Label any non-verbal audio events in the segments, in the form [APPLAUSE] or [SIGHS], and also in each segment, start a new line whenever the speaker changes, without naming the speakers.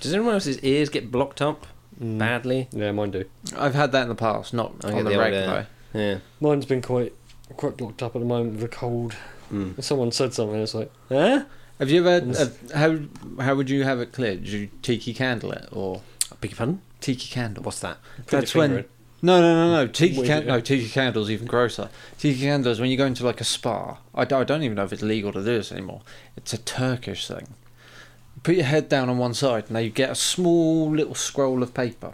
Does anyone else's ears get blocked up badly?
Mm. Yeah, mine do.
I've had that in the past, not
I
on
get
the,
the old,
regular.
uh, Yeah.
Mine's been quite quite blocked up at the moment with a cold.
Hmm.
Mm.
Someone said something, it's like, eh?
Have you ever?
Yes.
Uh, how how would you have it cleared? Do you tiki candle it or
Beg your pardon?
tiki candle?
What's that?
Put
That's
your
when.
finger
No, no, no, no. Tiki
Wait,
can-
yeah.
no tiki candles even grosser. Tiki candles when you go into like a spa. I, d- I don't even know if it's legal to do this anymore. It's a Turkish thing. Put your head down on one side, and they get a small little scroll of paper.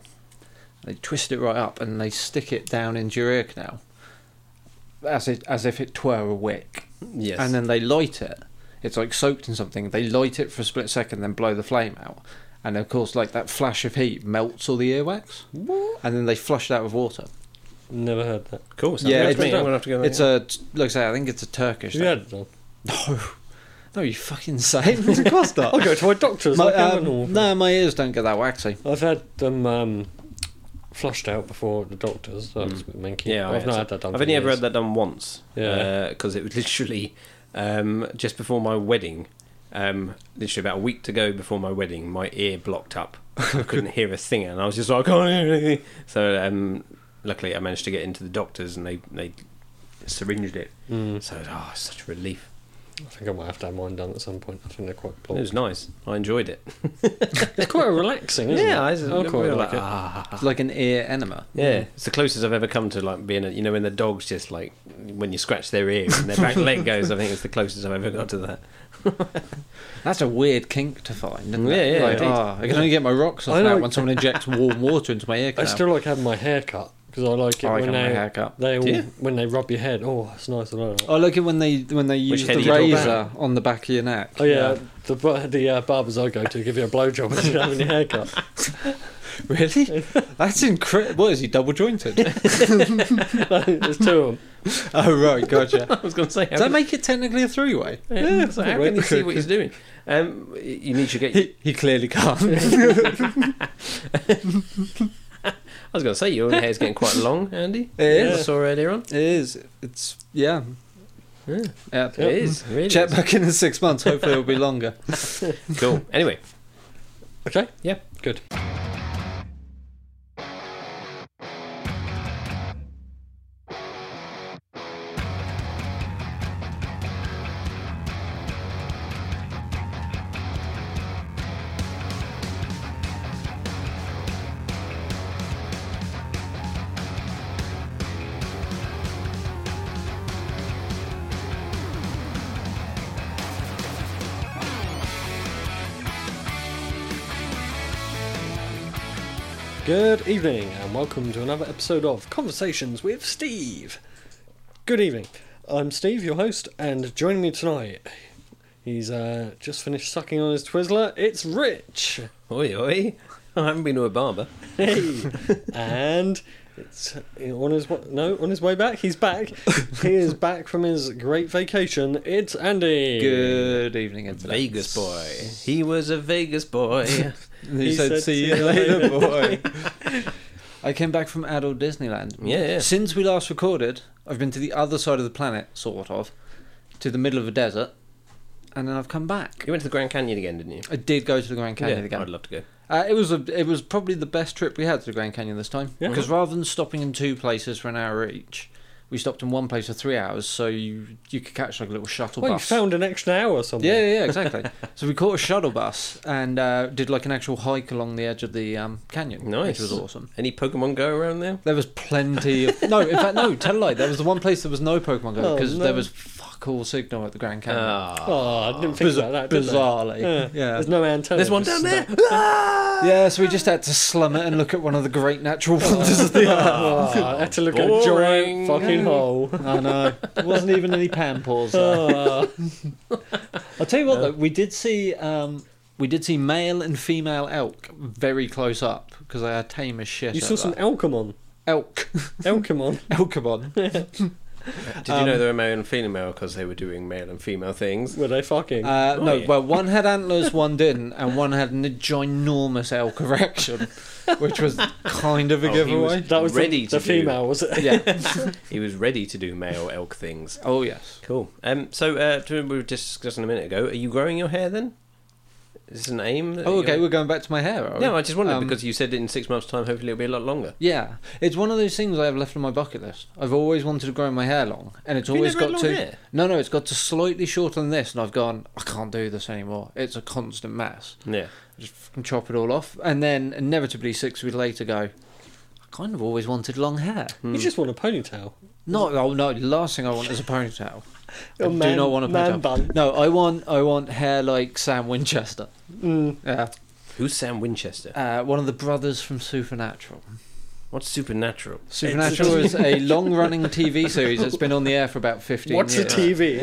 They twist it right up, and they stick it down into your ear canal, as it as if it were a wick.
Yes.
and then they light it. It's like soaked in something. They light it for a split second, then blow the flame out. And of course, like that flash of heat melts all the earwax, and then they flush it out with water.
in. Never heard that.
cool. sounds
Oh, yeah,
good
it's
to me.
done.
I'm gonna have to go.
It's a like I say, I think it's a Turkish.
Have you had
thing.
it done?
No, no, you fucking sane. [LAUGHS] of course not.
I'll go to my doctor's.
My-
like I'm a
um,
normal
no, my ears don't get that waxy.
I've had them um, flushed out before at the doctors. so That's a bit manky.
Hmm. Yeah, I
I've
had
not
some-
had that done.
I've
for
only ever
years.
had that done once.
Yeah.
Because it was [LAUGHS] literally um, just before my wedding. Um, literally about a week to go before my wedding, my ear blocked up.
[LAUGHS]
I couldn't hear a thing, and I was just like, I can't hear anything. So um, luckily, I managed to get into the doctors, and they they syringed it.
Mm,
So oh, such a relief.
I think I might have to have mine done at some point. I think they're quite
It
blocked.
was nice. I enjoyed it.
It's quite relaxing, isn't
yeah, I,
it? Oh, I quite like it.
"Ah,
It's like an ear enema.
Yeah, it's the closest I've ever come to like being a you know when the dogs just like when you scratch their ear and their [LAUGHS] back leg goes. I think it's the closest I've ever got to that.
That's a weird kink to find. Isn't it?
Yeah, yeah,
Like,
indeed.
ah, I can only get my rocks
I
off now
like-
when someone injects warm water into [LAUGHS] my ear
I
canal. Oh,
still like having my hair cut because I
Oh,
like it
I like
when
having my
they
hair cut.
they all
Do you?
when they rub your head. Oh, it's nice. I like that.
I like it when they when they
Which
use
head
the
are you talking
razor
about?
on the back of your neck.
Oh yeah, the bar- the uh, barbers I go to give you a blowjob when you're having your hair cut. [LAUGHS]
[LAUGHS]
really? That's incredible. What is he double jointed? [LAUGHS]
There's two of them.
oh right,
[LAUGHS]
gotcha.
[LAUGHS] I was going to say, how
Does that
can,
make it technically a three way?
yeah, so how can you see what he's doing? [LAUGHS] Um, you need to get. I
He, he
[LAUGHS]
clearly can't.
was going to say your hair's getting quite long, [LAUGHS] Andy.
It is.
I saw earlier on.
it is. It's yeah.
Yeah,
yeah.
It is really
Check
is.
back in in six months.
[LAUGHS]
Hopefully, it'll be longer.
cool. Anyway,
Okay.
yeah,
Good. Good evening, and welcome to another episode of Conversations with Steve. Good evening. I'm Steve, your host, and joining me tonight, he's uh, just finished sucking on his Twizzler. It's Rich.
oi oi. I haven't been to a barber.
[LAUGHS]
Hey. and it's on his wa- no on his way back. He's back. he is back from his great vacation. It's Andy.
Good evening, internet.
Vegas boy. He was a Vegas [LAUGHS] boy.
And He, said, "See you later, boy."
[LAUGHS]
I came back from adult Disneyland.
Yeah, yeah.
Since we last recorded, I've been to the other side of the planet, sort of, to the middle of a desert, and then I've come back.
you went to the Grand Canyon again, didn't you?
I did go to the Grand Canyon
yeah, I'd
again.
love to go.
Uh, it was a, it was probably the best trip we had to the Grand Canyon this time
Yeah.
because rather than stopping in two places for an hour each, we stopped in one place for three hours, so you you could catch like a little shuttle
Well, you
bus.
found an extra hour somewhere.
yeah, yeah, yeah, exactly. [LAUGHS] so we caught a shuttle bus and uh, did like an actual hike along the edge of the um, canyon,
Nice.
which was awesome.
Any Pokemon go around there?
There was plenty of [LAUGHS] no. In fact, no. Tell a lie. There was the one place there was no Pokemon Go
Oh,
because
no.
there was fuck all signal at the Grand Canyon.
Ah.
Oh, I didn't think
Bizar-
about that. did I?
bizarrely,
Yeah.
yeah.
There's no antenna.
There's one
just
down there. Ah!
that-
Yeah, so we just had to slum it and look at one of the great
[LAUGHS]
natural wonders of [LAUGHS] the earth.
Oh, I had to look at a
Boring.
giant fucking
[LAUGHS]
hole.
I know. There wasn't even any pampers. there.
Oh,
I'll tell you what, though, we did see um, we did see male and female elk very close up because they are tame as shit.
you
at
saw some
that.
Elkamon.
elk,
Elkamon.
elkamon.
Did you
Um,
know there were male and female because they were doing male and female things?
[LAUGHS] Were they fucking?
Uh,
Oh,
no,
yeah.
well, one had antlers, one didn't, and one had a ginormous elk erection, which was kind of a
Oh, he
giveaway.
that was the-
ready
the,
to do-
female, was it?
Yeah.
He was ready to do male elk things.
Oh yes.
Cool. Um, so uh, to- we were just discussing a minute ago. Are you growing your hair then? Is this an aim? that
Oh,
you're-
okay, we're going back to my hair. Are we?
No, I just wondered
Um,
because you said in six months' time, hopefully it'll be a lot longer.
Yeah, it's one of those things I have left on my bucket list. I've always wanted to grow my hair long, and it's always got to. No, no, it's got to slightly shorter than this, and I've gone. I can't do this anymore. It's a constant mess.
Yeah.
Just fucking chop it all off, and then inevitably six weeks later, go. I kind of always wanted long hair.
You just want a ponytail.
No, no, no. the Last thing I want is a ponytail. I
A
do
man-
not want a
man
ponytail.
bun.
No, I want, I want hair like Sam Winchester.
Mm.
Yeah,
Who's Sam Winchester?
uh, one of the brothers from Supernatural.
What's supernatural?
Supernatural is [LAUGHS] a long-running TV series that's been on the air for about fifteen
What's a
years.
TV?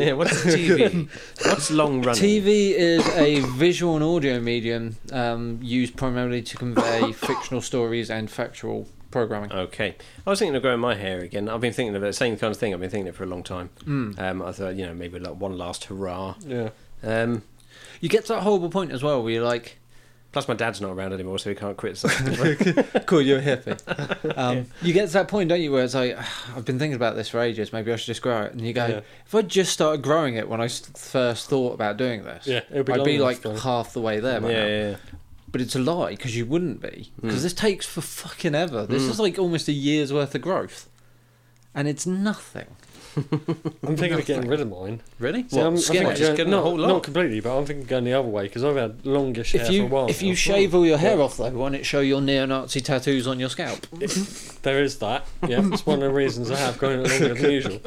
[LAUGHS] Yeah, what's
[LAUGHS]
TV? what's long running?
TV is a visual and audio medium um, used primarily to convey fictional stories and factual programming.
Okay. I was thinking of growing my hair again. I've been thinking of the same kind of thing. I've been thinking of it for a long time.
Mm.
Um, I thought, you know, maybe like one last hurrah.
Yeah.
Um,
You get to that horrible point as well where you're like,
plus, my dad's not around anymore, so he can't criticize.
cool, you're a hippie. [LAUGHS] Um, You get to that point, don't you, where it's like, "Ah, I've been thinking about this for ages, maybe I should just grow it. And you go,
Yeah.
if I just started growing it when I s- first thought about doing this,
Yeah, it'll be
I'd
long
be
enough
like [LAUGHS]
though.
half the way there
yeah,
by now.
yeah, yeah.
But it's a lie because you wouldn't be because
Mm.
this takes for fucking ever. This
Mm.
is like almost a year's worth of growth, and it's nothing.
I'm thinking of getting
Nothing.
rid of mine.
Really?
See, I'm, I'm
skin
thinking
it?
it?
Just
going-
getting a
not,
whole lot?
not completely, but I'm thinking going the other way because I've had longish hair
If
for a
you
while.
if
now.
you shave all your hair off though, why not show your neo-Nazi tattoos on your scalp?
[LAUGHS] There is that. Yeah, it's one of the reasons I have grown it longer than usual.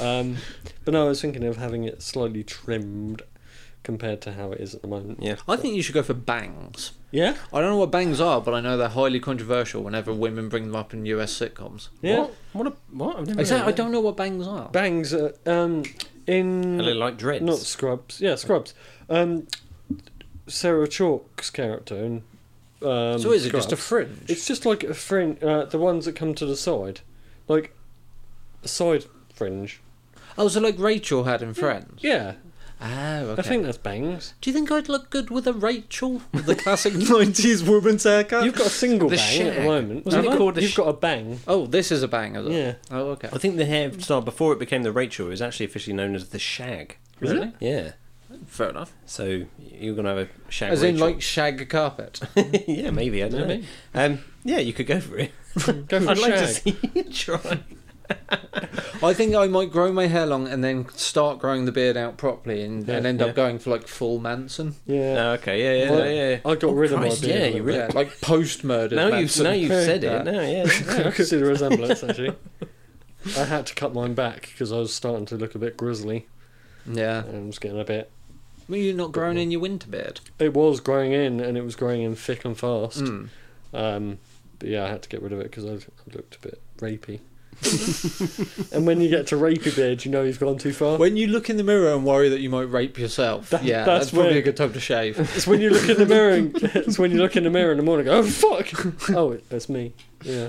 Um, but no, I was thinking of having it slightly trimmed compared to how it is at the moment.
Yeah.
I think you should go for bangs.
Yeah,
I don't know what bangs are, but I know they're highly controversial whenever women bring them up in US sitcoms.
yeah.
What? What? A, what? I've never
Exactly. I
heard of
don't know what bangs are.
Bangs uh, um, in
that. A little like dreads.
not scrubs. Yeah, scrubs. Um, Sarah Chalk's character. In, um,
so is it just a
Scrubs.
fringe?
It's just like a fringe. Uh, the ones that come to the side, like a side fringe.
oh, so like Rachel had in Friends.
Yeah,
Oh,
I
okay.
think that's bangs.
Do you think I'd look good with a Rachel? With
[LAUGHS]
the classic 90s woman's haircut?
You've got a single
The
bang at the
shag.
moment.
Wasn't
Have
it
you?
called the
You've
sh-
got a bang.
Oh, this is a bang, is it?
Yeah.
Oh, okay.
I think the hairstyle before it became the Rachel is actually officially known as the shag.
Really?
Yeah.
Fair enough.
So you're gonna have a shag.
As in,
Rachel.
like, shag carpet.
[LAUGHS] yeah, maybe I don't
Maybe.
know. Um, yeah, you could go for it. [LAUGHS]
Go for
I'd
a
like to
shag.
see you try.
I think I might grow my hair long and then start growing the beard out properly and,
Yeah,
and end
yeah.
up going for, like, full Manson.
Yeah.
Oh, okay, yeah, yeah,
Well,
yeah. yeah.
I got
Oh,
rid of my
Christ,
beard a
Yeah,
little
you
bit.
really.
Yeah, like, post-murder
Now you've
Manson.
now you've said
Yeah.
it. No, yeah.
Yeah, [LAUGHS] I could see the resemblance actually. I had to cut mine back because I was starting to look a bit grizzly
[LAUGHS] Yeah.
and it was getting a bit.
Well, you're not growing in your winter beard.
It was growing in and it was growing in thick and fast.
Hmm.
Mm.
Um, but yeah, I had to get rid of it because I I looked a bit rapey. [LAUGHS] and when you get to rapey beard, you know you've gone too far.
When you look in the mirror and worry that you might rape yourself,
That-
yeah,
that's
that's, probably
when-
a good time to shave.
It's when you look
[LAUGHS]
in the mirror. And, [LAUGHS] it's when you look in the mirror in the morning. And go, oh
[LAUGHS]
fuck! Oh, it, that's me. Yeah.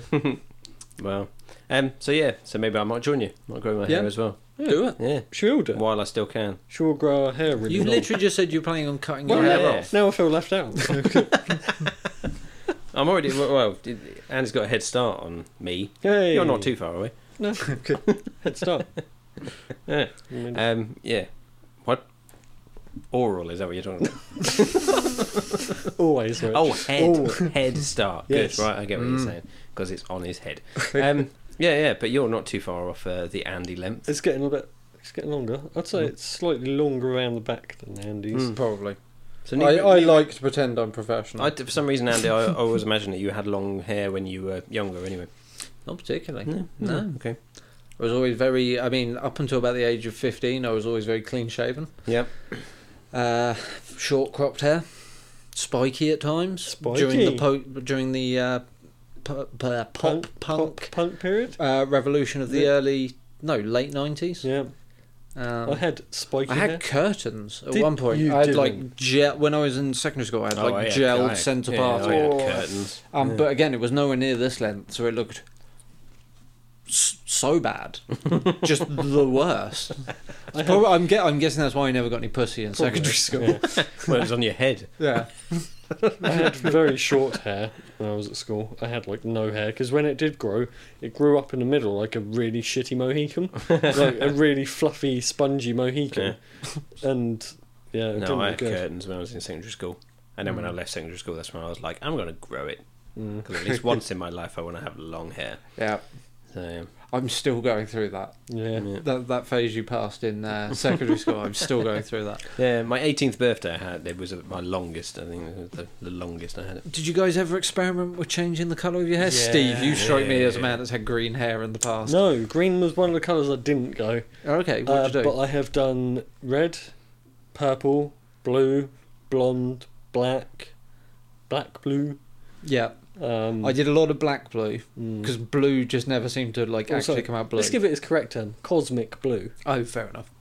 Well, um, so yeah, so maybe I might join you. Might grow my
Yeah.
hair as well.
Do it.
Yeah,
She'll [LAUGHS] do.
while I still can.
She'll grow her hair really
You
long.
literally just said you're planning on cutting
Well,
your hair
yeah.
off.
Now I feel left out.
[LAUGHS]
I'm already well. well did- Anne's got a head start on me.
Hey,
You're not too far away.
No. Head
[LAUGHS]
start. [LAUGHS]
Yeah.
I mean,
Uh,
Um, yeah. What? Oral? Is that what you're talking about?
always. Rich.
oh, [LAUGHS] head.
Oh.
Head start.
Yes.
Good. Right. I get what you're
Mm.
saying because it's on his
[LAUGHS]
head. Um, yeah, yeah. But you're not too far off uh, the Andy length.
It's getting a bit. It's getting longer. I'd say it's slightly longer around the back than Andy's.
Mm.
Probably.
So
I,
Nico-
I
Nico-
like to pretend I'm professional.
I, for some reason, Andy, I, I always imagined that you had long hair when you were younger. Anyway,
Not particularly.
no, okay,
I was always very, I mean, up until about the age of 15, I was always very clean shaven.
yep.
Uh, short cropped hair, spiky at times. During
Spiky.
the, po- during the uh, pu- pu- pop punk,
punk, punk period.
Uh, revolution of the
Yeah.
early, no, late 90s.
Yeah, I
Um,
had spiky
I had
hair.
curtains at
Did-
one point.
you
I had like
didn't.
gel, when I was in secondary school, I had
Oh, I
like
had-
gelled
I had-
centre
yeah,
part.
I had
Oh.
curtains.
Um,
Yeah.
But again, it was nowhere near this length, so it looked s-
[LAUGHS]
so bad, just the worst.
I
Probably, I'm, gue- I'm guessing that's why I never got any pussy in [LAUGHS] secondary school.
Yeah.
Oh.
well, it was on your
[LAUGHS]
head.
Yeah,
I had very short hair when I was at school. I had like no hair because when it did grow, it grew up in the middle like a really shitty
[LAUGHS]
Mohican, like a really fluffy, spongy Mohican, and yeah,
No,
it didn't
I
look
had
good.
curtains when I was in secondary school. And then when I left secondary school, that's when I was like, I'm going to grow it.
Mm. [LAUGHS]
Because at least once in my life, I want to have long hair.
Yeah,
So,
I'm still going through that.
Yeah.
yeah.
That that phase you passed in uh, secondary school, I'm still going through that.
Yeah, my 18th birthday I had, it was my longest, I think, it was the, the longest I had it.
[LAUGHS] Did you guys ever experiment with changing the colour of your hair?
Yeah.
Steve, you strike me as a
Yeah.
man that's had green hair in the past.
No, green was one of the colours I didn't go.
Oh, Okay, what
Uh,
did you do?
But I have done red, purple, blue, blonde, black, black, blue.
yeah,
Um,
I did a lot of black blue
mm.
because blue just never seemed to like
Also,
actually come out blue.
Let's give it its correct term cosmic blue.
oh,
[LAUGHS]
fair enough.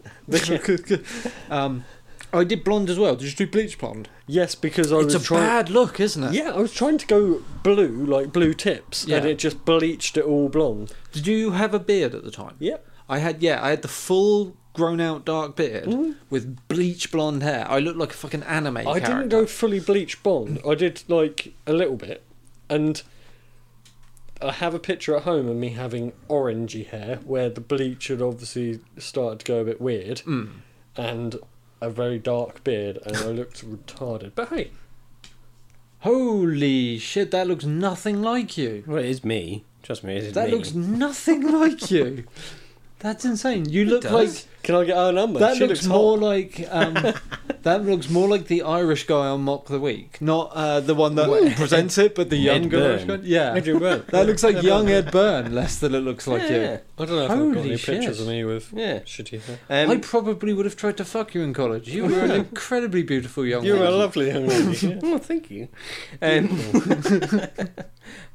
um, I did blonde as well. Did you do bleach blonde?
Yes, because I
it's a
was trying.
bad look, isn't it?
Yeah, I was trying to go blue, like blue tips, and
Yeah.
it just bleached it all blonde.
Did you have a beard at the time?
Yep.
I had yeah, I had the full grown out dark beard with bleach blonde hair. I looked like a fucking anime
I
character.
didn't go fully bleach blonde. I did like a little bit, and I have a picture at home of me having orangey hair, where the bleach had obviously started to go a bit weird,
Mm.
and a very dark beard, and I looked retarded. But hey,
Holy shit, that looks nothing like you.
Well, it is me. Trust me, it is
That
me.
looks [LAUGHS] nothing like you. That's insane. You look like
does.
can I get our number?
that
She
looks
hot. [LAUGHS]
more like [LAUGHS] um, that looks more like the Irish guy on Mock the Week, not uh, the one that presents it, but the
Ed
younger Irish guy.
Byrne.
Yeah,
Adrian Brown.
that looks like young Ed Byrne less than it looks like
yeah.
you.
I don't know if I've got
Holy
any pictures
shit.
of me with
Yeah.
shitty hair.
Um,
I probably would have tried to fuck you in college. You
[LAUGHS]
were an incredibly beautiful young
You were a
woman.
lovely young [LAUGHS] lady. yeah.
Oh, thank you. Um, [LAUGHS]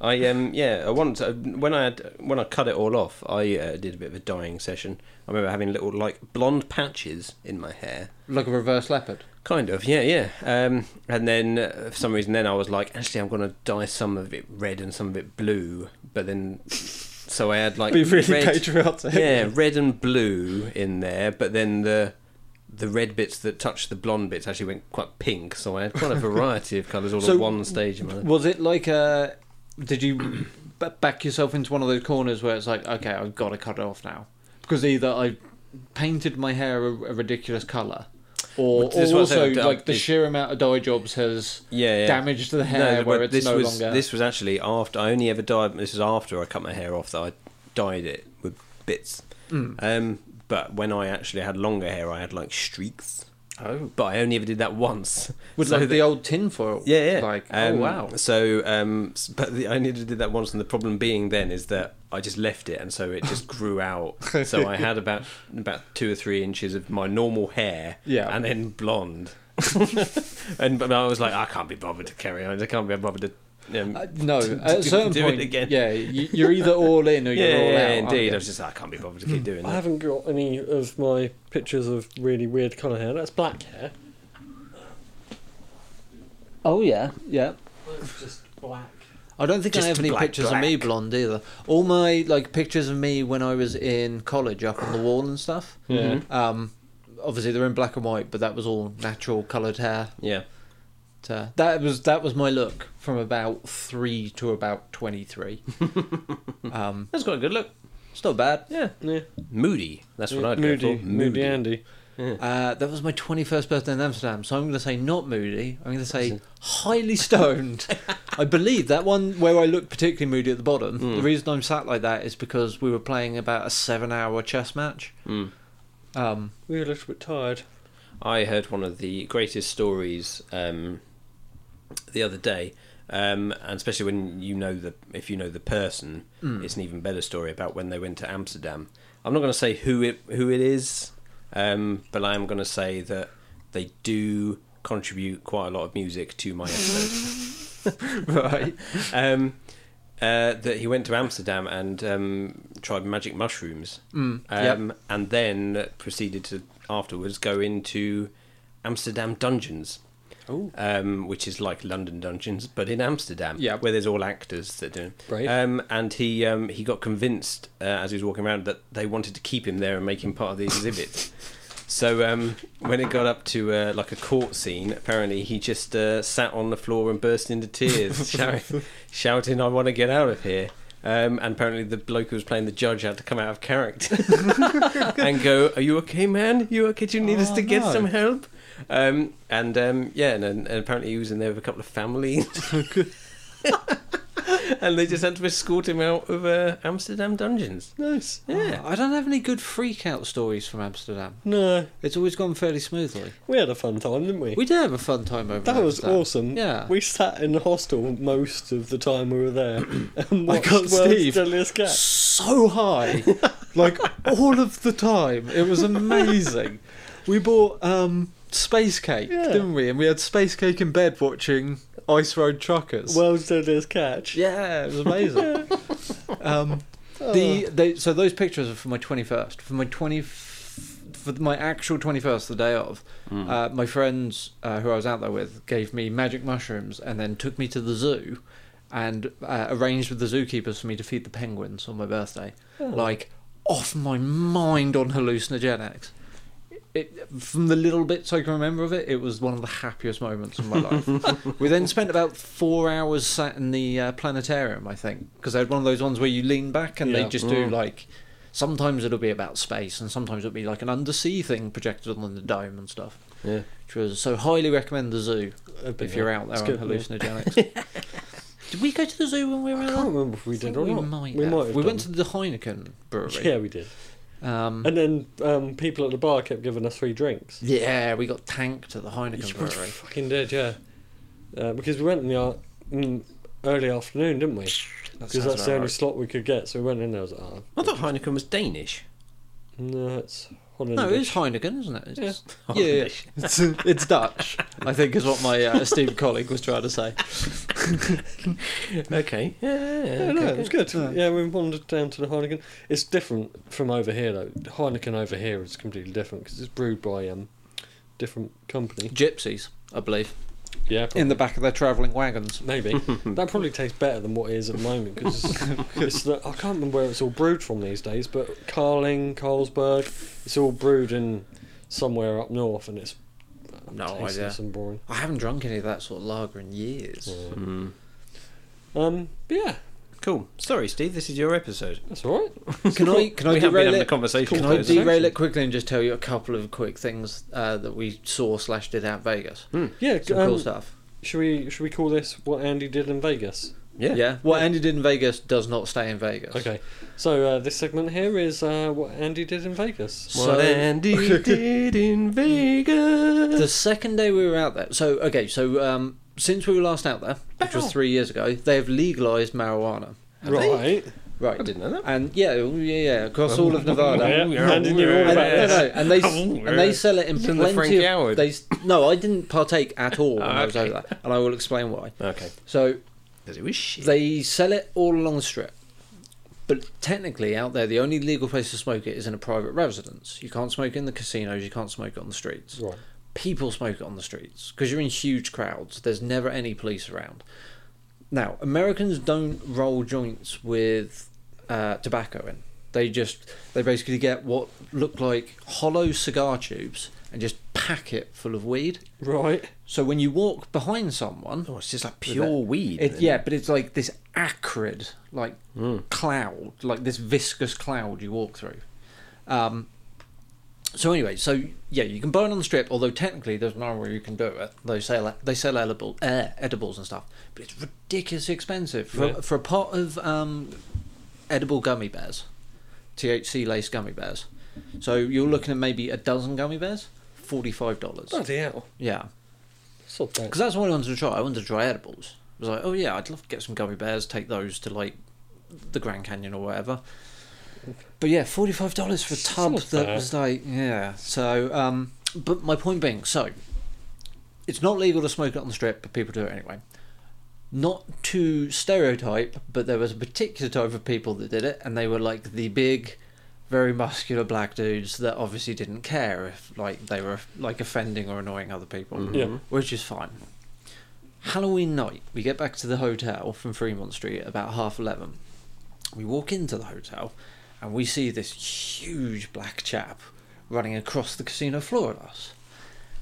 I um yeah, I once uh, when I had when I cut it all off, I uh, did a bit of a dyeing session. I remember having little like blonde patches in my hair,
like a reverse leopard.
kind of. Yeah, yeah. Um, and then uh, for some reason, then I was like, actually, I'm gonna dye some of it red and some of it blue. But then, so I had like red,
patriotic.
[LAUGHS] yeah, red and blue in there, but then the the red bits that touched the blonde bits actually went quite pink. So I had quite a variety of colours all
So-
at one stage. In my life.
Was it like a? Did you b- back yourself into one of those corners where it's like, okay, I've got to cut it off now because either I painted my hair a, a ridiculous color, or,
Well, uh, this
or
was
also
a-
like the
it-
sheer amount of dye jobs has
Yeah, yeah.
damaged the
No,
hair
but
where it's
this
no
was
longer.
this was actually after I only ever dyed. This was after I cut my hair off that I dyed it with bits.
Mm.
Um, but when I actually had longer hair, I had like streaks.
Oh,
But I only ever did that once. [LAUGHS]
with
So
like
the-
the old tinfoil.
Yeah, yeah.
Like,
Um,
oh wow.
So, um, s- but the, I only did that once, and the problem being then is that I just left it, and so it just grew out.
[LAUGHS]
so I had about about two or three inches of my normal hair,
Yeah.
and then
[LAUGHS]
blonde. and but I was like, I can't be bothered to carry on. I can't be bothered to. Um,
Uh, no,
to-
at
to
a certain
do it
point,
again.
yeah, you, you're either all in
[LAUGHS]
or
yeah,
you're all out.
yeah,
aren't
indeed.
you?
I was just like, I can't be bothered to keep doing
Hmm. I
that.
haven't got any of my pictures of really weird colour hair. That's black hair.
Oh yeah, yeah.
That's just black.
I don't think
Just
I have any
black,
pictures of me
black.
blonde either. All my like pictures of me when I was in college up on the wall and stuff.
Yeah.
Mhm.
Um, obviously they're in black and white, but that was all natural coloured hair.
Yeah,
To, that was that was my look from about three to about
[LAUGHS]
twenty three. um,
that's got a good look.
it's not bad.
Yeah,
Yeah.
moody. That's what I'd
moody,
go for.
moody, Andy.
Uh, that was my twenty first birthday in Amsterdam, so I'm going to say not moody. I'm going to say highly stoned. I believe that one where I looked particularly moody at the bottom. The reason I'm sat like that is because we were playing about a seven hour chess match.
Mm.
Um,
We were a little bit tired.
I heard one of the greatest stories um, the other day, um, and especially when you know the if you know the person,
Mm.
it's an even better story about when they went to Amsterdam. I'm not going to say who it who it is, um, but I am going to say that they do contribute quite a lot of music to my episode.
[LAUGHS]
[LAUGHS]
right.
um, uh, that he went to Amsterdam and um, tried magic mushrooms
Mm, yep.
um, and then proceeded to afterwards go into Amsterdam dungeons,
Ooh.
um, which is like London dungeons but in Amsterdam,
Yeah.
where there's all actors that do.
Brave.
it.
Uh,
Um, and he um, he got convinced uh, as he was walking around that they wanted to keep him there and make him part of the exhibit. So um, when it got up to uh, like a court scene, apparently he just uh, sat on the floor and burst into tears, shouting, shouting "I want to get out of here." Um, and apparently the bloke who was playing the judge had to come out of
[LAUGHS]
character and go, "Are you okay, man? You okay? Do you need us
Oh,
to get
no.
some help?" Um, and um, yeah, and, and apparently he was in there with a couple of
[LAUGHS]
families. [LAUGHS] and they just had to escort him out of uh, Amsterdam dungeons.
Nice.
Yeah.
Oh, I don't have any good freak out stories from Amsterdam.
No,
It's always gone fairly smoothly.
we had a fun time, didn't we?
We did have a fun time over
that
in
was
Amsterdam.
awesome.
Yeah.
We sat in the hostel most of the time we were
[COUGHS]
there and
I
watched
got
World's
Steve.
Deadliest Catch.
so high, like all of the time. It was amazing. We bought um, space cake,
Yeah.
didn't we? And we had space cake in bed watching Ice Road Truckers.
World's Deadliest Catch. Oh,
yeah, it was amazing. um, the they, so those pictures are for my twenty first, for my twenty, for my actual twenty first, the day of.
Mm.
Uh, my friends uh, who I was out there with gave me magic mushrooms and then took me to the zoo, and uh, arranged with the zookeepers for me to feed the penguins on my birthday. Like off my mind on hallucinogenics. It, from the little bits I can remember of it, it was one of the happiest moments of
[LAUGHS]
my life. we then spent about four hours sat in the uh, planetarium, I think, because they had one of those ones where you lean back and they
Yeah. Mm.
just do like. Sometimes it'll be about space, and sometimes it'll be like an undersea thing projected on the dome and stuff.
Yeah.
Which was so highly recommend the zoo
I'd be
if you're out there
It's
on
good, yeah.
hallucinogenics.
[LAUGHS]
Did we go to the zoo when we were
I
out?
can't
there?
remember if we
I think
did or
we
not.
Might
we
have.
might have
we went to
done.
the Heineken brewery.
Yeah, we did.
Um,
And then um, people at the bar kept giving us free drinks.
yeah, we got tanked at the Heineken
You were
brewery.
fucking did, yeah. Uh, because we went in the ar- mm, early afternoon, didn't we?
That
Because that's
sounds
the
about
only
right.
slot we could get, so we went in there. I was like, oh,
I thought Heineken was Danish.
no, it's Holland.
No, it is Heineken, isn't it? It's, yeah, yeah.
[LAUGHS] Hollandish.
[LAUGHS] It's, it's Dutch, I think, is what my uh, esteemed [LAUGHS] colleague was trying to say.
Okay. Yeah, yeah, yeah,
Yeah,
okay,
no, it was good.
Yeah.
Yeah, we wandered down to the Heineken. It's different from over here, though. Heineken over here is completely different because it's brewed by um different company.
Gypsies, I believe,
Yeah,
in the back of their travelling wagons. [LAUGHS]
Maybe that probably tastes better than what it is at the moment because it's the, I can't remember where it's all brewed from these days. But Carling, Carlsberg, it's all brewed in somewhere up north, and it's
No
tasteless
idea.
and boring.
I haven't drunk any of that sort of lager in years.
Yeah.
Mm.
Um, but yeah,
Cool. Sorry, Steve. This is your episode.
that's all right.
Can I? Can I
we have been
derail
having a
it?
conversation.
Can
for
I
those
derail
sections.
it quickly and just tell you a couple of quick things uh, that we saw slash did out Vegas?
Hmm.
Yeah,
Some
um,
cool stuff.
should we should we call this what Andy did in Vegas?
Yeah.
Yeah. What Andy did in Vegas does not stay in Vegas.
Okay, so uh, this segment here is uh, what Andy did in Vegas.
What
So-
Andy did in Vegas.
The second day we were out there. So okay. So um, since we were last out there, which was three years ago, they have legalized marijuana.
Right.
I
Right.
didn't know that.
And yeah, oh, yeah, yeah. Across all of Nevada.
Yeah, Andy knew all
And,
about
no,
this.
no, and they
Oh,
and they sell it in
It's in the
plenty
Frankie
of.
Howard.
They, s- no, I didn't partake at all when
Ah,
I was
okay.
over there, and I will explain why.
Okay.
So
Because it was shit.
They sell it all along the strip. But technically, out there, the only legal place to smoke it is in a private residence. You can't smoke it in the casinos, you can't smoke it on the streets.
Right.
People smoke it on the streets because you're in huge crowds. There's never any police around. Now, Americans don't roll joints with uh, tobacco in. They just, they basically get what look like hollow cigar tubes and just pack it full of weed.
Right.
So when you walk behind someone,
oh, it's just like
with
pure
it.
weed. Hmm.
It,
then.
yeah, but it's like this acrid, like cloud, like this viscous cloud you walk through. Um, so anyway, so yeah, you can burn on the strip. Although technically, there's no way you can do it. They sell they sell edible, uh, edibles and stuff, but it's ridiculously expensive for,
Yeah.
for a pot of um, edible gummy bears, THC laced gummy bears. So you're looking at maybe a dozen gummy bears, forty five dollars.
Bloody hell.
Yeah.
It's not bad.
Because that's what I wanted to try. I wanted to try edibles. I was like, oh yeah, I'd love to get some gummy bears, take those to like the Grand Canyon or whatever. But yeah, forty five dollars for a tub
Not
that
bad.
was like yeah. So um but my point being, so it's not legal to smoke it on the strip, but people do it anyway. Not to stereotype, but there was a particular type of people that did it, and they were like the big, very muscular black dudes that obviously didn't care if like they were like offending or annoying other people
Mm-hmm.
Yeah.
which is fine. Halloween night, we get back to the hotel from Fremont Street at about half eleven. We walk into the hotel, and we see this huge black chap running across the casino floor at us.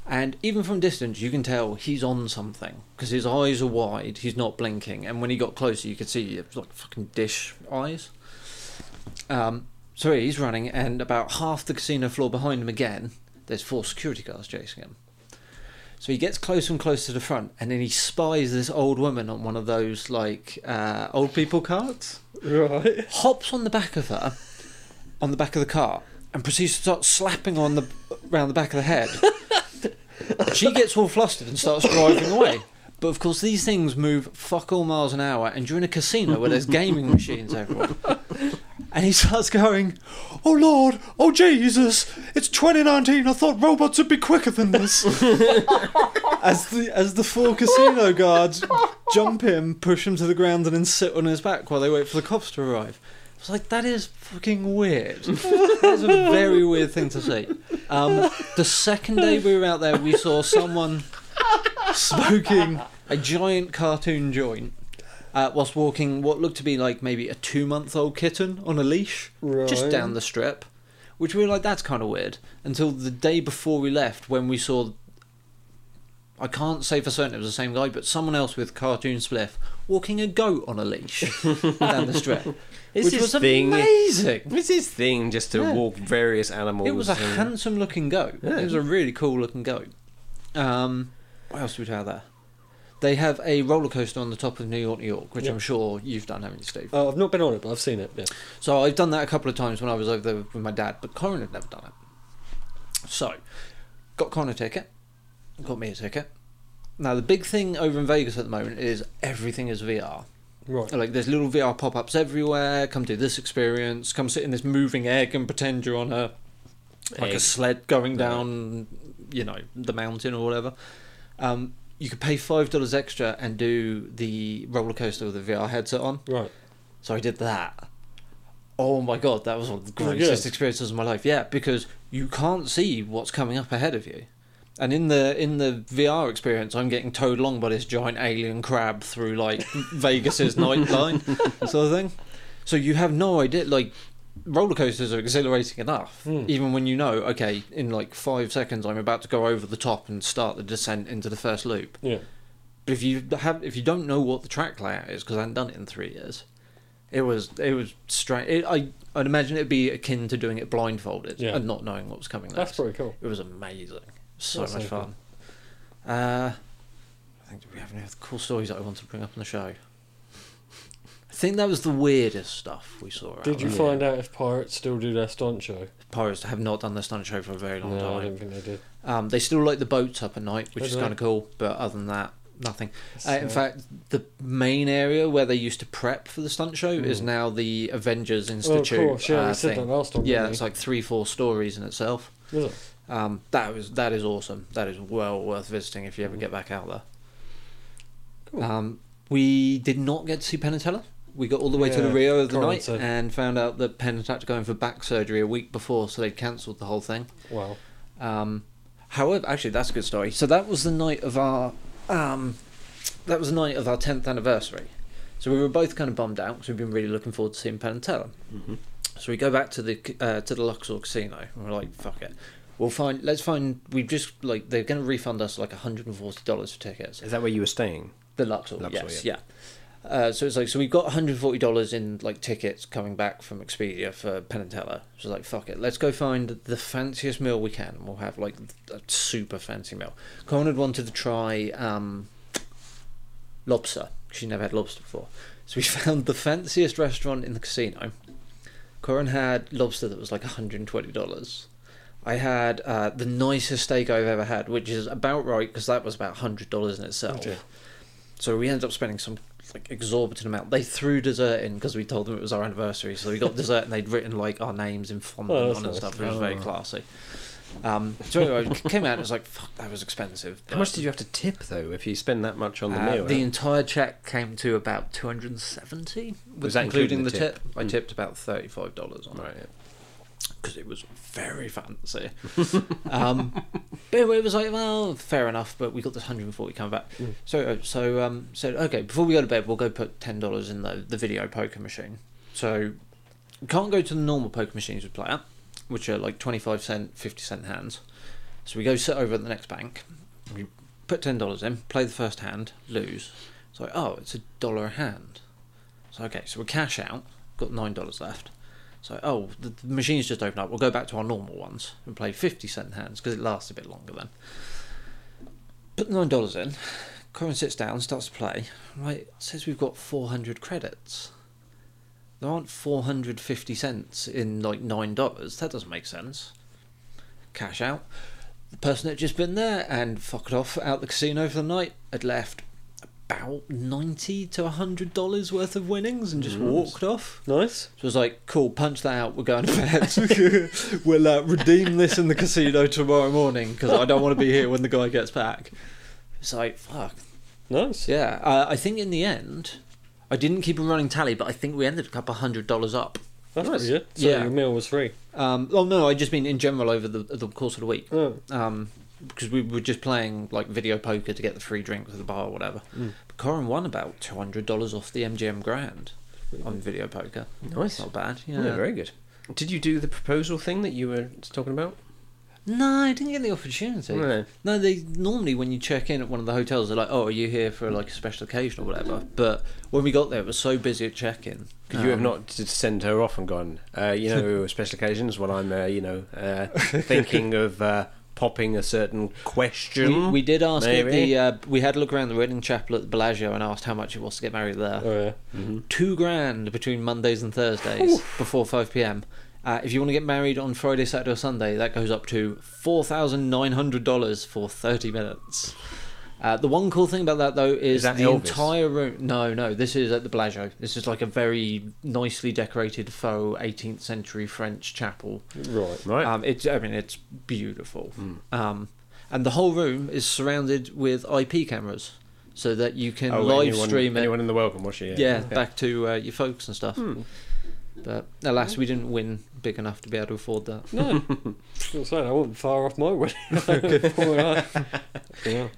And even from distance, you can tell he's on something because his eyes are wide. He's not blinking, and when he got closer, you could see it was like fucking dish eyes. Um, so he's running, and about half the casino floor behind him again. There's four security guards chasing him. So he gets closer and closer to the front, and then he spies this old woman on one of those like uh, old people carts.
Right.
Hops on the back of her, on the back of the cart, and proceeds to start slapping on the round the back of the head. she gets all flustered and starts driving away. But of course, these things move fuck all miles an hour, and you're in a casino where there's gaming machines everywhere. And he starts going, "Oh Lord, oh Jesus, it's 2019. I thought robots would be quicker than this." as the as the four casino guards jump him, push him to the ground, and then sit on his back while they wait for the cops to arrive. I was like, "That is fucking weird. That's a very weird thing to see." Um, the second day we were out there, we saw someone smoking a giant cartoon joint uh, whilst walking what looked to be like maybe a two month old kitten on a leash
Right.
just down the strip, which we were like, that's kind of weird. Until the day before we left, when we saw. I can't say for certain it was the same guy, but someone else with cartoon spliff walking a goat on a leash down the strip,
It's
which
his
was
thing.
amazing.
It's his thing just to
Yeah.
walk various animals.
It was a
and-
handsome looking goat.
Yeah.
It was a really cool looking goat. Um, what else do we have there? They have a roller coaster on the top of New York, New York, which
Yeah.
I'm sure you've done, haven't you, Steve?
Uh, I've not been on it, but I've seen it. Yeah.
So I've done that a couple of times when I was over there with my dad, but Corin had never done it. So, got Corin a ticket, got me a ticket. Now, the big thing over in Vegas at the moment is everything is VR.
Right.
Like, there's little VR pop ups everywhere. Come do this experience. Come sit in this moving egg and pretend you're on a like a
Egg.
sled going down, you know, the mountain or whatever. Um, you could pay five dollars extra and do the roller coaster with the VR headset on.
Right.
So I did that. Oh my god, that was one of the
Was it
greatest
good?
experiences of my life. Yeah, because you can't see what's coming up ahead of you. And in the in the VR experience, I'm getting towed along by this giant alien crab through [LAUGHS] like Vegas's nightline sort of thing. So you have no idea. Like roller coasters are exhilarating enough,
Hmm.
even when you know, okay, in like five seconds, I'm about to go over the top and start the descent into the first loop.
Yeah.
But if you have, if you don't know what the track layout is, because I hadn't done it in three years, it was it was strange. It, I I'd imagine it'd be akin to doing it blindfolded
Yeah.
and not knowing what was coming.
That's
next.
pretty cool.
It was amazing. So
That's
much
so
fun. Uh, I think do we have any other cool stories that I want to bring up on the show. I think that was the weirdest stuff we saw. out
Did you
there.
find out if pirates still do their stunt show?
Pirates have not done this on a show for a very long
No, I
time.
don't think they did.
Um, they still light the boats up at night, which
Oh,
is
do they?
kind of cool. But other than that, nothing. Uh, in
So-
fact, the main area where they used to prep for the stunt show is
Mm.
now the Avengers
Oh, of
Institute.
course, yeah,
uh,
we said
thing.
that last time.
yeah,
didn't
it's
we?
like three, four stories in itself.
Was it?
Um, that was that is awesome. That is well worth visiting if you ever get back out there.
Hmm. Cool.
Um, we did not get to see Penn and Teller. We got all the way to the
Yeah,
Rio of the
Corin
night
said.
and found out that Penn had had to go in for back surgery a week before, so they'd cancelled the whole thing.
Wow.
Um, however, actually, that's a good story. So that was the night of our um, that was the night of our tenth anniversary. So we were both kind of bummed out because we've been really looking forward to seeing Penn and Teller.
Mhm.
So we go back to the uh, to the Luxor Casino and we're like, fuck it. We'll find. Let's find. We've just like they're going to refund us like hundred and forty dollars for tickets.
Is that where you were staying?
The Luxor,
Luxor,
yes, yeah. Uh, so it's like so we've got one hundred forty dollars in like tickets coming back from Expedia for Penn and Teller. So it's like fuck it, let's go find the fanciest meal we can, and we'll have like a super fancy meal. Conan had wanted to try um, lobster. She never had lobster before, so we [LAUGHS] found the fanciest restaurant in the casino. Corin had lobster that was like one hundred and twenty dollars. I had uh, the nicest steak I've ever had, which is about right because that was about hundred dollars in itself.
Okay.
So we ended up spending some like exorbitant amount. They threw dessert in because we told them it was our anniversary, so we got dessert and they'd written like our names in font
Oh,
on
that's
it and
nice.
stuff. It was very
Oh.
classy. Um, so anyway, it came out. and It was like fuck, that was expensive. uh,
How much did you have to tip though? If you spend that much on Uh, the meal, eh?
the entire check came to about two hundred and seventy.
Was that including the
tip? I
Mm.
tipped about thirty-five dollars on it.
right?
because it was very fancy. [LAUGHS] um, but anyway, it was like, well, fair enough. But we got this 140 coming back.
Mm.
So, so um, said, okay, before we go to bed, we'll go put ten dollars in the the video poker machine. So, we can't go to the normal poker machines we play at, which are like 25 cent, 50 cent hands. So we go sit over at the next bank. We put ten dollars in, play the first hand, lose. It's like, oh, it's a dollar a hand. So okay, so we cash out. Got nine dollars left. So, oh, the, the machine's just opened up. We'll go back to our normal ones and play 50 cent hands because it lasts a bit longer then. put nine dollars in. Corin sits down, starts to play. Right, says we've got four hundred credits. There aren't four hundred fifty cents in like nine dollars. That doesn't make sense. Cash out. The person had just been there and fucked off out the casino for the night had left about ninety to hundred dollars worth of winnings and just walked off.
Nice.
So I was like, cool, punch that out.
[LAUGHS]
We're going to bed. [LAUGHS] we'll uh, redeem this in the casino tomorrow morning because I don't want to be here when the guy gets back. It's like, fuck.
Nice.
Yeah, uh, I think in the end, I didn't keep a running tally, but I think we ended a couple hundred dollars up.
That's
Nice.
pretty good. So
Yeah.
your meal was free.
Um, oh no, I just mean in general over the, the course of the week.
Oh,
Um, because we were just playing like video poker to get the free drinks at the bar or whatever.
Mm.
But Corin won about two hundred dollars off the MGM Grand on video poker.
Nice.
Not bad. Yeah,
Oh, Yeah. very good. Did you do the proposal thing that you were talking about?
No, I didn't get the opportunity.
No.
No, they normally when you check in at one of the hotels, they're like, "Oh, are you here for like a special occasion or whatever?" But when we got there, it was so busy at check-in.
Could you have
Um,
not to send her off and gone, uh, you [LAUGHS] know, special occasions when I'm, uh, you know, [LAUGHS] uh, thinking of uh, popping a certain question?
We, we did ask at
maybe?
the. Uh, we had a look around the wedding chapel at the Bellagio and asked how much it was to get married there.
oh yeah.
Two grand between Mondays and Thursdays before five p.m. Uh, if you want to get married on Friday, Saturday, or Sunday, that goes up to four thousand nine hundred dollars for thirty minutes. Uh, the one cool thing about that though is,
that
the
Elvis?
entire room. No, no, this is at the Bellagio. This is like a very nicely decorated faux 18th century French chapel.
[LAUGHS]
Right.
Right. Hmm.
Um, it's I mean it's beautiful. Um, and the whole room is surrounded with IP cameras, so that you can
Oh,
live
anyone-
stream it
Anyone in the welcome, was she?
yeah, back to uh, your folks and
Hmm.
stuff. But alas, we didn't win big enough to be able to afford that.
No. I was saying I wasn't far off my [LAUGHS] wedding. yeah.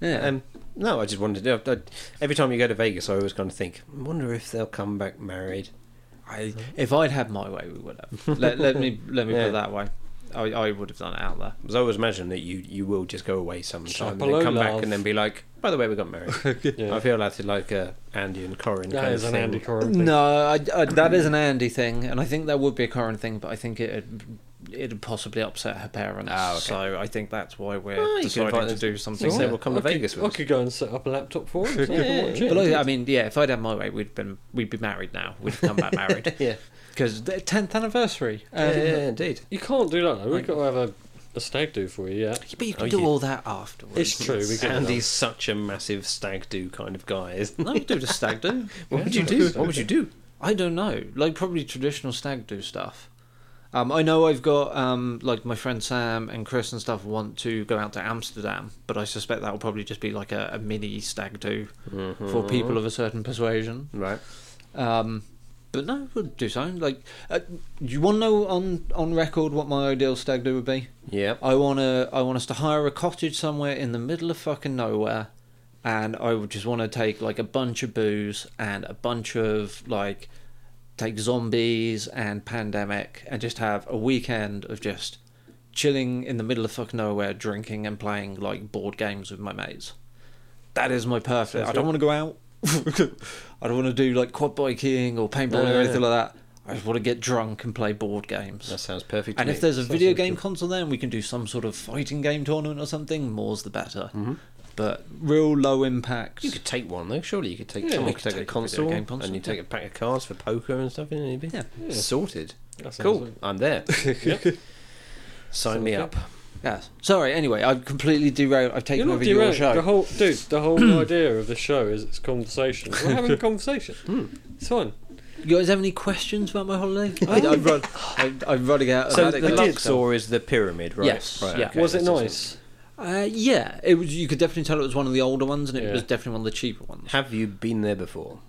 Yeah,
Um, no, I just wanted to. I, I, every time you go to Vegas, I always kind of think, I wonder if they'll come back married.
I, if I'd had my way, we would
[LAUGHS]
have. let, let me let me put
Yeah.
it that way. I, I would have done it out there.
Because I always imagine that you, you will just go away sometime and
Chapelot
then come back
love.
and then be like, by the way, we got married. I
yeah.
feel that's like uh, Andy and Corin
That
kind
is
of
an
thing.
Andy Corrin thing.
No, I, I, that is an Andy thing, and I think that would be a current thing. But I think it it'd possibly upset her parents.
Ah, okay.
So I think that's why we're
Well, you can invite
deciding to
them
do
I
something.
think
with
they
it.
will come to
I could-
Vegas with
I
us.
could go and set up a laptop for
[LAUGHS]
him. So I can watch it.
But like, I mean, yeah, if I'd had my way, we'd been we'd be married now. We'd have come back married
[LAUGHS] Yeah.
because tenth anniversary.
Yeah,
Um,
yeah, yeah, indeed.
you can't do that. though. We've got to have a, a stag do for you. Yeah.
But you can
Oh,
do
yeah.
all that afterwards.
It's true. We can.
Andy's such a massive stag do kind of guy, isn't
No, you do the stag do.
he? [LAUGHS] What would you do? What would you do?
I don't know. Like probably traditional stag do stuff. Um, I know I've got um, like my friend Sam and Chris and stuff want to go out to Amsterdam, but I suspect that will probably just be like a, a mini stag do for
Mm-hmm.
people of a certain persuasion.
Right.
Um, but no, we'll do something. Like, uh, do you want to know on on record what my ideal stag do would be?
Yeah.
I want to. I want us to hire a cottage somewhere in the middle of fucking nowhere, and I would just want to take like a bunch of booze and a bunch of like take zombies and pandemic and just have a weekend of just chilling in the middle of fucking nowhere, drinking and playing like board games with my mates. That is my perfect. I don't want to go out. [LAUGHS] I don't want to do like quad biking or paintball
No,
or
no,
anything like that. I just want to get drunk and play board games.
That sounds perfect. To
And
me.
if there's a
Sounds
video
really
game
cool.
console there and we can do some sort of fighting game tournament or something, more's the better.
Mm-hmm.
But real low impact.
you could take one though, surely you could take.
Yeah,
someone
we
could
could
take,
take a
a
video
console,
game console,
and you take a pack of cards for poker and stuff. Isn't it?
yeah.
Yeah.
Sorted.
That sounds
Cool.
like-
I'm there. Sign me up.
Sounds
Yes. Sorry, anyway, I've completely derailed. I've
You're
taken
not
over your
derailing. The
show.
whole dude. The
[CLEARS THROAT]
whole idea of the show is it's conversation. We're having
[LAUGHS]
a conversation.
Hmm.
It's fun.
You guys have any questions about my holiday? I, I'm, run, [LAUGHS] I, I'm running out of
So
that
the
stuff.
Luxor is the pyramid, right?
Yes,
Right,
yeah.
okay.
was it
That's
nice?
Uh, yeah, it was, you could definitely tell it was one of the older ones and it
Yeah.
was definitely one of the cheaper ones.
Have you been there before?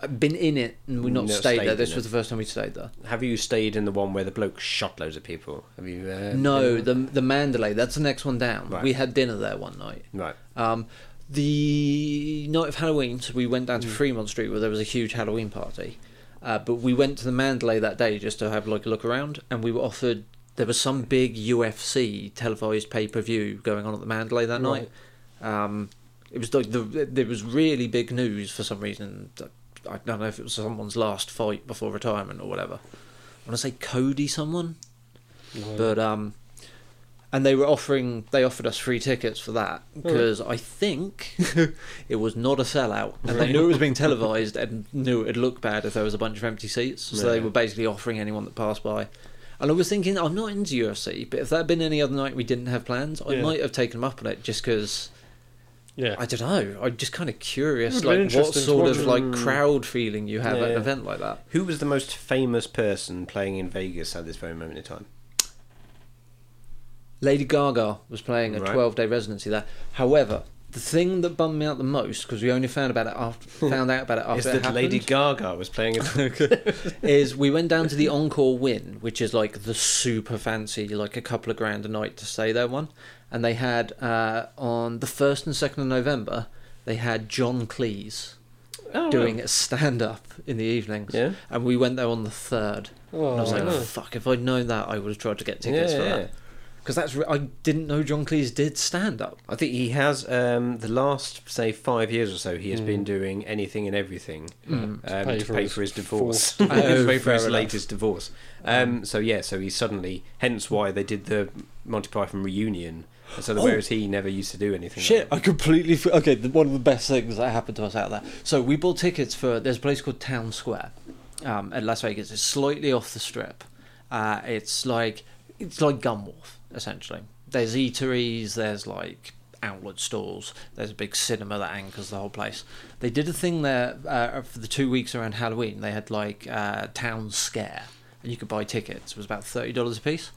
I've been in it and we've not
Not
stayed,
stayed
there.
in
This
it.
was the first time we stayed there.
Have you stayed in the one where the bloke shot loads of people? Have you? Uh,
no,
been-
the, the Mandalay, that's the next one down.
Right.
We had dinner there one night.
Right.
Um, the night of Halloween, so we went down to Fremont Street where there was a huge Halloween party. Uh, but we went to the Mandalay that day just to have like a look around, and we were offered there was some big UFC televised pay per view going on at the Mandalay that
Right.
night. Um, it was like the there was really big news for some reason. I don't know if it was someone's last fight before retirement or whatever. I want to say Cody someone,
No.
but um, and they were offering they offered us free tickets for that
Oh.
because
[LAUGHS]
I think it was not a sellout, and they knew it was being televised and knew it'd look bad if there was a bunch of empty seats, so they
Yeah.
were basically offering anyone that passed by. And I was thinking, I'm not into UFC, but if that had been any other night we didn't have plans, I
Yeah.
might have taken them up on it just because
Yeah.
I don't know. I'm just kind of curious,
It would've been
like what
interesting to
sort
watch
of
it.
like
Mm.
crowd feeling you have at an
Yeah.
event like that.
Who was the most famous person playing in Vegas at this very moment in time?
Lady Gaga was playing a
Right.
12 day residency there. However, the thing that bummed me out the most because we only found about it
[LAUGHS]
after found out about it after
Is
it
that
Oh, happened,
Lady Gaga was playing in
[LAUGHS] is we went down to the Encore Win, which is like the super fancy, like a couple of grand a night to stay there one, and they had uh, on the first and second of November they had John Cleese
oh,
doing a stand up in the evenings,
Yeah.
and we went there on the third.
Oh,
and I was like,
no.
"Fuck! If I'd known that, I would have tried to get tickets
yeah,
for
yeah.
that." Because that's re- I didn't know John Cleese did stand up.
I think he has um, the last say five years or so. He has
Mm.
Hmm.
been doing anything and everything
Mm.
um,
pay
to
for
pay
his
for his divorce, [LAUGHS]
[LAUGHS]
fourth
divorce.
to
Oh,
pay for his
fair enough.
latest divorce. Um, so yeah, so he suddenly, hence why they did the Monty Python reunion. And So the,
Oh.
whereas he never used to do anything.
Shit,
Like
I completely. f okay, the, one of the best things that happened to us out there. So we bought tickets for. There's a place called Town Square, um, at Las Vegas. It's slightly off the strip. Uh, it's like it's like Gun Wharf essentially. There's eateries. There's like outlet stores. There's a big cinema that anchors the whole place. They did a thing there uh, for the two weeks around Halloween. They had like uh, Town Scare, and you could buy tickets. It was about thirty dollars a piece.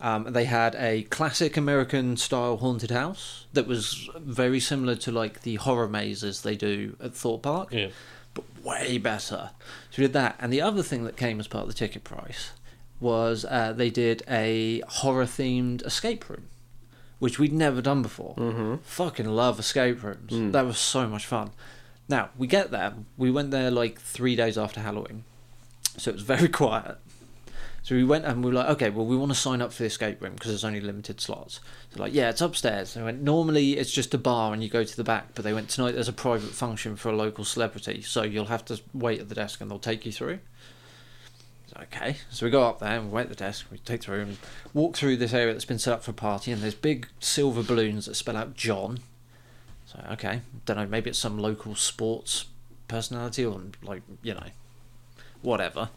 Um, they had a classic American style haunted house that was very similar to like the horror mazes they do at Thorpe Park, [LAUGHS]
Yeah.
but way better. So we did that. And the other thing that came as part of the ticket price was uh, they did a horror themed escape room, which we'd never done before. Mm-hmm. Fucking love escape rooms. That was so much fun. Now, we get there. We went there like three days after Halloween. So it was very [LAUGHS] quiet. So we went and we were like, okay, well, we want to sign up for the escape room because there's only limited slots. So like, yeah, it's upstairs. And they went, normally it's just a bar and you go to the back, but they went tonight. There's a private function for a local celebrity, so you'll have to wait at the desk and they'll take you through. So, Okay, so we go up there and we wait at the desk. We take through and walk through this area that's been set up for a party, and there's big silver balloons that spell out John. So okay, don't know, maybe it's some local sports personality or like you know, whatever.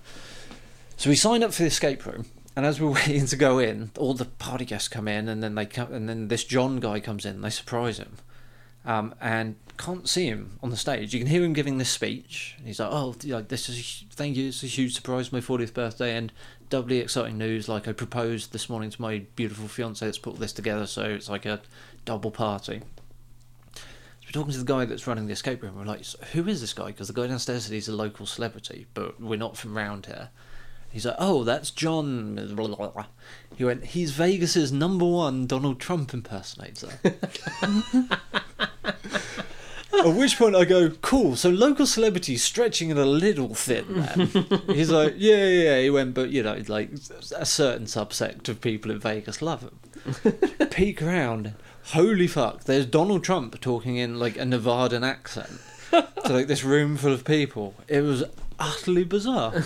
So we sign up for the escape room, and as we're [LAUGHS] waiting to go in, all the party guests come in, and then they come, and then this John guy comes in. And they surprise him, um, and can't see him on the stage. You can hear him giving this speech. and He's like, "Oh, you know, this is a hu- thank you. It's a huge surprise. for My 40th birthday, and doubly exciting news. Like I proposed this morning to my beautiful fiance. That's put all this together, so it's like a double party." So we're talking to the guy that's running the escape room. We're like, "So "Who is this guy?" Because the guy downstairs said he's a local celebrity, but we're not from round here. He's like, oh, that's John. Blah, blah, blah. He went, he's Vegas's number one Donald Trump impersonator. At which point I go, cool. So local celebrities stretching it a little thin. Then. He's like, yeah, yeah. yeah." He went, but you know, like a certain subsect of people in Vegas love him. Peek around, holy fuck! There's Donald Trump talking in like a Nevadan accent to like this room full of people. It was utterly bizarre.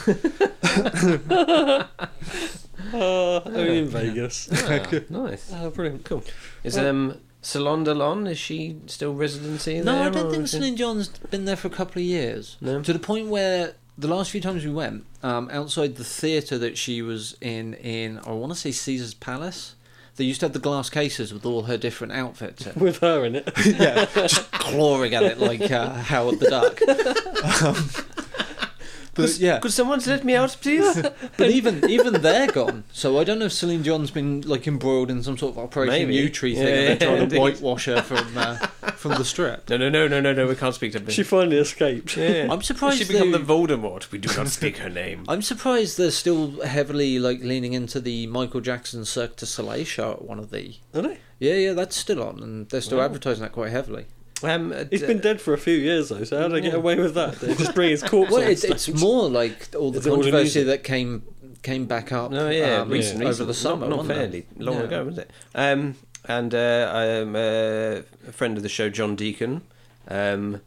Uh, I mean, in Vegas.
that. Ah, nice.
Oh, brilliant. Cool.
Is um, Salon Delon? Is she still residency?
[LAUGHS] No,
there,
I don't
or
think
is she-
St. John's been there for a couple of years.
No?
To the point where the last few times we went, um, outside the theatre that she was in, in I want to say Caesar's Palace, they used to have the glass cases with all her different outfits.
[LAUGHS]
In.
With her in it.
yeah, just clawing at it like uh, Howard the Duck.
[LAUGHS]
Um, but yeah,
Could someone let me out, please?
[LAUGHS] but even even they're gone. So I don't know if Celine John's been like embroiled in some sort of Operation
Maybe.
U Tree thing,
Yeah,
and they're trying to
indeed.
whitewash her from uh, from the strip.
no, no, no, no, no, no. We can't speak to her.
She finally escaped.
Yeah.
I'm surprised
she become
they-
the Voldemort. We do not speak her
[LAUGHS]
name.
I'm surprised they're still heavily like leaning into the Michael Jackson Cirque du Soleil show at one of the.
Are they?
Yeah, yeah, that's still on, and they're still
Wow.
advertising that quite heavily.
Um, uh,
He's been dead for a few years though, so how do they get
Yeah.
away with that? They just
[LAUGHS]
bring his corpse.
Well,
on
it's, it's
stage.
more like all the
Is it all the
controversy
music?
that came came back up.
uh, No, Oh, yeah,
um,
recent,
over
recent,
the summer,
not, not
wasn't
fairly
it?
long
Yeah.
ago, wasn't it? Um, and uh, um, uh, a friend of the show, John Deacon, um,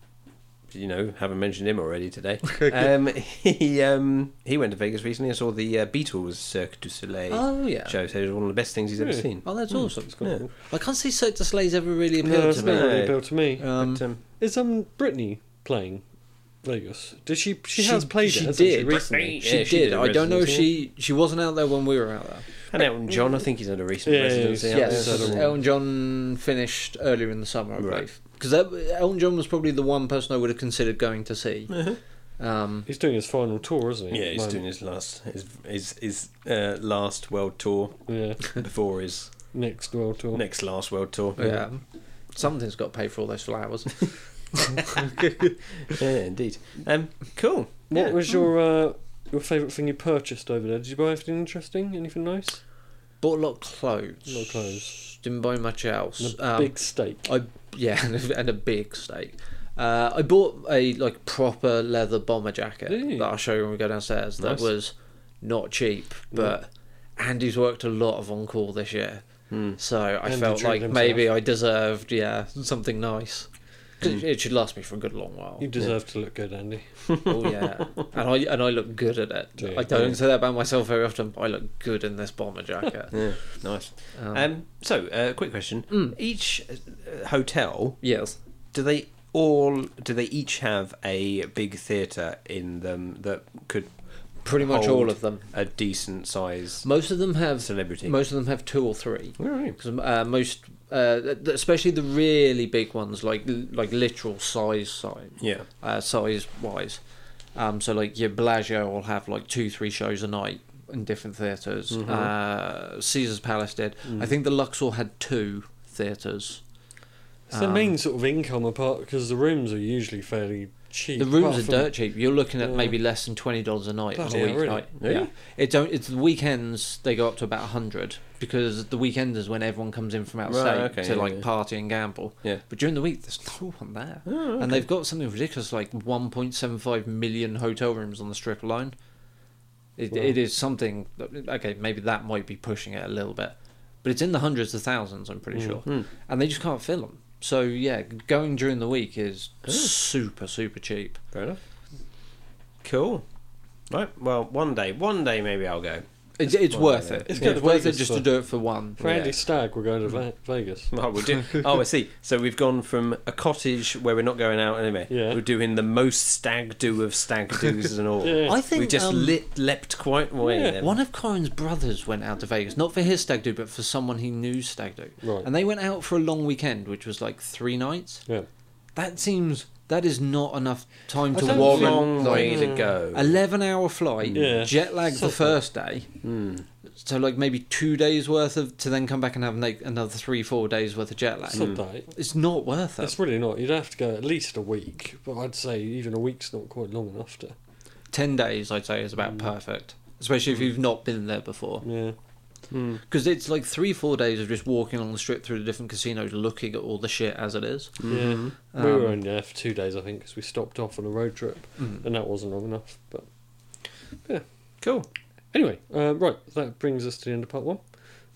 you know, haven't mentioned him already
[LAUGHS]
today. um, he um, he went to Vegas recently and saw the uh, Beatles Cirque du Soleil
Oh yeah.
show. So it was one of the best things he's ever
Really?
seen.
Oh, that's awesome.
It's cool.
Yeah.
I can't see Cirque du Soleil's ever really appealed
No, it's
to
not
me.
really
No.
appealed to me.
Um,
but, um,
Is um Brittany playing Vegas? Did she? She,
She-
has played
she
it. hasn't She
did.
recently.
Yeah,
she,
she
did.
did a
I don't know if
residency.
she she wasn't out there when we were out there.
and Elton John, I think he's had a recent
Yeah, yeah,
residency.
yeah,
out
yes,
there,
so-
Elton John finished earlier in the summer, I
Right.
believe. Because Elton John was probably the one person I would have considered going to see. Um,
He's doing his final tour, isn't he?
Yeah, he's
Mine-
doing his last his his, his uh, last world tour
Yeah,
before
[LAUGHS]
his
next world tour.
next last world tour.
yeah, something's got to pay for all those flowers.
Yeah, indeed. Um, cool.
What
Yeah.
was your uh, your favourite thing you purchased over there? Did you buy anything interesting? Anything nice?
Bought a lot of clothes.
A lot of clothes.
Didn't buy much else.
And a
Um,
big steak.
I yeah, [LAUGHS] and a, and a big steak. Uh, I bought a like proper leather bomber jacket
Ooh.
that I'll show you when we go downstairs.
Nice. Mm.
That was not cheap, but Andy's worked a lot of on call this year,
Hmm.
so I
Andy
felt
treated
like maybe I deserved yeah something nice.
Hmm.
'Cause It, it should last me for a good
[LAUGHS]
long while.
You deserve to look good, Andy.
Oh yeah, and I and I look good at it.
Yeah.
I don't
Yeah.
say that about myself very often. But I look good in this bomber jacket.
[LAUGHS] Yeah, nice.
Um,
Um, so, uh, quick question:
Mm.
Each uh, hotel
yes,
do they all do they each have a big theatre in them that could
pretty much
Hold.
all of them.
a decent size
Most of them have
celebrity?
most of them have two or three.
All right.
'Cause, uh, most, uh, th- especially the really big ones, like like literal size size
Yeah.
uh, size wise. Um, so like your Bellagio will have like two three shows a night in different theaters
Mm-hmm.
Uh, Caesar's Palace did.
Mm.
I think the Luxor had two theaters.
It's the
Um,
main sort of income apart because the rooms are usually fairly cheap.
The rooms
apart
are
from-
dirt cheap. You're looking at
Yeah.
maybe less than twenty dollars a night
Bloody
on a
hell, really?
weeknight.
Really?
Yeah, it don't. It's the weekends they go up to about hundred because the weekend is when everyone comes in from outside
okay,
to
yeah,
like
yeah.
party and gamble.
Yeah.
but during the week there's no one there,
Oh,
and they've got something ridiculous like 1.75 million hotel rooms on the strip alone. It,
Wow.
it is something. that- Okay, maybe that might be pushing it a little bit, but it's in the hundreds of thousands. I'm pretty
Mm.
sure,
Mm.
and they just can't fill them. So yeah, going during the week is
Oh.
super super cheap.
Fair enough. Cool. Right. Well, one day, one day maybe I'll go.
It's, it's
Well,
worth
yeah.
it.
It's
It's,
good to
worth it
Vegas
just
for-
to do it for one.
For Andy Stagg, we're going to
Mm.
Ve- Vegas.
Oh, we'll do. oh, I see. So we've gone from a cottage where we're not going out anyway.
Yeah.
We're doing the most stag do of stag do's and all.
[LAUGHS] Yeah.
I think
we just
um,
lit, leapt quite way.
Yeah.
then.
one of Corin's brothers went out to Vegas, not for his stag do, but for someone he knew stag do.
Right.
And they went out for a long weekend, which was like three nights.
Yeah.
That seems that is not enough time
I
to
don't
long,
think- Mm.
warrant
way
like
to go.
eleven hour flight,
Yeah.
jet lag the
Something.
first day.
Mm.
So like maybe two days worth of to then come back and have like another three four days worth of jet lag.
It's not that.
It's not worth it.
It's really not. You'd have to go at least a week, but I'd say even a week's not quite long enough to.
10 days i'd say is about
Mm.
perfect especially if you've not been there before
Yeah.
because it's like three four days of just walking along the strip through the different casinos looking at all the shit as it is
Mhm.
Yeah. We were
Um,
only there for two days, I think, because we stopped off on a road trip,
Mm.
and that wasn't long enough. But
Cool.
anyway, uh, right, that brings us to the end of part one.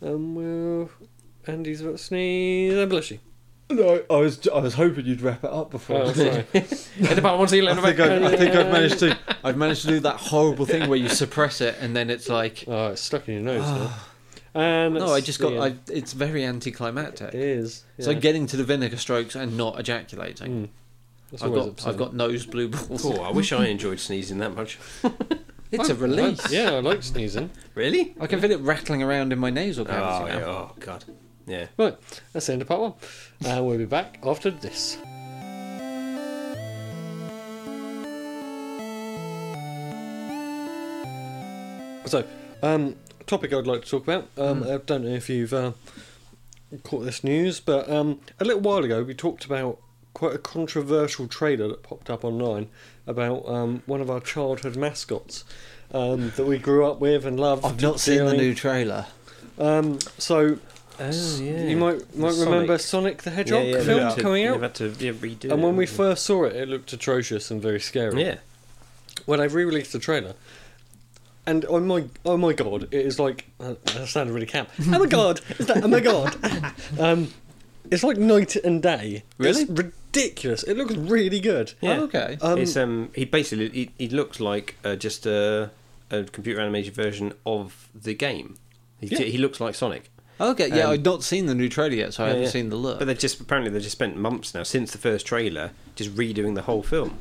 Um, we'll. Andy's about to sneeze and blushy.
no i was i was hoping you'd wrap it up before
Oh, sorry.
End of part one. See you later.
I think,
Bye.
I, I think I've
[LAUGHS]
managed to. I've managed to do that horrible thing where you suppress it and then it's like,
oh, it's stuck in your nose now. And
no,
that's
I just
the
got.
end.
I, it's very anticlimactic.
It is.
It's like getting to the vinegar strokes and not ejaculating.
Mm. That's
I've
always
got.
upsetting.
I've got nose blue balls.
Cool. Oh, I wish I enjoyed sneezing that much.
It's a release.
Yeah, I like sneezing.
Really?
I can feel it rattling around in my nasal
Oh,
cavity now.
yeah. oh God. Yeah.
Right, that's the end of part one. And we'll be back after this. So, um, topic I'd like to talk about. Um,
Hmm.
I don't know if you've uh, caught this news, but um, a little while ago we talked about quite a controversial trailer that popped up online about um, one of our childhood mascots um, that we grew up with and loved.
I've not seen the
dearly.
new trailer.
Um, so
Oh yeah.
you might might
Sonic.
remember Sonic the Hedgehog film coming out.
Had to yeah, redo
And
it,
when we
haven't
first saw it, it looked atrocious and very
you?
scary.
yeah.
When I re-released the trailer, and oh my, oh my god, it is like uh, that sounded really camp. Oh
[LAUGHS]
my god, is that? Oh my god, um, it's like night and day.
Really?
It's ridiculous. It looks really good.
Yeah.
Oh, okay.
Um,
it's um, he basically he, he looks like uh, just a, a computer animated version of the game. He,
Yeah.
he looks like Sonic,
okay. Yeah,
um,
I've not seen the new trailer yet, so I
Yeah,
haven't
yeah.
seen the look.
but they just apparently they just spent months now since the first trailer just redoing the whole film.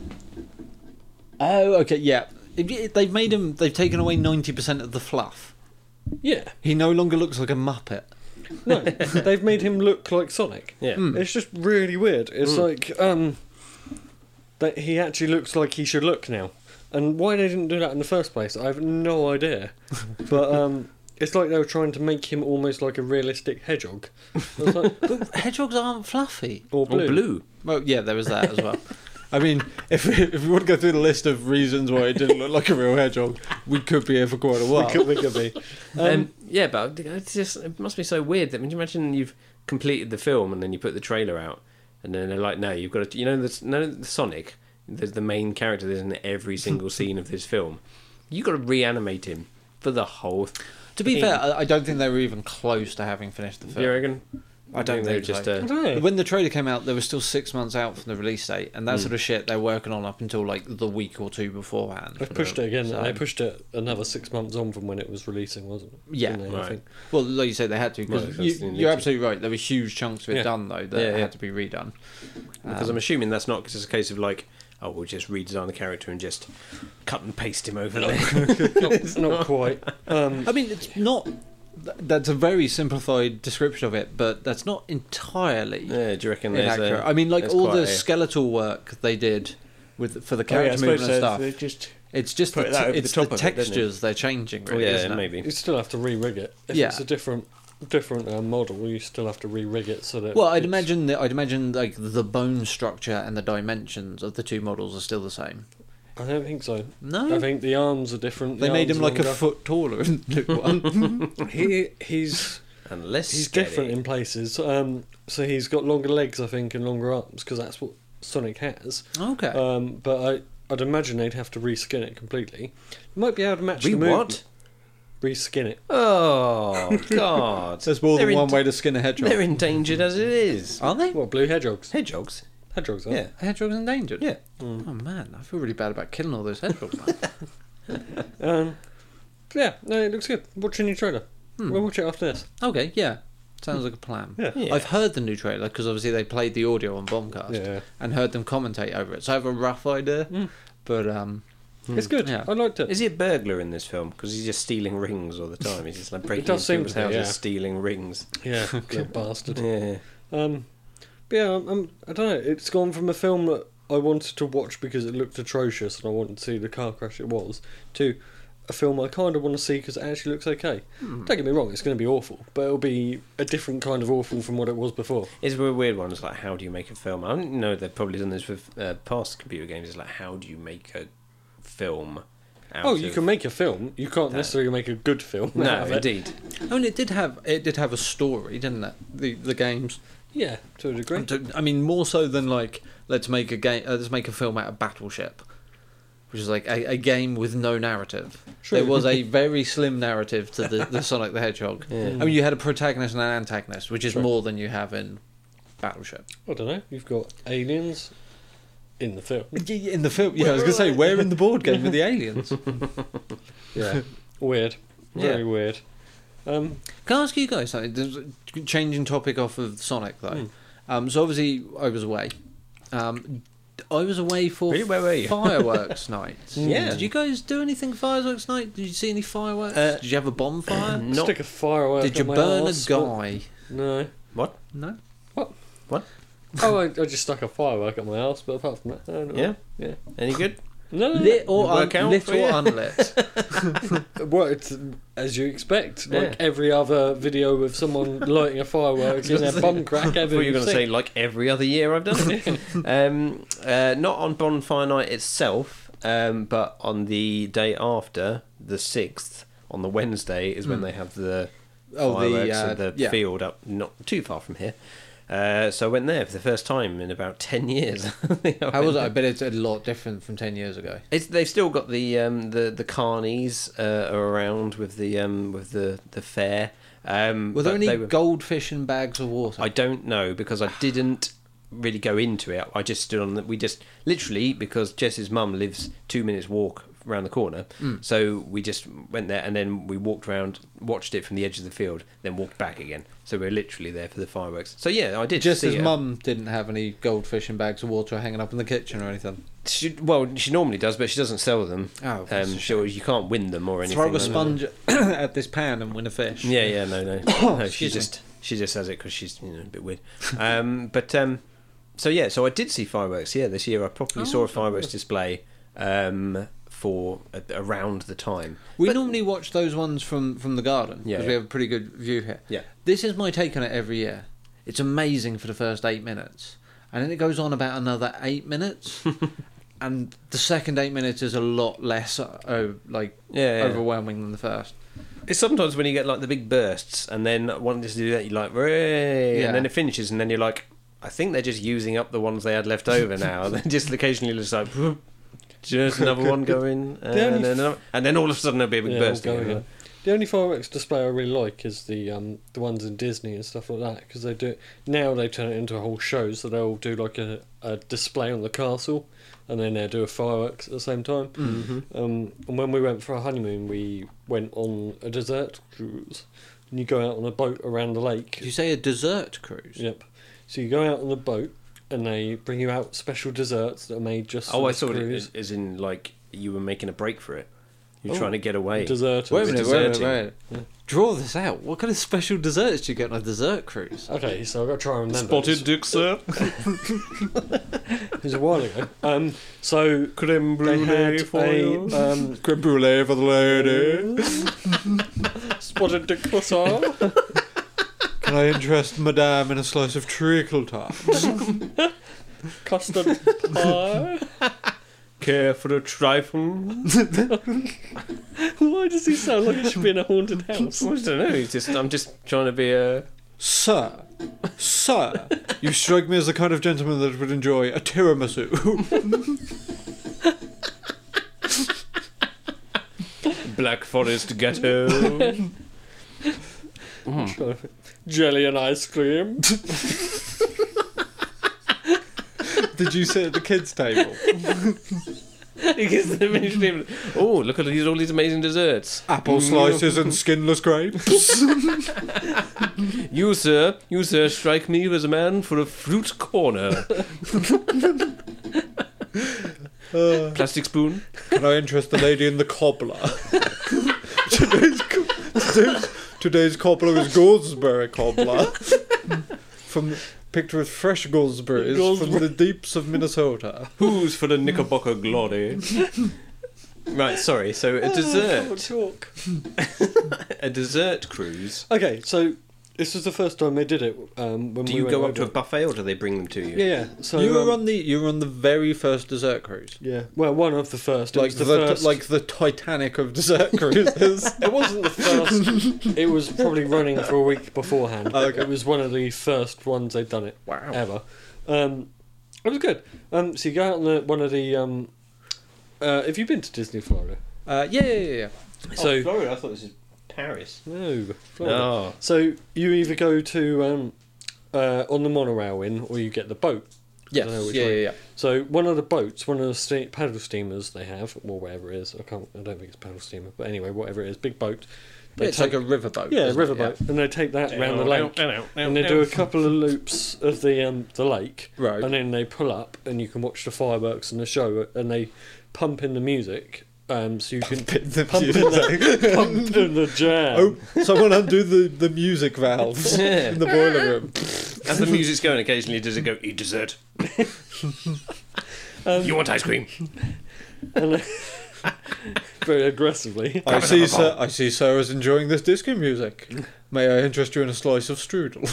oh, okay. Yeah, It- it- they've made him. They've taken away ninety percent of the fluff.
yeah.
He no longer looks like a
[LAUGHS]
muppet.
No, they've made him look like Sonic.
Yeah,
Hmm.
It's just really weird. It's like um, that he actually looks like he should look now, and why they didn't do that in the first place, I have no
[LAUGHS]
idea. but um, it's like they were trying to make him almost like a realistic hedgehog, I was
[LAUGHS]
like,
But hedgehogs aren't fluffy.
or blue.
or blue.
Well, yeah, there was that as well. I mean, if we, if we want to go through the list of reasons why it didn't look like a real hedgehog, we could be here for quite a
We
while.
could, we could be.
Um,
Um,
yeah, but it's just it must be so weird that I mean, imagine you've completed the film and then you put the trailer out, and then they're like, no, you've got to, you know, the, no, the Sonic, the, the main character that's in every single scene of this film, you got to reanimate him for the whole.
To [LAUGHS] be fair, I, I don't think they were even close to having finished the
Do you
film.
reckon?
[LAUGHS] I don't
they were
think
just
so.
uh,
I don't know.
When the trailer came out, they were still six months out from the release date, and that sort of shit they're working on up until like the week or two beforehand.
They've pushed it again.
So-
They pushed it another six months on from when it was releasing, wasn't it?
Yeah,
Didn't they, I
right.
think?
Well, like you said, they had to. 'cause
Right, that's the
you,
initial.
you're absolutely right. There were huge chunks of it
Yeah.
done though that
Yeah, yeah.
had to be redone.
because I'm assuming that's not because it's a case of like, oh, we'll just redesign the character and just cut and paste him over
[LAUGHS]
there.
Not, not quite. Um,
I mean, it's not. th- That's a very simplified description of it, but that's not entirely
yeah, do you reckon there's
inaccurate.
a,
Oh, I mean, like
there's
all the
quite a-
skeletal work they did with for the
Oh, yeah, I
character movement
suppose
and
so.
stuff.
They just
It's just
put
the,
that
te-
over the
it's
top
the
of it, didn't they?
textures they're changing.
Oh,
Really,
yeah,
isn't it?
maybe.
you still have to re-rig it. If
Yeah.
it's a different different uh, model, you still have to re-rig it so that.
Well, I'd
it's-
imagine that I'd imagine like the bone structure and the dimensions of the two models are still the same.
I don't think so.
No,
I think the arms are different.
they
the
made
arms
him
are
like a
longer.
foot taller [LAUGHS] in the new one.
He [LAUGHS] he's
Unless
he's different in places. Um, so he's got longer legs, I think, and longer arms because that's what Sonic has.
okay,
Um, but I I'd imagine they'd have to reskin it completely. You might be able to match
We
the
what?
movement. Reskin it.
[LAUGHS] Oh God!
there's more
They're
than
in-
one way to skin a
[LAUGHS]
hedgehog.
They're endangered as it is.
Are they?
What blue hedgehogs?
Hedgehogs.
Hedgehogs. Are
Yeah.
Hedgehogs endangered.
Yeah.
Mm.
Oh man, I feel really bad about killing all those hedgehogs.
[LAUGHS]
man.
Um, yeah. No, it looks good. Watch a new trailer. We'll watch it after this.
okay, yeah, sounds like a plan.
Yeah.
Yeah.
I've heard the new trailer because obviously they played the audio on Bombcast
Yeah.
and heard them commentate over it, so I have a rough idea. But um,
It's good.
Yeah.
I liked it.
Is he a burglar in this film? Because he's just stealing rings all the time. He's just like breaking
does
into
seem
people's
to be,
houses,
yeah.
stealing rings.
Yeah. Little bastard.
Yeah.
Um, but yeah, I'm, I'm, I don't know. It's gone from a film that I wanted to watch because it looked atrocious and I wanted to see the car crash it was, to a film I kind of want to see because it actually looks okay.
Hmm.
Don't get me wrong, it's going to be awful, but it'll be a different kind of awful from what it was before.
It's a weird one. It's like, how do you make a film? I don't know. They've probably done this with uh, past computer games. It's like, how do you make a film? Out
oh, you
of-
can make a film. You can't necessarily make a good film.
No,
out of it.
[LAUGHS]
indeed.
I mean, oh, it did have it did have a story, didn't it? The the games.
Yeah, to a degree.
I mean, more so than like let's make a game, uh, let's make a film out of Battleship, which is like a, a game with no narrative.
True.
There was [LAUGHS] a very slim narrative to the, the Sonic the Hedgehog.
Hmm.
I mean, you had a protagonist and an antagonist, which is
True.
more than you have in Battleship.
I don't know. You've got aliens in the film.
In the film, yeah, I was gonna say, where in the board game are [LAUGHS] the aliens?
Yeah. [LAUGHS] weird. Very weird. Um,
Can I ask you guys something? There's a- Changing topic off of Sonic though.
Hmm.
Um, so obviously, I was away. Um, I was away for
Really? Where were you? [LAUGHS] Hmm.
fireworks night.
Yeah.
Did you guys do anything fireworks night? Did you see any fireworks?
Uh,
Did you have
[CLEARS THROAT]
a bonfire?
Not-
stick a firework.
Did you
in my
burn a
arse.
guy?
No.
What?
No.
Oh, I, I just stuck a firework at my house, but apart from that, I don't know.
Yeah.
yeah.
Any
[LAUGHS]
good?
No, no, no.
Lit or un-
Work out
lit
for
or
you? [LAUGHS]
unlit?
Well, it's as you expect, like
Yeah.
every other video with someone [LAUGHS] lighting a firework in their bum
[LAUGHS]
crack.
I
Ever
thought you were
going
going to say like every other year I've done
[LAUGHS]
it. um, uh, not on bonfire night itself, um, but on the day after, the sixth, on the Wednesday is when they have the
Hmm. Oh, the,
fireworks
uh,
at the
yeah.
field up not too far from here. Uh, so I went there for the first time in about ten years. [LAUGHS]
How was it? I bet it's a lot different from ten years ago.
It's, they've still got the um, the the carnies uh, are around with the um, with the the fair. Um,
Were there
but
any
they were-
goldfish in bags of water?
I don't know because I didn't really go into it. I just stood on that. We just literally because Jess's mum lives two minutes walk around the corner,
Hmm.
so we just went there and then we walked around, watched it from the edge of the field, then walked back again. So we are literally there for the fireworks. So yeah, I did.
Just
see
as
it.
mum didn't have any goldfish and bags of water hanging up in the kitchen or anything.
She, well, she normally does, but she doesn't sell them.
Oh, that's
um,
a
she, you can't win them or anything.
Throw
like
a
that.
sponge [CLEARS THROAT] at this pan and win a fish.
Yeah, yeah, no, no. no she
Excuse me.
just she just has it because she's you know a bit weird. Um, but um, so yeah, so I did see fireworks. Yeah, this year I properly saw a fireworks display um, for a, around the time.
We
But-
normally watch those ones from, from the garden because
Yeah,
we
yeah.
have a pretty good view here.
Yeah.
This is my take on it every year. It's amazing for the first eight minutes, and then it goes on about another
[LAUGHS]
eight minutes, and the second eight minutes is a lot less uh, oh, like
Yeah, yeah.
overwhelming than the first.
It's sometimes when you get like the big bursts, and then wanting to do that, you're like, "Hooray,"
Yeah.
and then it finishes, and then you're like, I think they're just using up the ones they had left over now. [LAUGHS] and then just occasionally just like, [LAUGHS] just another one going, and
only
then
f-
another, and then all of a sudden there'll be a big
Yeah,
burst
all go
again.
again. The only fireworks display I really like is the um, the ones in Disney and stuff like that because they do it now. They turn it into a whole show, so they'll do like a, a display on the castle, and then they'll do a fireworks at the same time.
Mm-hmm.
Um, and when we went for our honeymoon, we went on a desert cruise, and you go out on a boat around the lake.
Did you say a dessert cruise?
Yep. So you go out on the boat, and they bring you out special desserts that are made just.
Oh,
for
I
this
saw
cruise.
it as in like you were making a break for it. You're
Oh.
trying to get away.
Dessert.
Wait a minute, wait a minute,
Deserting.
wait a minute. Draw this out. What kind of special desserts do you get on a dessert cruise?
Okay, so I've got to try and remember. It's-
dick, sir.
It was a while ago. Um, so
Creme
they had a um,
Creme brulee for the lady.
[LAUGHS] spotted dick bazaar.
Can I interest Madame in a slice of treacle tart?
custard pie.
Care for a trifle?
[LAUGHS] Why does he sound like he should be in a [LAUGHS] haunted house?
[LAUGHS] I don't know. It's just I'm just trying to be a.
Sir, sir, you strike me as the kind of gentleman that would enjoy a tiramisu. [LAUGHS]
Black Forest ghetto. Mm.
Jelly and ice cream.
Did you sit at the kids' table?
He gives them his name. oh, look at these, all these amazing desserts. Mm.
Apple slices and skinless grapes.
You, sir, you, sir, strike me as a man for a fruit corner.
Uh,
Plastic spoon.
can I interest the lady in the cobbler? [LAUGHS] today's, co- today's, today's cobbler is gooseberry cobbler. From picked with fresh gooseberries from the deeps of Minnesota.
Who's for the Knickerbocker glory? right, sorry. So a
Oh,
dessert,
talk.
a dessert cruise.
Okay, so this was the first time they did it. Um, when
Do
we
you
went
go
over.
up to a buffet or do they bring them to you?
Yeah, yeah. So
you were
um,
on the you were on the very first dessert cruise.
Yeah, well, one of the first. It
Like
was
the,
the, first.
like the Titanic of dessert cruises.
it wasn't the first. it was probably running for a week beforehand. but
Oh, Okay.
It was one of the first ones they'd done it.
wow.
ever. Um, it was good. Um, so you go out on the, one of the. Um, uh, have you been to Disney Florida?
Uh, yeah, yeah, yeah, yeah.
So
Florida. I thought this is Paris.
no, Florida.
Oh,
So you either go to um, uh, on the monorail in, or you get the boat.
Yes,
know which
yeah,
way.
yeah, yeah.
So one of the boats, one of the ste- paddle steamers they have, or whatever it is. I can't. I don't think it's paddle steamer, but anyway, whatever it is, big boat. They
Yeah, It's like
take-
a riverboat.
yeah,
isn't it?
riverboat, and they take that round the lake, and they do a couple of loops of the um, the lake,
Yeah. Right.
and then they pull up and you can watch the fireworks and the show and they pump in the music um, so you can
Bit the
pump in
music.
the, pump in the jam
oh, someone undo the, the music valves
Yeah.
in the boiler room.
As the music's going, occasionally does it go eat dessert?
Oh.
you want ice cream?
and they- [LAUGHS] very aggressively
I see, sir. I see, sir is enjoying this disco music. May I interest you in a slice of strudel?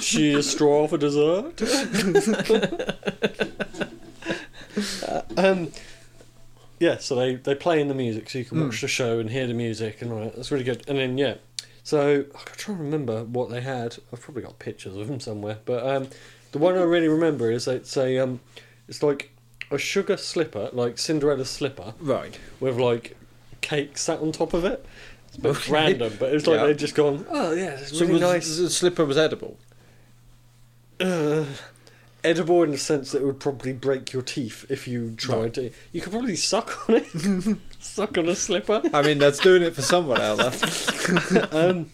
she is straw for
[LAUGHS]
dessert Uh, um, yeah so they, they play in the music so you
Hmm.
can watch the show and hear the music and all that that's really good and then yeah so i can try and remember what they had i've probably got pictures of them somewhere but um, the one i really remember is it's a um, it's like a sugar slipper like cinderella's slipper
Right.
with like cake sat on top of it It's a bit
[LAUGHS] Okay.
random, but it's like
Yeah.
they've just gone, oh, yeah, it's
So
really
was,
nice.
the slipper was edible.
uh, edible in the sense that it would probably break your teeth if you tried to. You could probably suck on it,
[LAUGHS]
suck on a slipper.
I mean, that's doing it for someone out there.
um,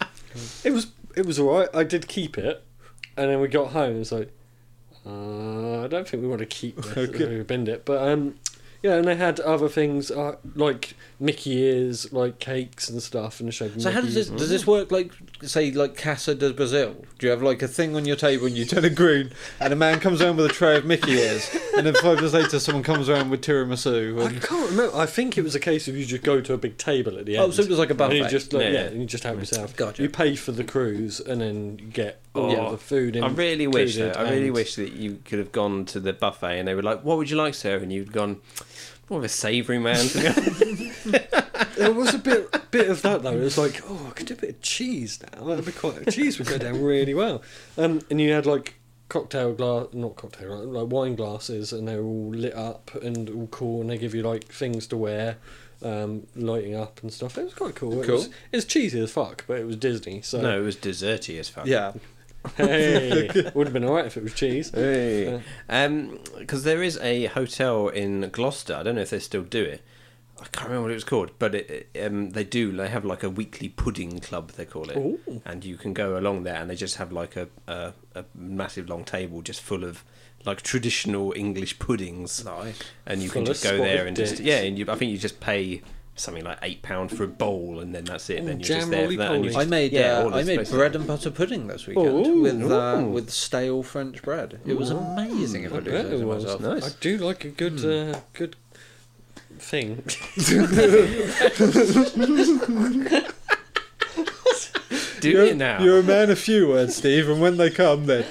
it was it was all right. I did keep it, and then we got home. and It's like uh, I don't think we want to keep this.
Okay.
We bend it, but um, yeah. And they had other things uh, like Mickey ears, like cakes and stuff, and showed.
So how does
Mickey's-
this does this work? Like say like Casa de Brazil. Do you have like a thing on your table and you turn it green, and a man comes around with a tray of Mickey ears, and then five days later someone comes around with tiramisu.
I
And,
can't remember. I think it was a case of you just go to a big table at the end.
oh, so it was like a
and you
buffet.
just like,
Yeah.
yeah. and you just have yourself.
Gotcha.
You pay for the cruise and then you get all
Oh,
the food.
I really wish. Though,
included
I really
and- [LAUGHS]
wish that you could have gone to the buffet and they were like, "What would you like, sir?" And you'd gone, "More of a savoury man." to be honest."
There was a bit bit of that though. It was like, oh, I could do a bit of cheese now. That'd be quite cheese would go down really well. Um, and you had like cocktail glass, not cocktail, right, like wine glasses, and they were all lit up and all cool, and they give you like things to wear, um, lighting up and stuff. It was quite cool. It
Cool.
was, it's cheesy as fuck, but it was Disney, so
no, it was deserty as fuck.
yeah.
[LAUGHS] hey, would have been alright if it was cheese.
Hey. because Um, there is a hotel in Gloucester. I don't know if they still do it. I can't remember what it was called, but it, it, um, they do. They have like a weekly pudding club, they call it,
Ooh.
and you can go along there, and they just have like a, a a massive long table just full of like traditional English puddings,
Nice.
and you
Full
can
of
just go there
spotted
and just
dicks.
yeah, and you, I think you just pay something like eight pound for a bowl, and then that's it.
Ooh,
then you're
jam
just there for that. And you
roly-poly.
just,
I made
yeah,
uh,
all
I
this
made
basically.
bread and butter pudding this weekend
Ooh.
with uh,
Ooh.
with stale French bread. It was amazing. If I,
I
do
bet
say
it
so
was.
myself.
Nice.
I do like a good
Hmm.
uh, good thing.
[LAUGHS]
[LAUGHS]
Do
You're,
it now.
you're a man of few words, Steve, and when they come, they're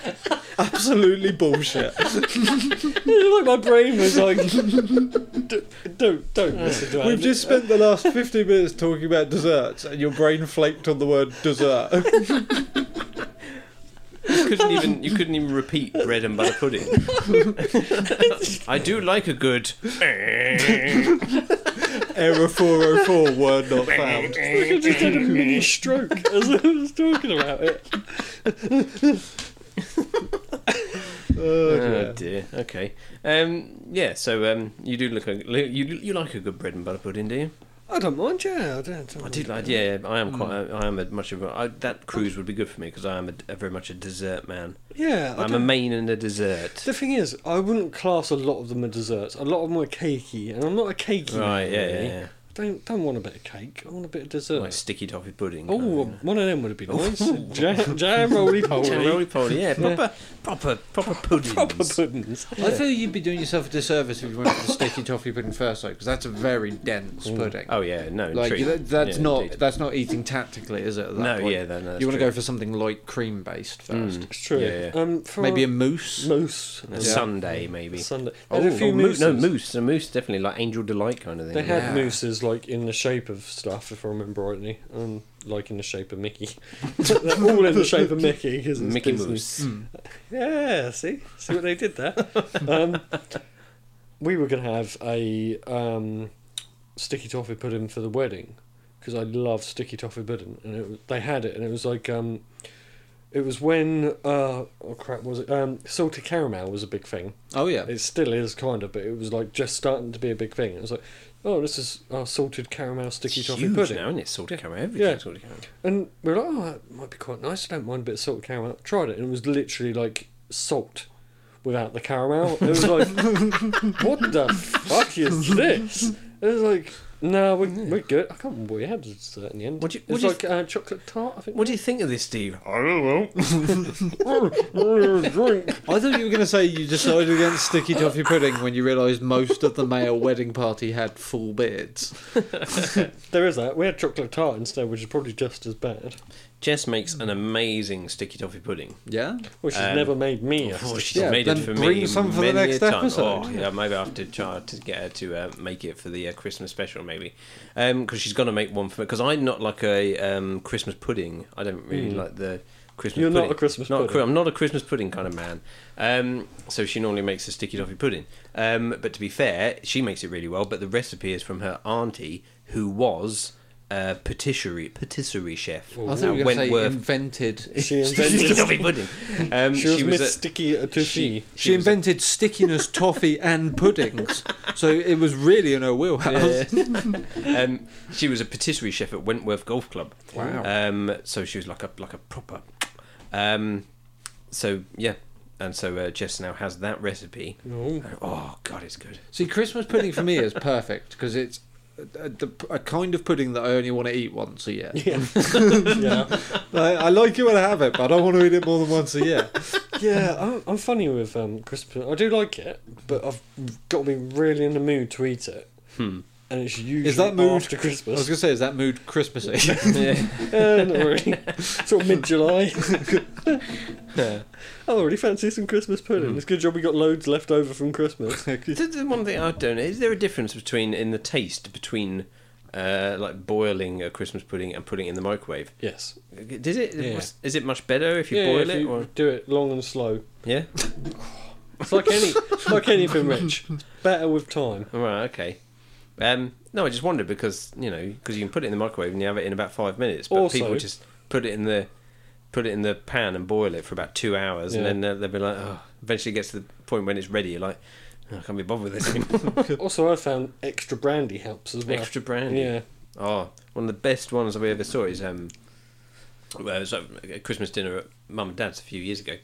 absolutely bullshit.
like my brain was like, [LAUGHS] don't, don't, don't listen to
We've
Andy. [LAUGHS]
just spent the last 50 minutes talking about desserts, and your brain flaked on the word dessert. [LAUGHS]
You couldn't even you couldn't even repeat bread and butter pudding. I do like a good.
Error 404 word not found.
Look, I just had a mini stroke [LAUGHS] as I was talking about it.
Oh,
Oh
dear.
dear. Okay. Um. Yeah. So um. You do look. A, you you like a good bread and butter pudding, do you?
I don't mind, yeah, I don't.
I do like. Yeah. I
Mm.
am quite. a- I am a much of a. I, that cruise would be good for me because I am a, a very much a dessert man.
Yeah, I
I'm a
don't-
main and a dessert.
The thing is, I wouldn't class a lot of them as desserts. A lot of them are cakey, and I'm not a cakey.
Right.
man,
Yeah.
really.
Yeah.
Don't don't want a bit of cake. I want a bit of
yeah.
dessert.
Like sticky toffee pudding. kind
Oh,
of thing.
one of them would have been
[LAUGHS]
nice. jam, jam roly
Jam
poly.
roly poly, yeah,
Yeah.
proper, proper, proper puddings.
Proper puddings.
I feel you'd be doing yourself a disservice if you went for the sticky toffee pudding first, though, because that's a very dense pudding.
Oh yeah, no,
like
true.
that, that's
Yeah,
not
indeed.
that's not eating tactically, is it? at that
No,
point?
yeah, no, no, that's
you
true.
want to go for something light cream based first.
Mm.
It's true.
Yeah, yeah.
Um, for
Maybe a mousse.
moose.
A
Yeah.
Sunday maybe.
Sunday.
Oh,
There's a few
oh, moo- no
mooses.
moose. A moose definitely like angel delight kind of thing.
They had
Yeah.
mooses like in the shape of stuff, if I remember rightly, um, like in the shape of Mickey. [LAUGHS] They're all in the shape of Mickey. 'cause it's
Mickey
Disney.
Mouse.
Mm.
Yeah, see, see what they did there. um, we were gonna have a um, sticky toffee pudding for the wedding because I love sticky toffee pudding, and it, was- they had it, and it was like um, it was when uh, oh crap, what was it um, salted caramel was a big thing.
Oh yeah,
It still is kind of, but it was like just starting to be a big thing. It was like, oh, this is our salted caramel sticky
It's
toffee
huge
pudding,
now, isn't it? Sort of
Yeah.
camera, everything
Yeah.
sort of camera.
and we were like, oh, that might be quite nice. I don't mind a bit of salted caramel. Tried it, and it was literally like salt without the caramel. It
[LAUGHS]
was like, what the fuck is this? It was like, no, we're, we're good. I can't remember what we had dessert in the end.
What do you-
it
what
was
do you
like uh, chocolate tart, I think.
What do you think of this, Steve?
I
[LAUGHS]
don't know. Drink.
I thought you were going to say you decided against sticky toffee pudding when you realised most of the male wedding party had full beards.
There is that. We had chocolate tart instead, which is probably just as bad.
Jess makes an amazing sticky toffee pudding. [LAUGHS]
Yeah,
Which has
Um,
never made me. a
Oh,
sticky
she's
Yeah,
made it
then
for
bring
me
some for the
many
next
a time.
episode.
Oh, yeah, maybe I have to try to get her to uh, make it for the uh, Christmas special, maybe, because she's gonna make one for because I'm not like a um, Christmas pudding. I don't really
Mm.
like the Christmas.
You're not
pudding.
a Christmas
Not a
pudding.
cri- I'm not a Christmas pudding kind of man. Um, so she normally makes a sticky toffee pudding. Um, but to be fair, she makes it really well. But the recipe is from her auntie, who was. uh, patisserie patisserie chef.
Oh, I thought you were
Uh,
going to say
Wentworth-
invented.
[LAUGHS] She
[LAUGHS] She's
invented.
a lovely pudding. Um,
she was,
she
Miss
was a-
Sticky uh, Toothy.
she-
She,
was a-
invented stickiness, toffee, and puddings. So it was really in her wheelhouse. [LAUGHS]
um, she was a patisserie chef at Wentworth Golf Club.
Wow.
Um, so she was like a like a proper. Um, so yeah, and so uh, Jess now has that recipe.
No.
Mm.
And, oh God, it's
[LAUGHS]
good.
See, Christmas pudding for me is perfect because it's a, a, a kind of pudding that I only want to eat once a year.
Yeah. yeah.
I, I like it when I have it, but I don't want to eat it more than once a year.
[LAUGHS] Yeah, I'm, I'm funny with um, Christmas. I do like it, but I've got to be really in the mood to eat it.
Hmm.
And it's usually
Is that mood?
after
I was
Christmas.
going to say, is that mood Christmassy?
[LAUGHS] Yeah, not really. sort of mid [LAUGHS] July.
[LAUGHS]
I already Oh, fancy some Christmas pudding. It's a good job we got loads left over from Christmas.
This is one thing I don't know. Is there a difference between in the taste between uh, like boiling a Christmas pudding and putting it in the microwave?
[LAUGHS] yes.
Does it?
Yeah.
Is it much better if you
Yeah,
boil
if
it?
you
Or
do it long and slow. [LAUGHS]
yeah.
It's like any, it's like anything [LAUGHS] rich. Better with time.
All right. Okay. Um, no, I just wondered because you know because you can put it in the microwave and you have it in about five minutes, but
Also-
people just put it in the put it in the pan and boil it for about two hours,
Yeah.
and then uh, they'll be like, oh, eventually it gets to the point when it's ready. You're like, "Oh, I can't be bothered with
[LAUGHS]
this anymore.
Also, I found extra brandy helps as well.
Extra brandy.
Yeah.
Oh, one of the best ones we ever saw is um, well, it was a Christmas dinner at mum and dad's a few years ago.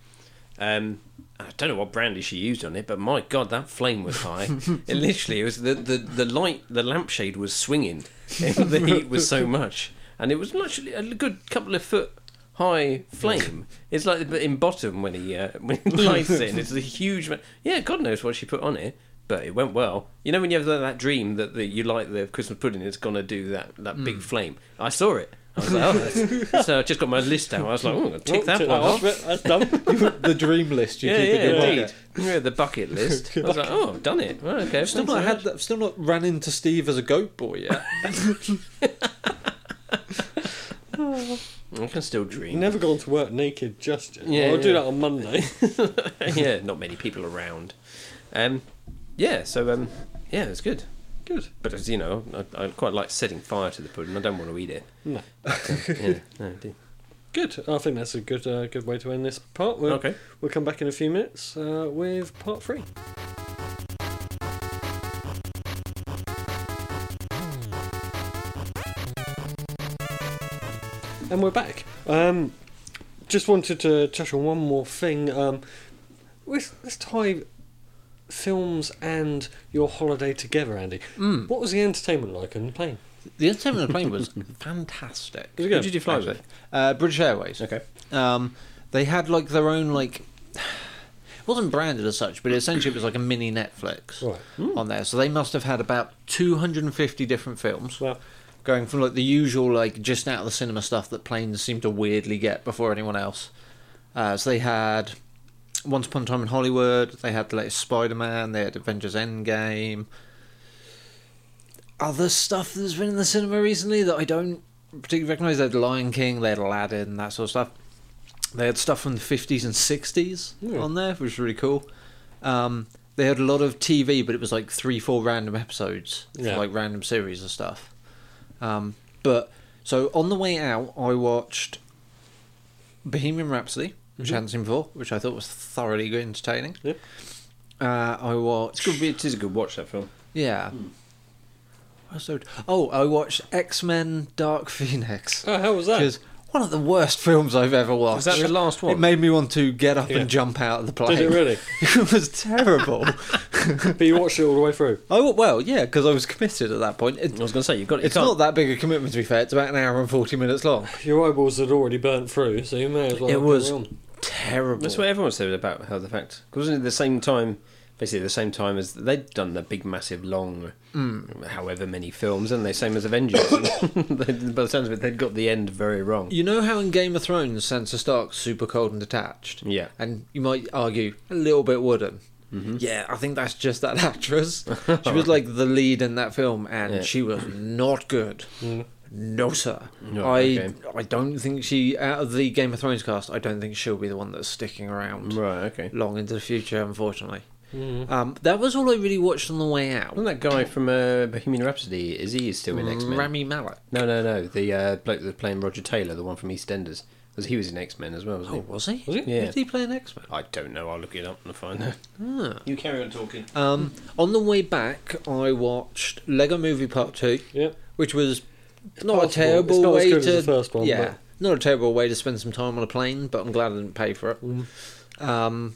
Um, I don't know what brandy she used on it, but my god, that flame was high. it literally it was the, the the light, the lampshade was swinging. the heat was so much, and it was literally a good couple of foot high flame. It's like the- in bottom when he uh, when he lights it. And it's a huge. ma- Yeah, God knows what she put on it, but it went well. You know when you have that, that dream that the, you light the Christmas pudding, it's gonna do that that big flame. I saw it. I was like, oh, that's- so I just got my list out. I was like, oh, I'm gonna tick
Oh,
that
tick
one off.
That's
[LAUGHS]
that's done.
[LAUGHS] the dream list you
Yeah,
keep in your
yeah, indeed.
pocket.
Yeah, the
[LAUGHS]
bucket list. I was like, oh, I've done it. Well, okay,
I've still
thanks
not
so
had.
much.
That, I've still not ran into Steve as a goat boy [LAUGHS] yet.
I can still dream.
Never gone to work naked just yet.
Yeah,
I'll do
yeah.
that on
[LAUGHS]
Monday. [LAUGHS]
yeah, not many people around. Um, yeah, so um, yeah, it's good.
Good.
But as you know, I, I quite like setting fire to the pudding. I don't want to eat it. um,
No.
[LAUGHS]
Yeah, no, indeed.
Good. I think that's a good uh, good way to end this part. We'll,
okay.
we'll come back in a few minutes uh, with part three. And we're back. Um, just wanted to touch on one more thing. Um, let's, let's tie films and your holiday together, Andy. What was the entertainment like on the plane?
The entertainment on the plane was fantastic.
Was it
Who did you fly with?
Uh, British Airways.
Okay.
Um, they had like their own like. [SIGHS] It wasn't branded as such, but essentially it was like a mini Netflix
Right.
on there. So they must have had about 250 different films,
Well,
going from like the usual like just out of the cinema stuff that planes seem to weirdly get before anyone else. Uh, so they had Once Upon a Time in Hollywood. They had the latest Spider Man. They had Avengers Endgame. Other stuff that's been in the cinema recently that I don't particularly recognise. They had Lion King. They had Aladdin. That sort of stuff. They had stuff from the fifties and sixties
Yeah.
on there, which was really cool. Um, they had a lot of TV, but it was like three, four random episodes, for,
Yeah.
like random series and stuff. Um, but so on the way out, I watched Bohemian Rhapsody, which I hadn't seen before, which I thought was thoroughly good, entertaining.
Yeah.
Uh, I
It's
watched.
good. It is a good watch that film.
Yeah. What else did I- Oh, I watched X Men: Dark Phoenix,
oh, how was that?
which is one of the worst films I've ever
Was
watched.
that the last
Oh, It
one?
made me want to get up
Yeah.
and jump out of the plane.
Did it really?
[LAUGHS] It was terrible.
but you watched it all the way through.
I w- well, yeah, because I was committed at that point. It-
I was going to say you've got.
it's not that big a commitment, to be fair. It's about an hour and forty minutes long.
Your eyeballs had already burnt through, so you may as well.
It
carry
was-
on.
Terrible.
That's what everyone said about how the fact wasn't it the same time, basically the same time as they'd done the big, massive, long,
Mm.
however many films, and they same as
[COUGHS]
Avengers. [LAUGHS] And By the sounds of it, they'd got the end very wrong.
You know how in Game of Thrones, Sansa Stark's super cold and detached,
Yeah.
and you might argue a little bit wooden.
Mm-hmm.
Yeah, I think that's just that [LAUGHS] actress.
[LAUGHS]
she was like the lead in that film, and
Yeah. Mm.
she was not good. No, sir.
No,
I
okay.
I don't think she out of the Game of Thrones cast. I don't think she'll be the one that's sticking around
Right. Okay.
long into the future. Unfortunately,
Mm.
Um, that was all I really watched on the way out.
Wasn't that guy from uh, Bohemian Rhapsody? Is he still in X Men?
Mm, Rami Malek.
no, no, no. The uh, bloke that's playing Roger Taylor, the one from EastEnders, because he was in X Men as well, wasn't
Oh, was he?
Was he?
Yeah.
Did he play an X Men?
he? I don't know. I'll look it up and find out.
Ah.
You carry on talking.
Um, on the way back, I watched Lego Movie Part Two,
Yep.
which was not
passable.
a terrible
It's not as
way
good as
to
the first one,
yeah, not a terrible way to spend some time on a plane. But I'm glad I didn't pay for it.
Mm.
Um,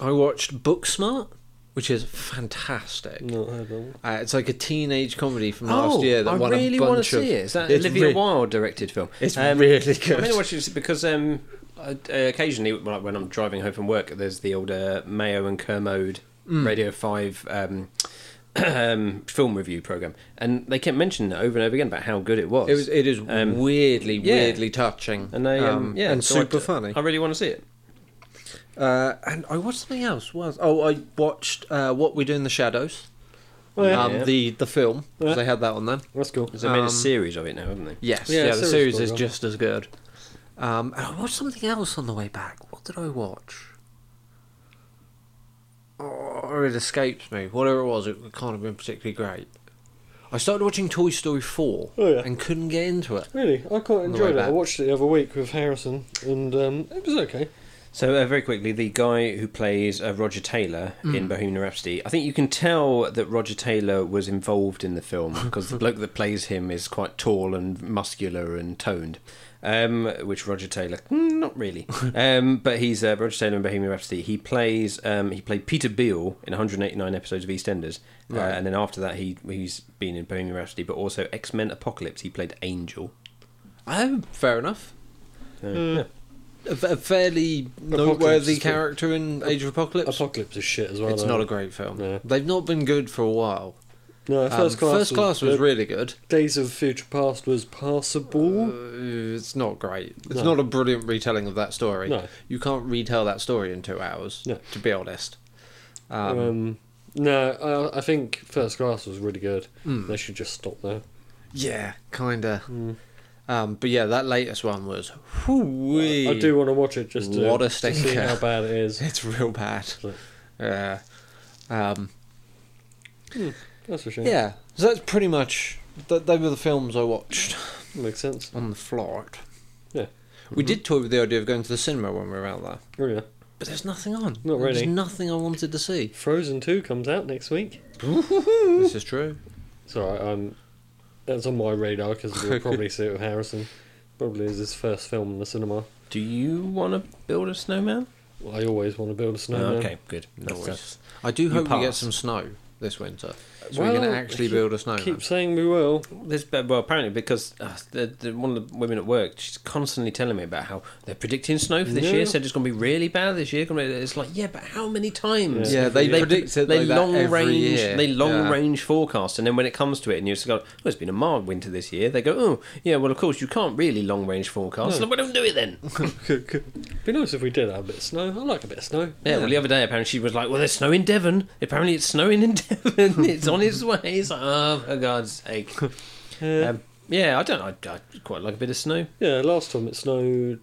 I watched Booksmart, which is fantastic.
Not heard that one.
Uh, it's like a teenage comedy from
Oh,
last year that
Oh, I
won
really
a bunch
want to
of.
see it. Is that
It's
Olivia
re-
Wilde directed film?
It's
Um,
really
I'm
good.
going to watch this because um, I, uh, occasionally, when I- when I'm driving home from work, there's the old uh, Mayo and Kermode
Mm.
Radio Five um, [CLEARS THROAT] um, film review program, and they kept mentioning it over and over again about how good it was.
It was. It is
Um,
weirdly,
yeah.
weirdly touching,
and they, um, yeah,
and
so I-
super funny.
I really want to see it.
Uh, and I watched something else. What else? Oh, I watched uh, What We Do in the Shadows.
Oh, yeah.
um,
Yeah.
the the film 'cause
Yeah.
they had that on there.
That's cool.
Because they made
Um,
a series of it now, haven't they?
Yes,
Yeah,
yeah, the
series
series
was
is
good.
just as good. Um, and I watched something else on the way back. What did I watch? Oh, it escapes me. Whatever it was, it can't have been particularly great. I started watching Toy Story Four
Oh, yeah.
and couldn't get into it.
Really, I quite
On the way
enjoyed it. I
back.
watched it the other week with Harrison, and um, it was okay.
So uh, very quickly, the guy who plays uh, Roger Taylor in Bohemian Rhapsody, I think you can tell that Roger Taylor was involved in the film because the bloke that plays him is quite tall and muscular and toned, um, which Roger Taylor mm, not really, um, but he's uh, Roger Taylor in Bohemian Rhapsody. He plays um, he played Peter Beale in 189 episodes of EastEnders, uh,
Right.
and then after that he he's been in Bohemian Rhapsody, but also X Men Apocalypse. He played Angel.
Oh, fair enough.
So,
Mm.
yeah.
A, a fairly
Apocalypse
noteworthy
is good.
character in Age of Apocalypse.
Apocalypse is shit as well.
It's
though.
not a great film.
No.
They've not been good for a while.
no.
Um,
First class.
was
good.
really good.
Days of Future Past was passable.
Uh, it's not great. It's
No.
not a brilliant retelling of that story.
No.
You can't retell that story in two hours,
No.
to be honest. Um,
Um, no, I, I think First Class was really good.
mm,
They should just stop there.
yeah, kind of.
Mm.
Um, but yeah, that latest one was. Whoo-wee.
I do want to watch it just to,
What a
to see
stinker.
how bad it
[LAUGHS]
is.
It's real bad. Yeah. Um,
That's for sure.
yeah. So that's pretty much. Th- they were the films I watched
makes sense.
on the flight.
Yeah. Mm-hmm.
We did toy with the idea of going to the cinema when we were out there.
Oh yeah.
But there's nothing on.
Not
There's
really.
nothing I wanted to see.
Frozen Two comes out next week. Mm-hmm.
this is true.
Sorry, um, that's on my radar because
[LAUGHS]
we'll probably see it with Harrison. Probably is his first film in the cinema.
Do you want to build a snowman?
Well, I always want to buld a snowman.
Oh, okay, good. That's- that's-
I do
You
hope we get
passed.
some snow this winter. So we can
Well,
actually
keep-
build a snowman.
Keep saying we will.
This, but- well, apparently, because uh, the, the, one of the women at work, she's constantly telling me about how they're predicting snow for this
Yeah.
year. Said it's going to be really bad this year. gonna be- It's like, yeah, but how many times?
Yeah, they
they
predict it
they
like that
long
every
range,
year.
they long
Yeah.
range forecast, and then when it comes to it, and you just go, oh, it's been a mild winter this year. They go, oh, yeah, well, of course you can't really long range forecast.
No.
Well, don't do it
[LAUGHS]
then.
Be nice if we did have a bit of snow. I like a bit of snow.
Yeah, well, the other day apparently she was like, "Well, there's snow in Devon. Apparently it's snowing in [LAUGHS] Devon. it's on its way." It's like, "Oh, for God's
[LAUGHS]
sake!"
Yeah.
Um, yeah, I don't. I, I quite like a bit of snow.
yeah, last time it snowed.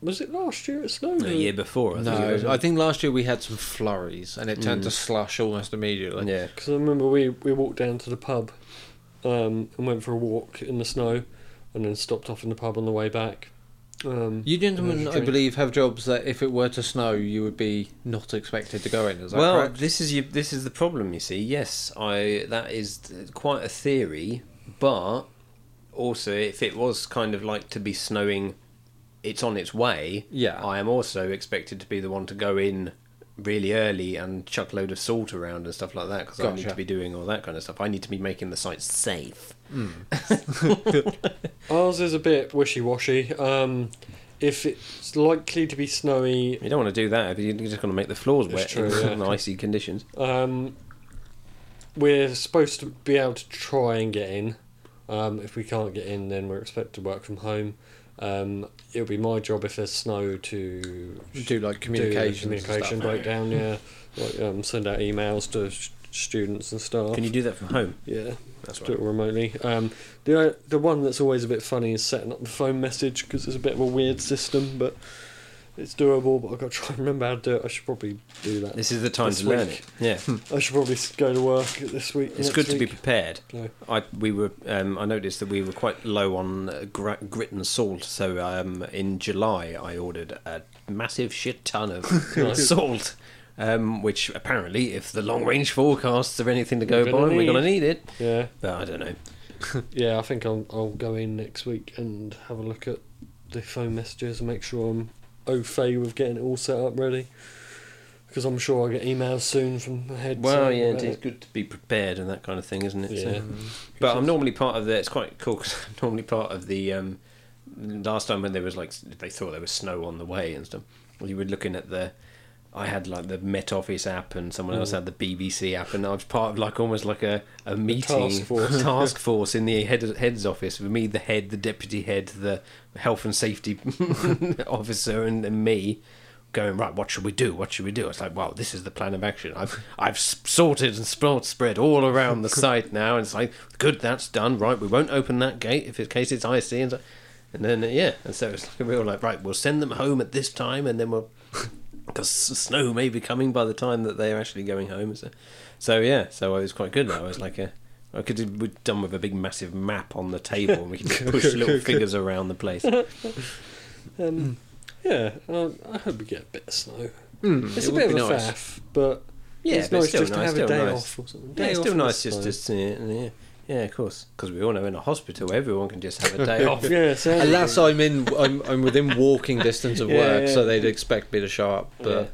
Was it last year? It snowed.
The year before, I think. it was.
No, I think last year we had some flurries and it
Mm.
turned to slush almost immediately.
yeah.
Because I remember we, we walked down to the pub um, and went for a walk in the snow and then stopped off in the pub on the way back. Um,
You gentlemen,
Energy
I
drink.
believe, have jobs that if it were to snow, you would be not expected to go in. Is that
Well,
correct?
this is your, this is the problem. You see, yes, I that is quite a theory, but also if it was kind of like to be snowing, it's on its way.
Yeah.
I am also expected to be the one to go in really early and chuck a load of salt around and stuff like that because I need
Gotcha.
to be doing all that kind of stuff. I need to be making the site safe.
ours is a bit wishy washy. Um, if it's likely to be snowy,
You don't want to do that because you're just going to make the floors
It's
wet
true,
[LAUGHS] in
yeah.
icy conditions.
um, we're supposed to be able to try and get in. Um, if we can't get in, then we're expected to work from home. Um, it'll be my job if there's snow to
do like
do the
communications. and
communication
stuff.
breakdown. Yeah, like um, send out emails to sh- students and staff.
Can you do that from home?
yeah,
That's
do it remotely. Um, the the one that's always a bit funny is setting up the phone message because it's a bit of a weird system, but it's doable, but I've got to try and remember how to do it. I should probably do that.
This is the time
This
to learn
week.
it. Yeah,
I should probably s- go to work this week.
it's
next
good to be
week.
prepared.
No.
I we were um, I noticed that we were quite low on uh, gr- grit and salt, so um, in July I ordered a massive shit ton
[LAUGHS]
of salt, um, which apparently, if the long range forecasts are anything to go
We're
by,
gonna
we're going to need
need.
it.
Yeah,
But I don't know.
yeah. I think I'll, I'll go in next week and have a look at the phone messages and make sure I'm au fait with getting it all set up ready. Because I'm sure I'll get emails soon from the head.
Well,
saying
yeah,
about
it's good to be prepared and that kind of thing, isn't it? So-
Yeah.
But I'm normally part of the. It's quite cool because [LAUGHS] I'm normally part of the. Um, last time when there was like they thought there was snow on the way and stuff. Well, you were looking at the. I had like the Met Office app and someone else had the BBC app, and I was part of like almost like a, a meeting
task
[LAUGHS]
force. [LAUGHS]
task force in the head, head's office with me, the head, the deputy head, the health and safety [LAUGHS] officer, and, and me going right. What should we do? What should we do? It's like, wow, this is the plan of action. I've I've s- sorted and sp- spread all around
[LAUGHS]
the site now, and it's like, good, that's done. Right, we won't open that gate if in case it's IC and. So, and then uh, yeah, and so it's like we were like, right, we'll send them home at this time, and then
[LAUGHS]
we'll because snow may be coming by the time that they're actually going home. So, so yeah, so it was quite good. I was like a. I could have we'd done with a big massive map on the table and we could just
[LAUGHS]
push little figures around the place.
Um, Yeah, well, I hope we get a bit of snow.
Mm,
It's
it
a
would
bit of
be
a
nice.
faff, but
Yeah,
it's
but
nice
it's still
just
nice,
to have a
still
day
nice.
off or something.
Yeah,
Day
it's
off
still
in the
nice just
snow.
to see it. and Yeah, yeah, of course, because we all know in a hospital everyone can just
[LAUGHS]
have a day off.
Yeah, so
Alas, I'm in. I'm, I'm within walking distance of
Yeah,
work,
yeah.
so they'd expect me to show up.
[LAUGHS]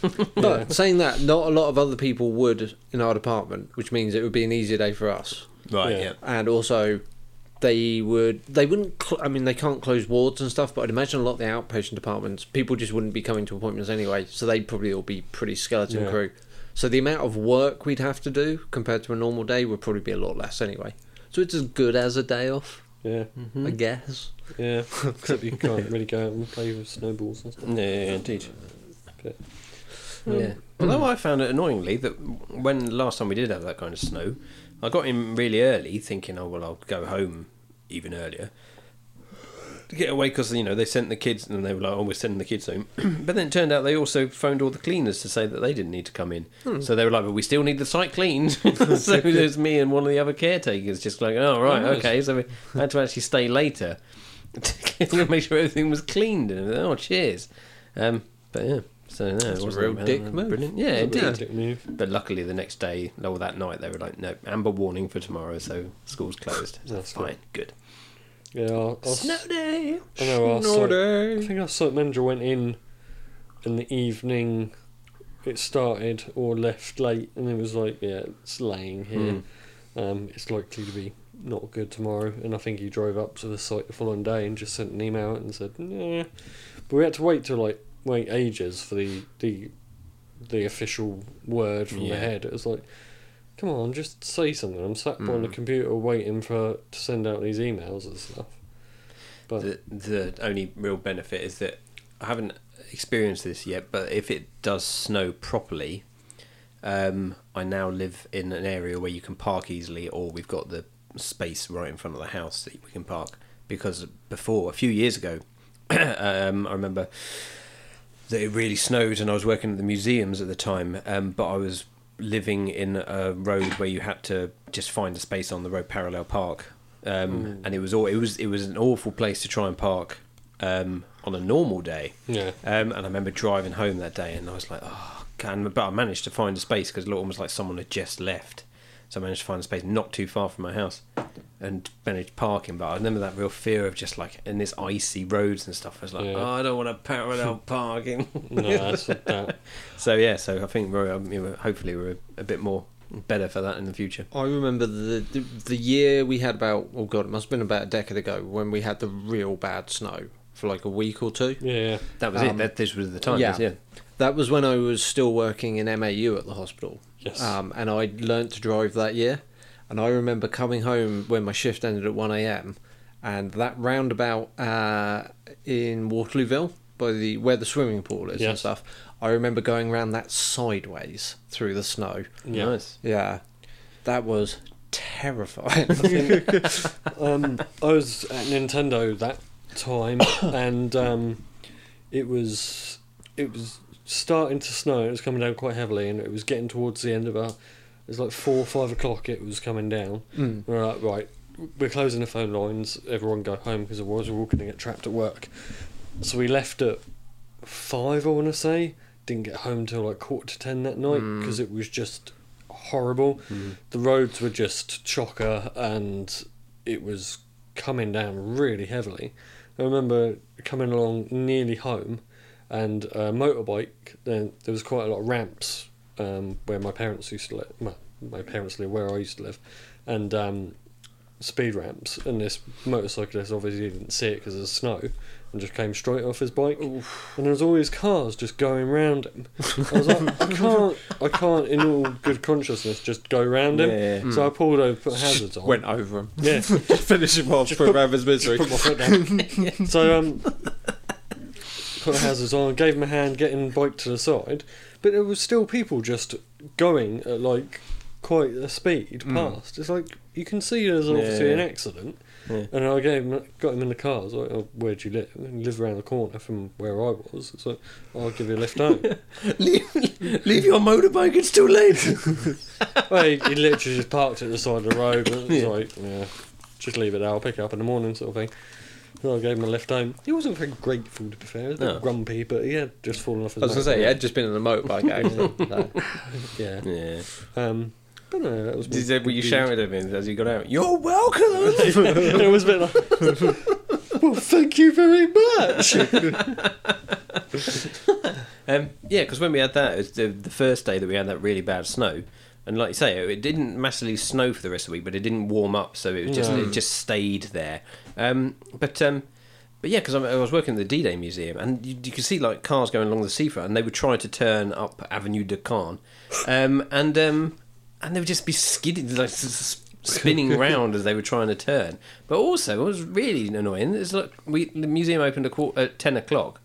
But, but saying that, not a lot of other people would in our department, which means it would be an easier day for us.
Right,
Yeah.
yeah.
And also, they would. They wouldn't. Cl- I mean, they can't close wards and stuff. But I'd imagine a lot of the outpatient departments, people just wouldn't be coming to appointments anyway. So they'd probably all be pretty skeleton
Yeah.
crew. So the amount of work we'd have to do compared to a normal day would probably be a lot less anyway. So it's as good as a day off,
yeah,
I guess.
[LAUGHS]
yeah. Except you can't really go out and play with snowballs and stuff.
Yeah, yeah, indeed.
But,
Yeah. Although I found it annoyingly that when last time we did have that kind of snow, I got in really early, thinking, "Oh well, I'll go home even earlier to get away," because you know they sent the kids and they were like, "Oh, we're sending the kids home." [CLEARS THROAT] but then it turned out they also phoned all the cleaners to say that they didn't need to come in, so they were like, "But we still need the site cleaned." [LAUGHS] so there's me and one of the other caretakers just like, "Oh right,
nice.
okay." So we had to actually stay later [LAUGHS] to make sure everything was cleaned and everything. oh, cheers. Um, but yeah. So no, it
a
wasn't
real
bad.
dick move.
Brilliant. Yeah,
It's a
indeed.
big move.
But luckily, the next day, or that night, they were like, "No, amber warning for tomorrow, so school's closed." So
That's
fine, good.
Yeah, our, our, s-
day.
I know our
Snow
site-
day.
I think our site manager went in in the evening. It started or left late, and it was like, yeah, it's laying here.
Hmm.
Um, it's likely to be not good tomorrow. And I think he drove up to the site the following day and just sent an email out and said, nah. But we had to wait till like wait ages for the the the official word from
Yeah.
the head. It was like, come on, just say something. I'm sat on the
Hmm.
computer waiting for to send out these emails and stuff. But
The the only real benefit is that I haven't experienced this yet, but if it does snow properly, um, I now live in an area where you can park easily, or we've got the space right in front of the house that we can park. Because before, a few years ago, [CLEARS THROAT] um, I remember that it really snowed, and I was working at the museums at the time, um, but I was living in a road where you had to just find a space on the road parallel park, um, and it was all it was it was an awful place to try and park um, on a normal day.
yeah,
Um, and I remember driving home that day, and I was like, "Oh, can!" But I managed to find a space because it looked almost like someone had just left. So I managed to find a space not too far from my house, and managed parking. But I remember that real fear of just like in this icy roads and stuff. I was like,
Yeah.
oh, "I don't want to parallel [LAUGHS] parking."
no, that's not that.
so yeah, so I think we're um, you know, hopefully we're a bit more better for that in the future.
I remember the, the the year we had about oh god, it must have been about a decade ago when we had the real bad snow for like a week or two.
Yeah,
That was it.
Um,
That this was the time.
yeah.
Yeah, yeah.
That was when I was still working in MAU at the hospital.
Yes.
Um, and I learnt to drive that year. And I remember coming home when my shift ended at 1am and that roundabout uh, in Waterlooville by the where the swimming pool is and
Yes.
stuff. I remember going round that sideways through the snow.
yeah.
Nice.
Yeah. That was terrifying. [LAUGHS]
[COUGHS] um, I was at Nintendo that time, and um, it was it was starting to snow. It was coming down quite heavily, and it was getting towards the end of our. It was like four, five o'clock. It was coming down.
Mm.
We We're like, right, we're closing the phone lines. Everyone go home because otherwise we're all going to get trapped at work. So we left at five, I want to say. Didn't get home till like quarter to ten that night
Mm.
because it was just horrible.
Mm.
The roads were just chocker and it was coming down really heavily. I remember coming along nearly home and a motorbike, then there was quite a lot of ramps um, where my parents used to live. Well, my parents live where I used to live. And um, speed ramps. And this motorcyclist obviously didn't see it because of the snow and just came straight off his bike. And there was all these cars just going round him. I was like, I can't, I can't, in all good consciousness, just go round him.
Yeah, yeah.
So I pulled over, put hazards on.
Went over him.
Yeah,
Finish him off for Raven's misery.
put my foot
[LAUGHS]
down. so um, put the hazards on, gave him a hand, getting bike to the side, but there was still people just going at like quite a speed
Mm.
past. It's like you can see there's obviously
Yeah.
an accident,
Yeah.
and I gave him, got him in the car. I was like, oh, "Where do you live? And live around the corner from where I was." It's like, "I'll give you a lift home."
[LAUGHS] leave, leave your motorbike. It's too late. [LAUGHS]
well, he, he literally just parked at the side of the road. But it was
Yeah.
like, yeah, just leave it there. I'll pick it up in the morning, sort of thing. So I gave him a lift home. He wasn't very grateful, to be fair. He was a bit
No.
grumpy, but he had just fallen off his
I was gonna say he
motorbike.
had just been in a [LAUGHS] motorbike accident. so.
yeah.
Yeah.
Um, but no, that was.
Did, did, were you
Indeed.
shouted at him as he got out? You're welcome.
[LAUGHS] it was a bit like, [LAUGHS] well, thank you very much.
Um, yeah, because when we had that, it was the, the first day that we had that really bad snow, and like you say, it didn't massively snow for the rest of the week, but it didn't warm up, so it was just
No.
it just stayed there. Um, but um, but yeah, because I was working at the D-Day Museum, and you, you could see like cars going along the seafront, and they would try to turn up Avenue de Cannes, um, and um, and they would just be skidding like. s- s- Spinning round as they were trying to turn, but also what was really annoying is look, we the museum opened a quar at ten o'clock,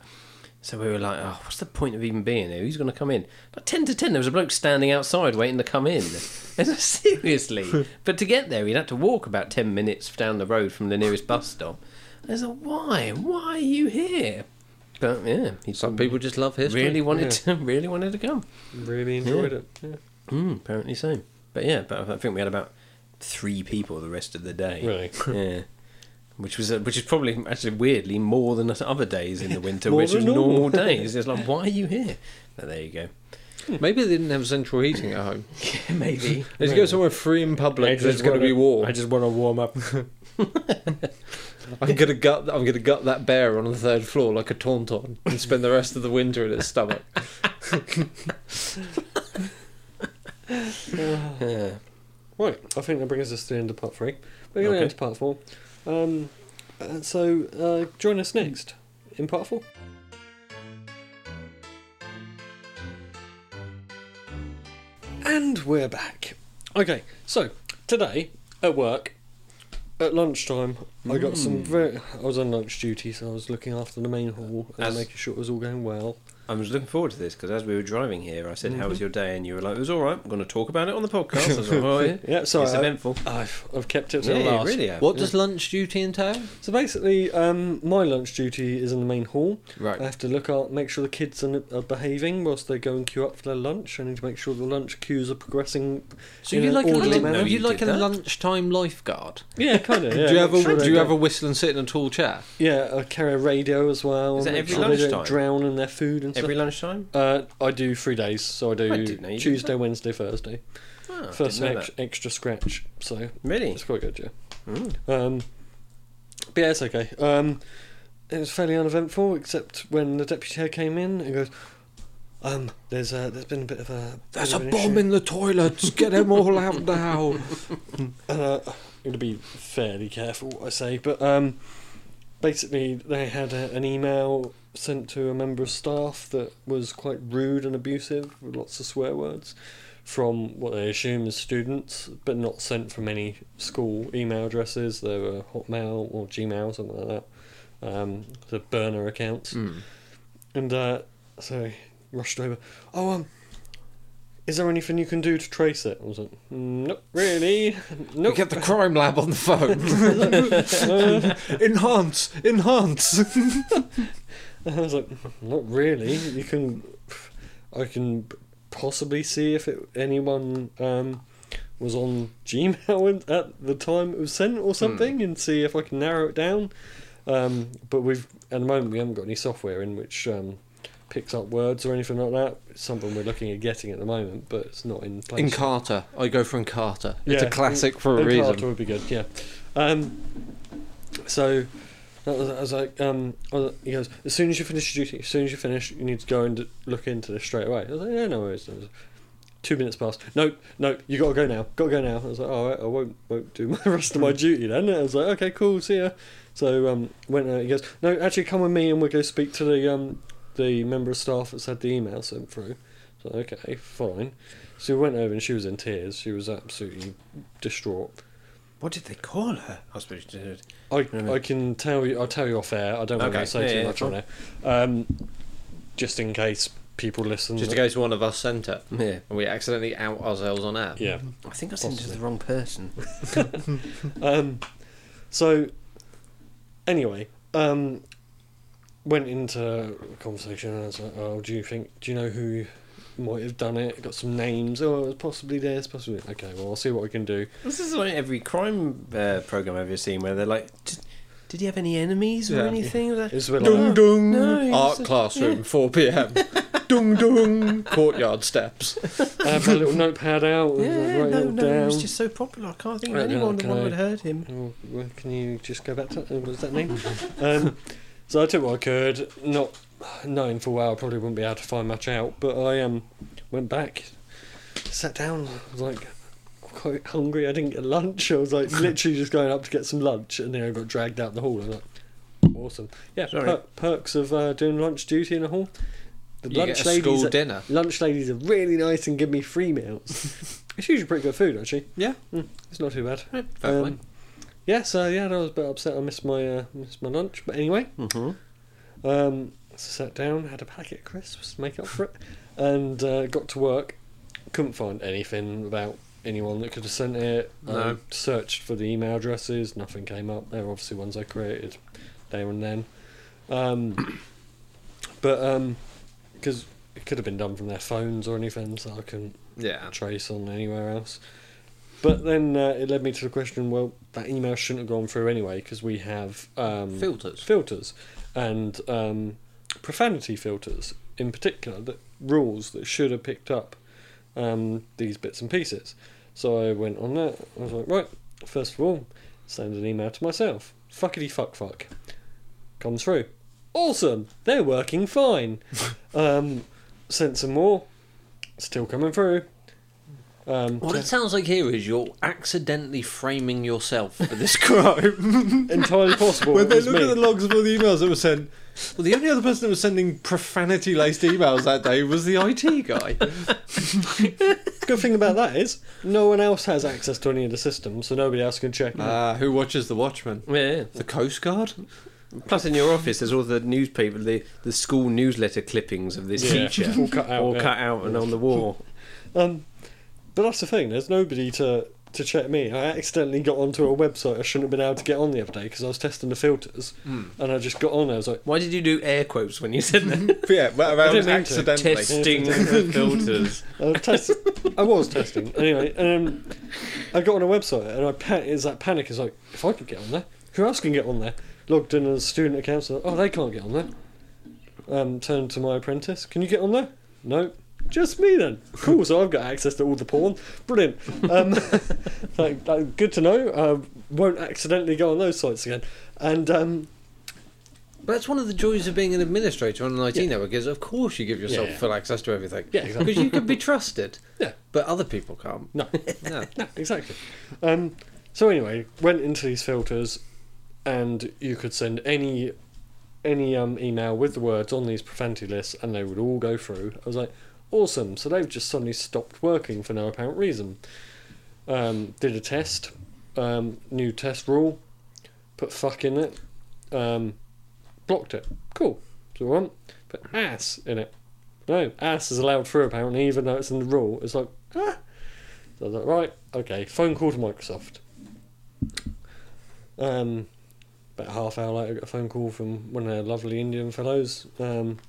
so we were like, oh, what's the point of even being here? Who's going to come in? Like 10 to 10, there was a bloke standing outside waiting to come in. [LAUGHS] And I- Seriously.
[LAUGHS]
but to get there, he'd had to walk about 10 minutes down the road from the nearest bus stop. And I was like, why? Why are you here? But yeah, he
Some people just love history.
really wanted to [LAUGHS] really wanted to come.
really enjoyed it. Yeah.
Mm, apparently so. But yeah, but I think we had about three people the rest of the day.
Really.
[LAUGHS] Yeah. Which was uh, which is probably actually weirdly more than us other days in the [LAUGHS] winter,
More
which
than
was
normal.
normal. days. It's like, why are you here? But there you go.
[LAUGHS] Maybe they didn't have central heating at home.
Yeah, maybe.
Let's go somewhere free and public. There's going to be
wanna-
warm.
I just want to warm up.
I'm gonna gut. I'm gonna gut that bear on the third floor like a tauntaun and spend the rest of the winter in its
[LAUGHS]
stomach.
[LAUGHS] Yeah.
Right, I think that brings us to the end of part three. We're going to
Okay.
end to part four. Um, uh, so uh, join us next in part four. And we're back. Okay, so today at work, at lunchtime, I got some
Hmm.
very. I was on lunch duty, so I was looking after the main hall and
As-
making sure it was all
[LAUGHS]
going well.
I was looking forward to this because as we were driving here, I said, "How was
Mhm.
your day?" And you were like, "It was all right. I'm going to talk about it on the podcast." I was [LAUGHS] like, "Oh, yeah,
Yeah, so
it's
I,
eventful."
I've, I've kept it to
Yeah,
the
you
last.
really have.
What does lunch duty entail?
So basically, um, my lunch duty is in the main hall.
Right.
I
Uh,
have to look out, make sure the kids are, are behaving whilst they go and queue up for their lunch. I need to make sure the lunch queues are progressing.
So
In
you
an
like a,
orderly
lun-
manner.
are you
You
like a
did that?
lunchtime lifeguard?
Yeah, kind of. Yeah,
do you have
make
a
sure they
do you have a
don't-
whistle and sit in a tall chair?
Yeah, I carry a radio as well.
Is that
make
every
sure They don't
lunchtime?
drown in their food and
Every lunchtime.
stuff. Uh, I do three days, so I do
I didn't know you did
Tuesday,
that.
Wednesday, Thursday.
Oh, I
First
didn't know
ex- extra scratch, so
that. Really?
it's quite good, yeah.
Mm.
Um, but yeah, it's okay. Um, it was fairly uneventful, except when the deputy head came in and goes, um, "There's uh, there's been a bit of a bit of an issue."
in the [LAUGHS] toilets. Get them all out now.
Uh, I'm gonna be fairly careful what I say, but um, basically they had a, an email sent to a member of staff that was quite rude and abusive with lots of swear words from what they assume is students, but not sent from any school email addresses. They were Hotmail or Gmail, something like that. Um, the burner accounts.
Mm. Hmm.
And uh, so I rushed over. Oh, um, is there anything you can do to trace it? I was like, "Mm, nope, really.
We
Nope.
get the crime lab on the [LAUGHS] phone.
Uh,
enhance, enhance.
And [LAUGHS] I was like, not really. You can, I can possibly see if it, anyone um, was on Gmail [LAUGHS] in- at the time it was sent or something, and see if I can narrow it down. Um, but we've at the moment we haven't got any software in which um, picks up words or anything like that. It's something we're looking at getting at the moment, but it's not in place. yet.
Encarta. I go for Encarta. It's
Yeah,
a classic for a
Encarta
reason.
would be good, yeah. Um, so that was, I was like, um, I was, he goes, as soon as you finish your duty, as soon as you finish, you need to go and look into this straight away. I was like, yeah, no worries. no worries." Two minutes passed. No, no, you gotta go now. Gotta go now. I was like, all right, I won't, won't do [LAUGHS] my rest of my
Hmm.
duty then. I was like, okay, cool, see ya. So um, went out. He goes, no, actually, come with me and we'll go speak to the um, the member of staff that's had the email sent through. So okay, fine. So we went over and she was in tears. She was absolutely distraught.
What did they call her? I suppose you did.
I,
Yeah.
I can tell you. I'll tell you off air. I don't want
Okay.
to say
Yeah,
too
yeah,
much
fine.
on it. Um, just in case people listen.
Just in case one of us sent it
Yeah.
and we accidentally out ourselves on air.
Yeah.
I think I sent it to
Possibly.
the wrong person.
Um, so anyway, um, went into a conversation and I was like, "Oh, do you think? Do you know who might have done it? Got some names? Oh, it's possibly this. Possibly. Okay. Well, I'll see what I can do.
This is like every crime uh, program I've ever seen where they're like, "Did- did he have any enemies or
Yeah.
anything? Like,
It's a bit
Dung
like. that.
dung.
No, he
Art
was-
classroom, 4 pm. dung dung. Courtyard steps.
I have my
[LAUGHS]
little notepad out. and
yeah,
writing it
no,
all
no,
down.
he was just so popular. I can't think of
Right, no,
anyone that
can
one
I-
would have heard him.
Oh, well, Can you just go back to uh, what was that name? [LAUGHS] um, so I took what I could, not knowing for a while I probably wouldn't be able to find much out, but I um went back, sat down, I was like quite hungry. I didn't get lunch. I was
[LAUGHS]
like literally just going up to get some lunch, and then I got dragged out the hall. I was like, awesome, yeah.
Sorry.
Per- perks of uh, doing lunch duty in a hall. The
You
lunch
get a
ladies,
school
are,
dinner.
lunch ladies are really nice and give me free meals.
[LAUGHS]
it's usually pretty good food actually. Mm,
Yeah.
It's not too bad.
Fair
Um, Yeah, so yeah, I was a bit upset. I missed my uh, missed my lunch, but anyway,
Mm-hmm.
um, so sat down, had a packet of crisps to make up for it, and uh, got to work. Couldn't find anything about anyone that could have sent it. Um,
No.
searched for the email addresses, nothing came up. They're obviously ones I created there and then, um, [COUGHS] but because it could have been done from their phones or anything, so I couldn't
yeah.
trace on anywhere else. But then uh, it led me to the question: well, that email shouldn't have gone through anyway because we have um,
Filters.
filters and um, profanity filters in particular that rules that should have picked up um, these bits and pieces. So I went on that. I was like, right, first of all, send an email to myself. Fuckity fuck fuck. Comes through. Awesome. They're working
[LAUGHS]
fine. um, sent some more. Still coming through. Um,
What it sounds like here is you're accidentally framing yourself for this crime.
entirely possible.
When
it
they
was
look
me.
at the logs of all the emails that were sent, well, the only other person that was sending profanity laced emails that day was the IT guy.
[LAUGHS]
Good thing about that is no one else has access to any of the systems, so nobody else can check. it.
Ah, who watches The Watchmen?
Yeah.
The
[LAUGHS]
Coast Guard?
Plus, in your office, there's all the newspaper, the, the school newsletter clippings of this
Yeah,
teacher,
all cut out,
all
yeah.
cut out and on the
[LAUGHS]
wall.
Um, but that's the thing. There's nobody to to check me. I accidentally got onto a website I shouldn't have been able to get on the other day because I was testing the filters, and I just got on. I was like,
Why did you do air quotes when you said
[LAUGHS]
that?
Yeah, well,
I didn't
around
mean to. [LAUGHS]
accidentally.
Testing filters.
I was, Uh, test- I was testing anyway. And um, I got on a website, and I pan- is that panic is like, if I could get on there, who else can get on there? Logged in as student account. So, oh, they can't get on there. Um, turned to my apprentice. Can you get on there? No. Just me then. Cool. So I've got access to all the porn. Brilliant. Um, [LAUGHS] like, like, good to know. I won't accidentally go on those sites again. And um,
But that's one of the joys of being an administrator on an IT
Yeah.
network is, of course, you give yourself
Yeah, yeah.
full access to everything.
Yeah, exactly.
Because you can be trusted.
Yeah.
But other people can't.
no,
No.
[LAUGHS] no, exactly. Um, so anyway, went into these filters, and you could send any any um, email with the words on these profanity lists, and they would all go through. I was like, awesome. So they've just suddenly stopped working for no apparent reason. Um, did a test, um, new test rule, put fuck in it, um, blocked it. Cool. So one, put ass in it. No, ass is allowed through apparently, even though it's in the rule. It's like ah. So I was like, right, okay, phone call to Microsoft. Um, About half hour later, I got a phone call from one of their lovely Indian fellows. Um,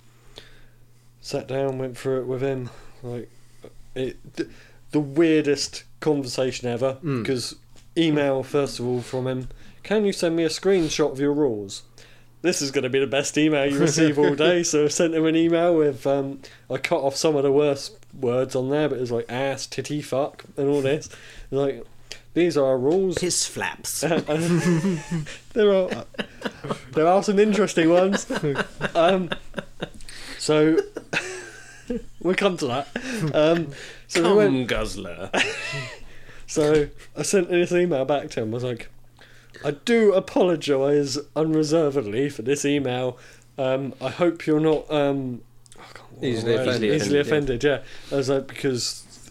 sat down, went through it with him. Like, it, th- the weirdest conversation ever.
Mm.
Because email, first of all, from him. Can you send me a screenshot of your rules? This is going to be the best email you receive all day. So I sent him an email with um, I cut off some of the worst words on there, but it's like ass, titty, fuck, and all this. Like these are our rules. [LAUGHS]
Piss flaps.
there are there are some interesting ones. Um, so [LAUGHS] we'll come to that. Um, so we
Come,
went,
guzzler.
so I sent this email back to him. I was like, I do apologise unreservedly for this email. Um, I hope you're not um, I can't- what
Easily
was the word?
offended.
Easily offended,
Offended,
yeah. I was like, because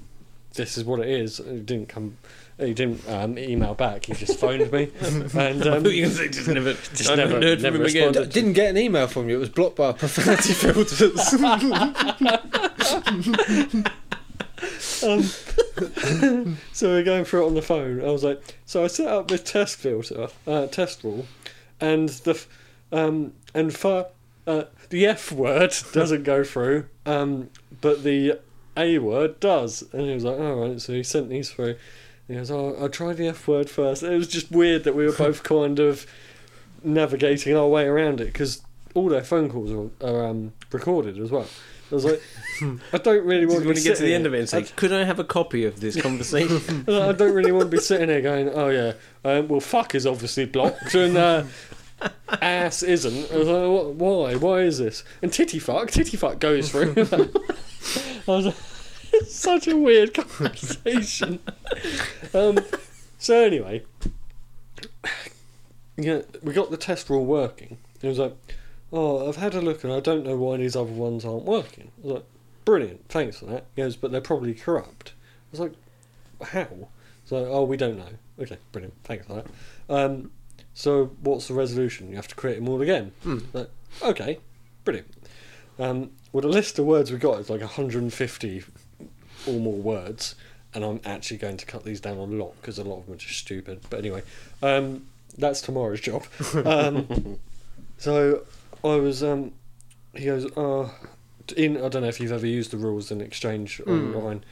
this is what it is. He didn't come. He didn't um, email back. He just phoned me, and
[LAUGHS]
um,
you can say just never,
just
I haven't
never-
heard
never
from him again.
responded.
Didn't get an email from you. It was blocked by profanity [LAUGHS] filters.
um, [LAUGHS] so we're going through it on the phone. I was like, so I set up this test filter, uh, test rule, and the f- um, and for uh, the F word [LAUGHS] doesn't go through, um, but the A word does. And he was like, all right. So he sent these through. And he goes, oh, I'll try the F word first. It was just weird that we were
[LAUGHS]
both kind of navigating our way around it because all their phone calls are, are um, recorded as well. I was
[LAUGHS]
like, I don't really want
When
to
you
be
get to
sitting
the
here-
end of it and
I
say, could I have a copy of [LAUGHS] this conversation?
and [LAUGHS] I don't really want to be sitting there going, oh yeah, um, well fuck is obviously blocked and uh, ass isn't. I was like, "Wh- why? Why is this? And titty fuck, titty fuck goes through. [LAUGHS] I was like, [LAUGHS] it's such a weird conversation. um, so anyway, yeah, we got the test rule working. It was like, oh, I've had a look and I don't know why these other ones aren't working. I was like, brilliant, thanks for that. He goes, but they're probably corrupt. I was like, how? So, oh, we don't know. Okay, brilliant. Thanks for that. Um, so, what's the resolution? You have to create them all again.
Hmm.
Like, okay, brilliant. Um, well, the list of words we got is like 150 or more words, and I'm actually going to cut these down a lot because a lot of them are just stupid. But anyway, um, that's tomorrow's
[LAUGHS]
job. Um, so, I was. Um, he goes, uh, in, I don't know if you've ever used the rules in Exchange
Hmm.
online.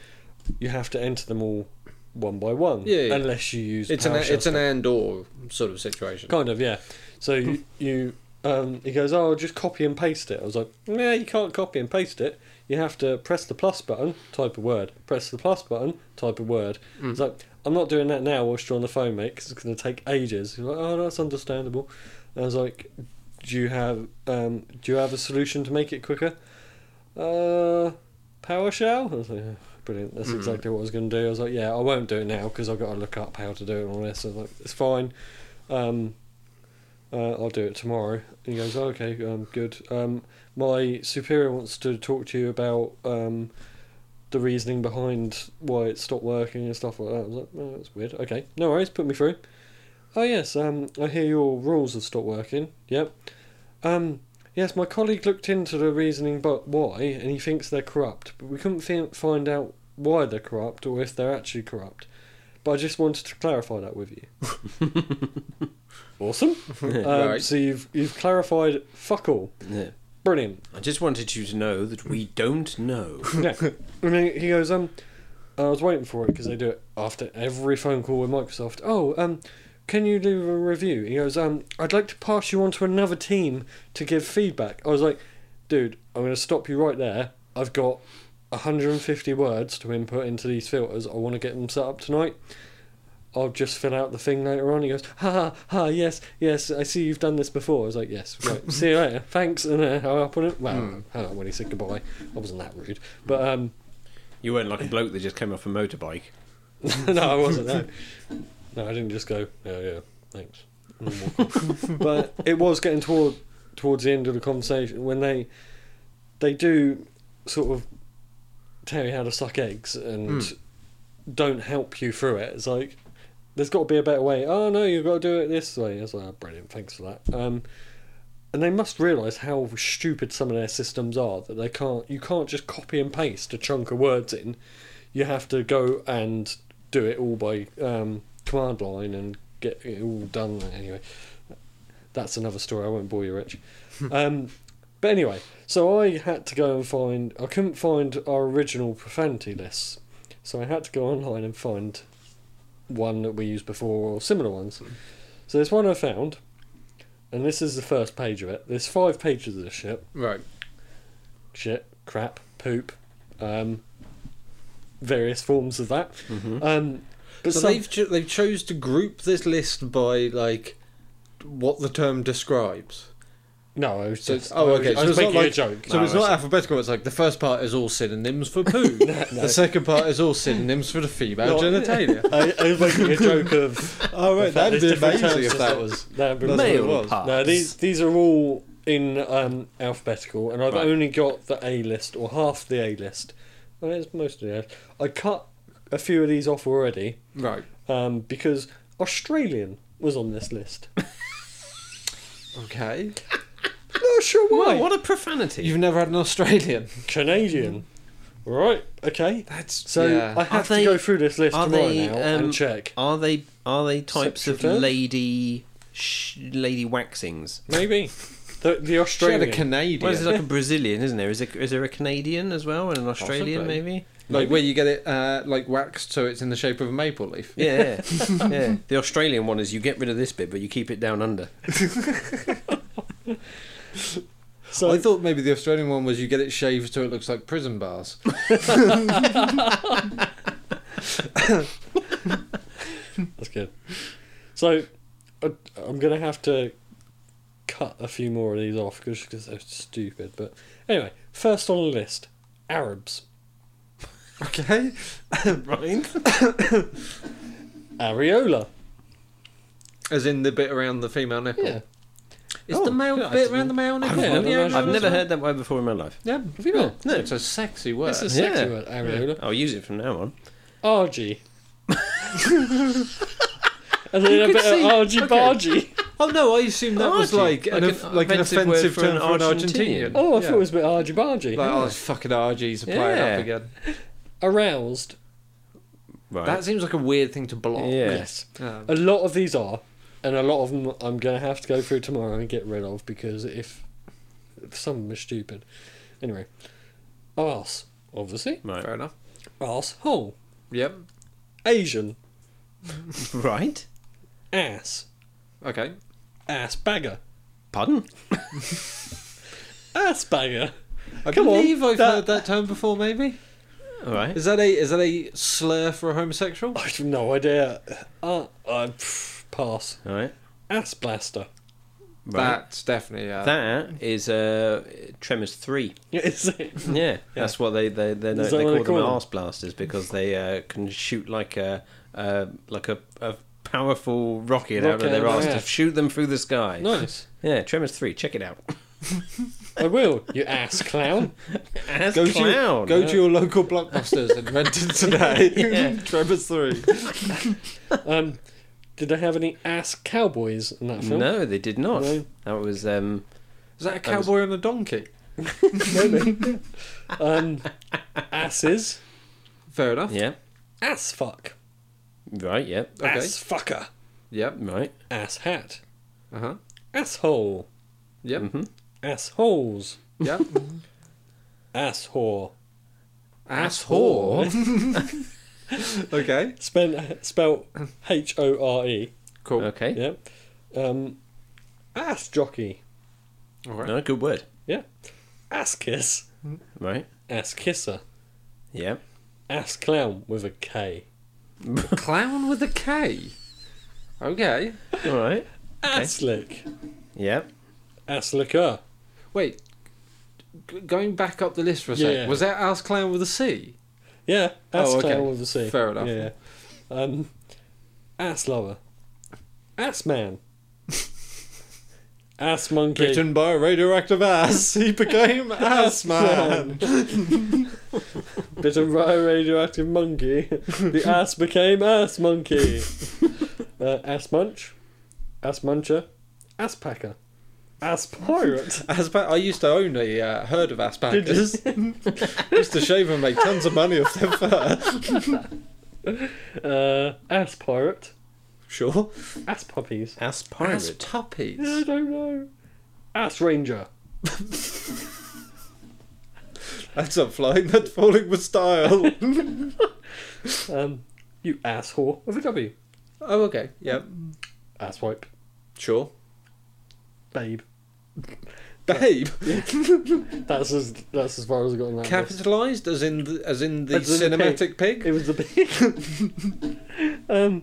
You have to enter them all one by one,
Yeah, yeah.
unless you use
it's an
PowerShell
it's
stuff.
an and or sort of situation.
Kind of, yeah. So you, you um, he goes, oh, just copy and paste it. I was like, nah, you can't copy and paste it. You have to press the plus button, type a word. Press the plus button, type a word. He's like, I'm not doing that now whilst you're on the phone, mate, 'cause it's going to take ages. He's like, oh, that's understandable. And I was like, do you have um, do you have a solution to make it quicker? Uh, PowerShell. I was like, "Oh, brilliant. That's exactly what I was going to do. I was like, yeah, I won't do it now because I've got to look up how to do it and all this. I was like, it's fine. Um, uh, I'll do it tomorrow. And he goes, "Oh, okay, um, good. Um, my superior wants to talk to you about um, the reasoning behind why it stopped working and stuff like that. I was like, oh, that's weird. Okay, no worries, put me through. Oh, yes, um, I hear your rules have stopped working. Yep. Um, yes, my colleague looked into the reasoning but why, and he thinks they're corrupt, but we couldn't fin- find out why they're corrupt or if they're actually corrupt. But I just wanted to clarify that with you. awesome. Um,
Right.
So you've, you've clarified fuck all.
Yeah.
Brilliant.
I just wanted you to know that we don't know.
Yeah. And then he goes, um, I was waiting for it because they do it after every phone call with Microsoft. Oh, um, can you do a review? He goes, um, I'd like to pass you on to another team to give feedback. I was like, dude, I'm going to stop you right there. I've got 150 words to input into these filters. I want to get them set up tonight. I'll just fill out the thing later on. He goes, ha ha ha, yes, yes, I see you've done this before. I was like, yes, right, see you later, thanks, and uh, hung up on it. Well, hung up when he said goodbye. I wasn't that rude, but um,
You weren't like a bloke that just came off a motorbike.
[LAUGHS] no, I wasn't. No. no, I didn't just go. Yeah, yeah, thanks. and walk off. but it was getting toward towards the end of the conversation when they they do sort of tell you how to suck eggs and don't help you through it. It's like there's got to be a better way. Oh no, you've got to do it this way. It's like oh, brilliant. Thanks for that. Um, and they must realise how stupid some of their systems are that they can't. You can't just copy and paste a chunk of words in you have to go and do it all by um, command line and get it all done anyway. That's another story. I won't bore you,
[LAUGHS]
Rich. um, but anyway, so I had to go and find. I couldn't find our original profanity lists, so I had to go online and find one that we used before or similar ones.
Hmm.
So there's one I found, and this is the first page of it. There's five pages of this shit
[LAUGHS] Right.
shit, crap, poop, um, various forms of that. Um, but
Mm-hmm. so
some-
they've cho- they've chose to group this list by like what the term describes.
no, I was
So
just,
it's, oh,
I was-
okay.
I
so
was
it's not
making
like
a joke.
So
No,
it's
I
not
see.
alphabetical. It's like the first part is all synonyms for [LAUGHS] poo. The second part is all synonyms for the female
No.
genitalia.
I, I was making [LAUGHS] a joke of
[LAUGHS] Oh right,
In fact,
that'd
there's
be
different
amazing
terms
if
for
that
it.
was.
that.
That's what it
Male
was.
parts.
No, these these are all in um, alphabetical, and I've
Right.
only got the A list or half the A list. Well, it's most of the A. list. I cut a few of these off already
Right.
um, because Australian was on this [LAUGHS] list.
Okay.
Not sure why.
Wow, what a profanity!
You've never had an Australian.
Canadian. Right. Okay.
That's
So
Yeah.
I have
Are
to
they-
go through this list
are
tomorrow
they,
now
um,
and check.
Are they are they types
Sexual
of
term?
lady sh- lady waxings?
Maybe the, the
she had a
Australian.
Canadian.
Well, is it like a Brazilian, isn't there? Is there, is there a Canadian as well and an Australian
Possibly.
maybe? [LAUGHS]
like where you get it uh, like waxed so it's in the shape of a maple leaf.
Yeah, [LAUGHS] yeah. yeah. The Australian one is you get rid of this bit, but you keep it down under.
so
I thought maybe the Australian one was you get it shaved so it looks like prison bars.
that's good. So I, I'm gonna have to cut a few more of these off because they're stupid. But anyway, first on the list, Arabs.
[LAUGHS]
Okay.
[LAUGHS] Right.
Areola.
As in the bit around the female nipple.
Yeah.
Is
Oh,
the male
yeah, I
bit
didn't-
around the male nipple?
I've,
Yeah,
on
never,
the
I've
outside?
I've never heard that word before in my life.
Yeah.
Have you not?
No. It's a sexy word.
It's a sexy
Yeah.
word, areola.
I'll use it from now on. [LAUGHS]
Argy. and then a bit of argy bargy.
Oh no, I assumed that was
Argy.
like an,
Like
off-
an
like an
offensive word
offensive
for
term
an
for an
Argentinian.
Argentinian.
Oh, I
Yeah.
thought it was a bit argy bargy.
Like, oh, it's fucking RGs are playing
Yeah.
up again.
Aroused.
Right.
That seems like a weird thing to block.
Yeah.
Yes.
Um,
A lot of these are, and a lot of them I'm going to have to go through tomorrow and get rid of because if, if some of them are stupid. Anyway, arse, obviously.
right.
fair enough.
Arsehole.
Yep.
Asian.
[LAUGHS] Right.
Ass.
Okay.
Ass bagger.
Pardon?
Ass [LAUGHS] bagger.
I
Come on,
believe I've
that-
heard that term before. Maybe
All right.
is that a is that a slur for a homosexual?
I have no idea. Uh, uh, pff, pass.
All right.
Ass blaster.
Right.
That's definitely yeah.
that is uh, Tremors 3.
[LAUGHS] Is it?
Yeah, [LAUGHS] that's what they they they, know,
Hmm. Is
they
that what
call
they
them,
call them?
arse blasters because they uh, can shoot like a uh, like a, a powerful rocket, out
Rocket
of their
out of
arse
their
to
ass.
shoot them through the sky.
Nice.
Yeah, Tremors three, check it
[LAUGHS]
out.
I will, you ass clown.
As
Go
clown.
to go to your local blockbusters and rent it today. [LAUGHS]
Yeah.
Trevor's three.
Um, did they have any ass cowboys in that film?
no, they did not.
No.
That was um,
Is that a
That was-
cowboy and a donkey?
Maybe. [LAUGHS] um, asses.
Fair enough.
yeah,
Ass fuck.
right, yeah,
Okay.
Ass fucker.
Yep.
right,
Ass hat.
Uh huh.
Asshole.
Yep.
mm-hmm.
Assholes.
[LAUGHS]
Yep.
Ass whore.
Ass
[LAUGHS]
whore. okay.
Spent, spelt H O R E.
Cool.
okay,
Yeah. Um, ass jockey.
All right.
no, good word,
Yeah. Ass kiss.
right,
Ass kisser.
yeah,
Ass clown with a K.
Clown with a K. Okay.
all right,
Ass lick.
yeah,
Ass licker.
Wait. G- going back up the list for a
Yeah,
sec.
yeah.
Was that ass clown with a C?
Yeah. Ass
Oh, okay.
clown with a C.
Fair enough.
Yeah. Um, ass lover. Ass
[LAUGHS]
man. ass monkey.
Bitten by a radioactive ass, [LAUGHS] he became [LAUGHS] ass man.
[LAUGHS] Bitten by a radioactive [LAUGHS] monkey. the ass became ass monkey. Uh, ass munch. Ass muncher. Ass packer. Ass pirate.
Aspa- I used to own a uh, herd of
Did
aspackers. [LAUGHS] used to shave and make tons of money off their fur.
Uh, ass pirate.
Sure.
Ass puppies.
Ass pirate.
As puppies.
I don't know. Ass ranger.
That's not flying, that's falling with style.
Um, you ass whore with a W.
Oh, okay.
yep.
Ass wipe.
Sure.
Babe.
Babe.
That's as that's as far as I got on that. list.
Capitalized as in the, as in the
As in the
cinematic pig.
It was the big. [LAUGHS] um,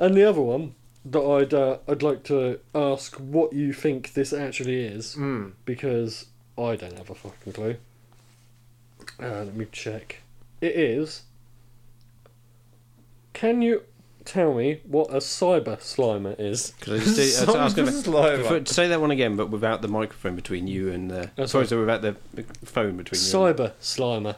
and the other one that I'd uh, I'd like to ask what you think this actually is
Hmm.
Mm.
because I don't have a fucking clue. Uh, let me check. It is. Can you tell me what a cyber slimer is?
Could I just
[LAUGHS]
say, I was asking about-
Slimer.
before- say that one again, but without the microphone between you and the.
Oh,
sorry,
sorry.
so without the the phone between you. and-
Cyber slimer.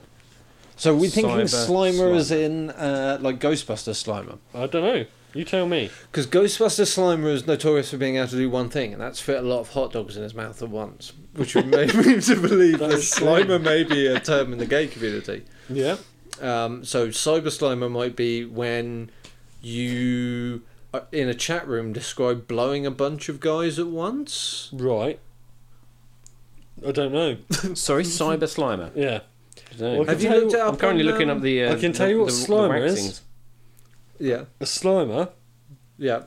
So we're thinking
Cyber
Slimer is in uh, like Ghostbuster Slimer.
I don't know. You tell me.
Because Ghostbuster Slimer is notorious for being able to do one thing, and that's fit a lot of hot dogs in his mouth at once.
Which would make me to believe that,
That is true.
Slimer may be a term in the gay community.
Yeah.
Um, so cyber slimer might be when you uh, in a chat room describe blowing a bunch of guys at once.
Right. I don't know.
[LAUGHS] Sorry, Cyber Slimer.
Yeah.
[LAUGHS] I don't know.
Well,
Have you
tell you
looked
what-
it up?
I'm currently
on,
looking
um,
up the. Uh,
I can tell you what
the, the
Slimer
wax
is.
things.
Yeah,
A slimer
yeah.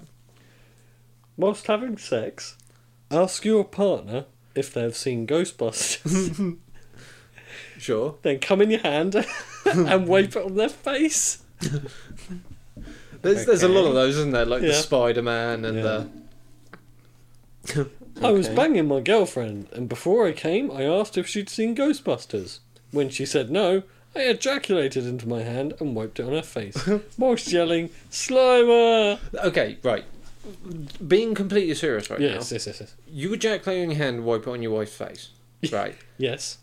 whilst having sex, ask your partner if they've seen Ghostbusters.
[LAUGHS] Sure.
then come in your hand
[LAUGHS]
and wipe it on their face.
There's there's a lot
Okay.
of those, isn't there? Like the
Yeah.
Spider Man and
Yeah.
the
I was
Okay.
banging my girlfriend, and before I came, I asked if she'd seen Ghostbusters. When she said no, I ejaculated into my hand and wiped it on her
[LAUGHS]
face, whilst yelling, Slimer!
okay, right. Being completely serious right
Yes,
now,
yes, yes, yes.
you ejaculate on your hand, and wipe it on your wife's face, right?
Yes.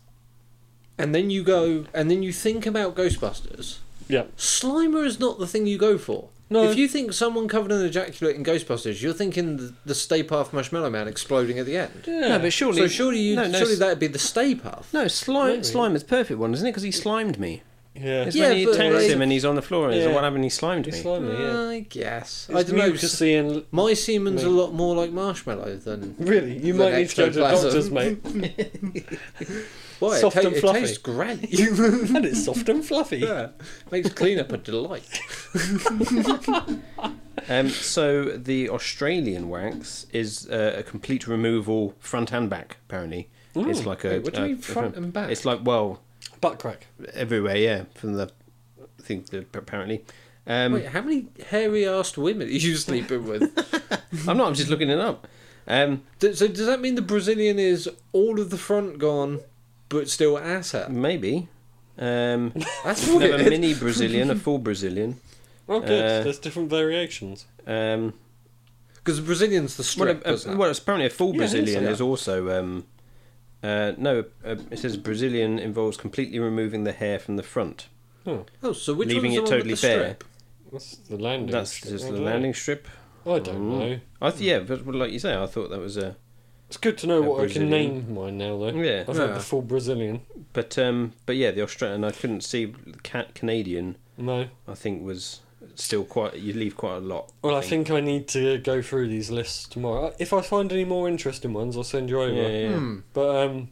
And then you go, and then you think about Ghostbusters.
Yeah.
Slimer is not the thing you go for.
No.
If you think someone covered in ejaculate in Ghostbusters, you're thinking the, the Stay Puft Marshmallow Man exploding at the end.
Yeah.
No, but surely.
so surely you,
No, no,
surely
s-
that'd be the Stay Puft.
No, slime,
Maybe.
slime is a perfect one, isn't it? Because he slimed me.
yeah.
It's
Yeah,
when he
but
attacks
they-
him and he's on the floor and he's like,
Yeah.
what happened? He slimed
It's
me.
slimy, yeah.
I guess. Uh, I
It's
don't know.
mucousy and
My semen's a
Me.
lot more like marshmallow than.
Really, you
The
might need to go to the
ectoplasm.
doctors,
[LAUGHS]
mate.
Why? it
Soft
ta-
and fluffy.
It tastes great.
[LAUGHS]
and it's soft and fluffy.
yeah. Makes cleanup
[LAUGHS]
a delight.
Um, so the Australian wax is uh, a complete removal, front and back. Apparently, it's like a.
Wait, what do you
uh,
mean front and back?
It's like well,
Butt crack.
everywhere, yeah. From the thing, that- apparently. Um,
Wait, how many hairy assed women [LAUGHS] are you sleeping with?
I'm not. I'm just looking it up. Um,
D- so does that mean the Brazilian is all of the front gone, but still ass out?
maybe. Um,
[LAUGHS] That's
we have a
weird.
mini Brazilian, a full Brazilian.
Oh,
good.
good.
Uh,
There's different variations.
Um,
Because the Brazilian's the
well,
strip,
a,
isn't
a,
it?
well, it's apparently a full
Yeah, I think so,
Brazilian
yeah.
is also. Um, uh, no, uh, it says Brazilian involves completely removing the hair from the front,
Oh, so which
leaving it
one's the one
totally
with the
bare.
strip?
That's the landing.
That's
strip,
just
I
the
don't
landing strip.
know. I don't
Mm.
know.
I th- yeah, but but like you say, I thought that was a
It's good to know
A
what I can
Brazilian.
name mine now, though.
yeah.
I've
Yeah.
had the full Brazilian.
But um, but yeah, the Australian I couldn't see cat Canadian.
No.
I think was still quite. You leave quite a lot.
Well, I think I need to go through these lists tomorrow. Uh, If I find any more interesting ones, I'll send you over.
Yeah, yeah, yeah.
Hmm.
But um,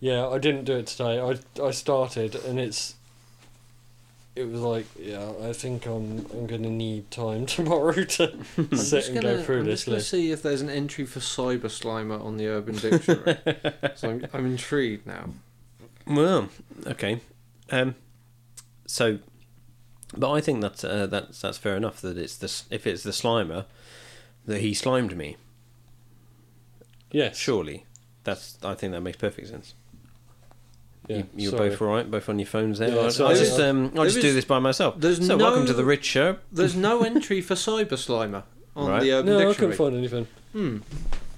yeah, I didn't do it today. I I started, and it's. It was like, yeah, I think I'm I'm gonna need time [LAUGHS]
[LAUGHS]
tomorrow to sit
just
and
gonna-
go through
I'm
this
just gonna
list.
see if there's an entry for Cyber Slimer on the
[LAUGHS]
Urban Dictionary. so I'm, I'm intrigued now.
Well, okay. Um, so, but I think that uh, that's that's fair enough. That it's the s- if it's the Slimer, that he slimed me.
Yes,
Surely, that's. I think that makes perfect sense.
Yeah,
you, you're
sorry.
both all right, both on your phones there.
Yeah,
I, I
sorry.
just um, I
There
just
is-
do this by myself.
there's
so welcome
no-
to the Rich Show.
There's no entry for Cyber Slimer on
Right.
the Urban
No, I couldn't
Dictionary.
find anything.
Hmm.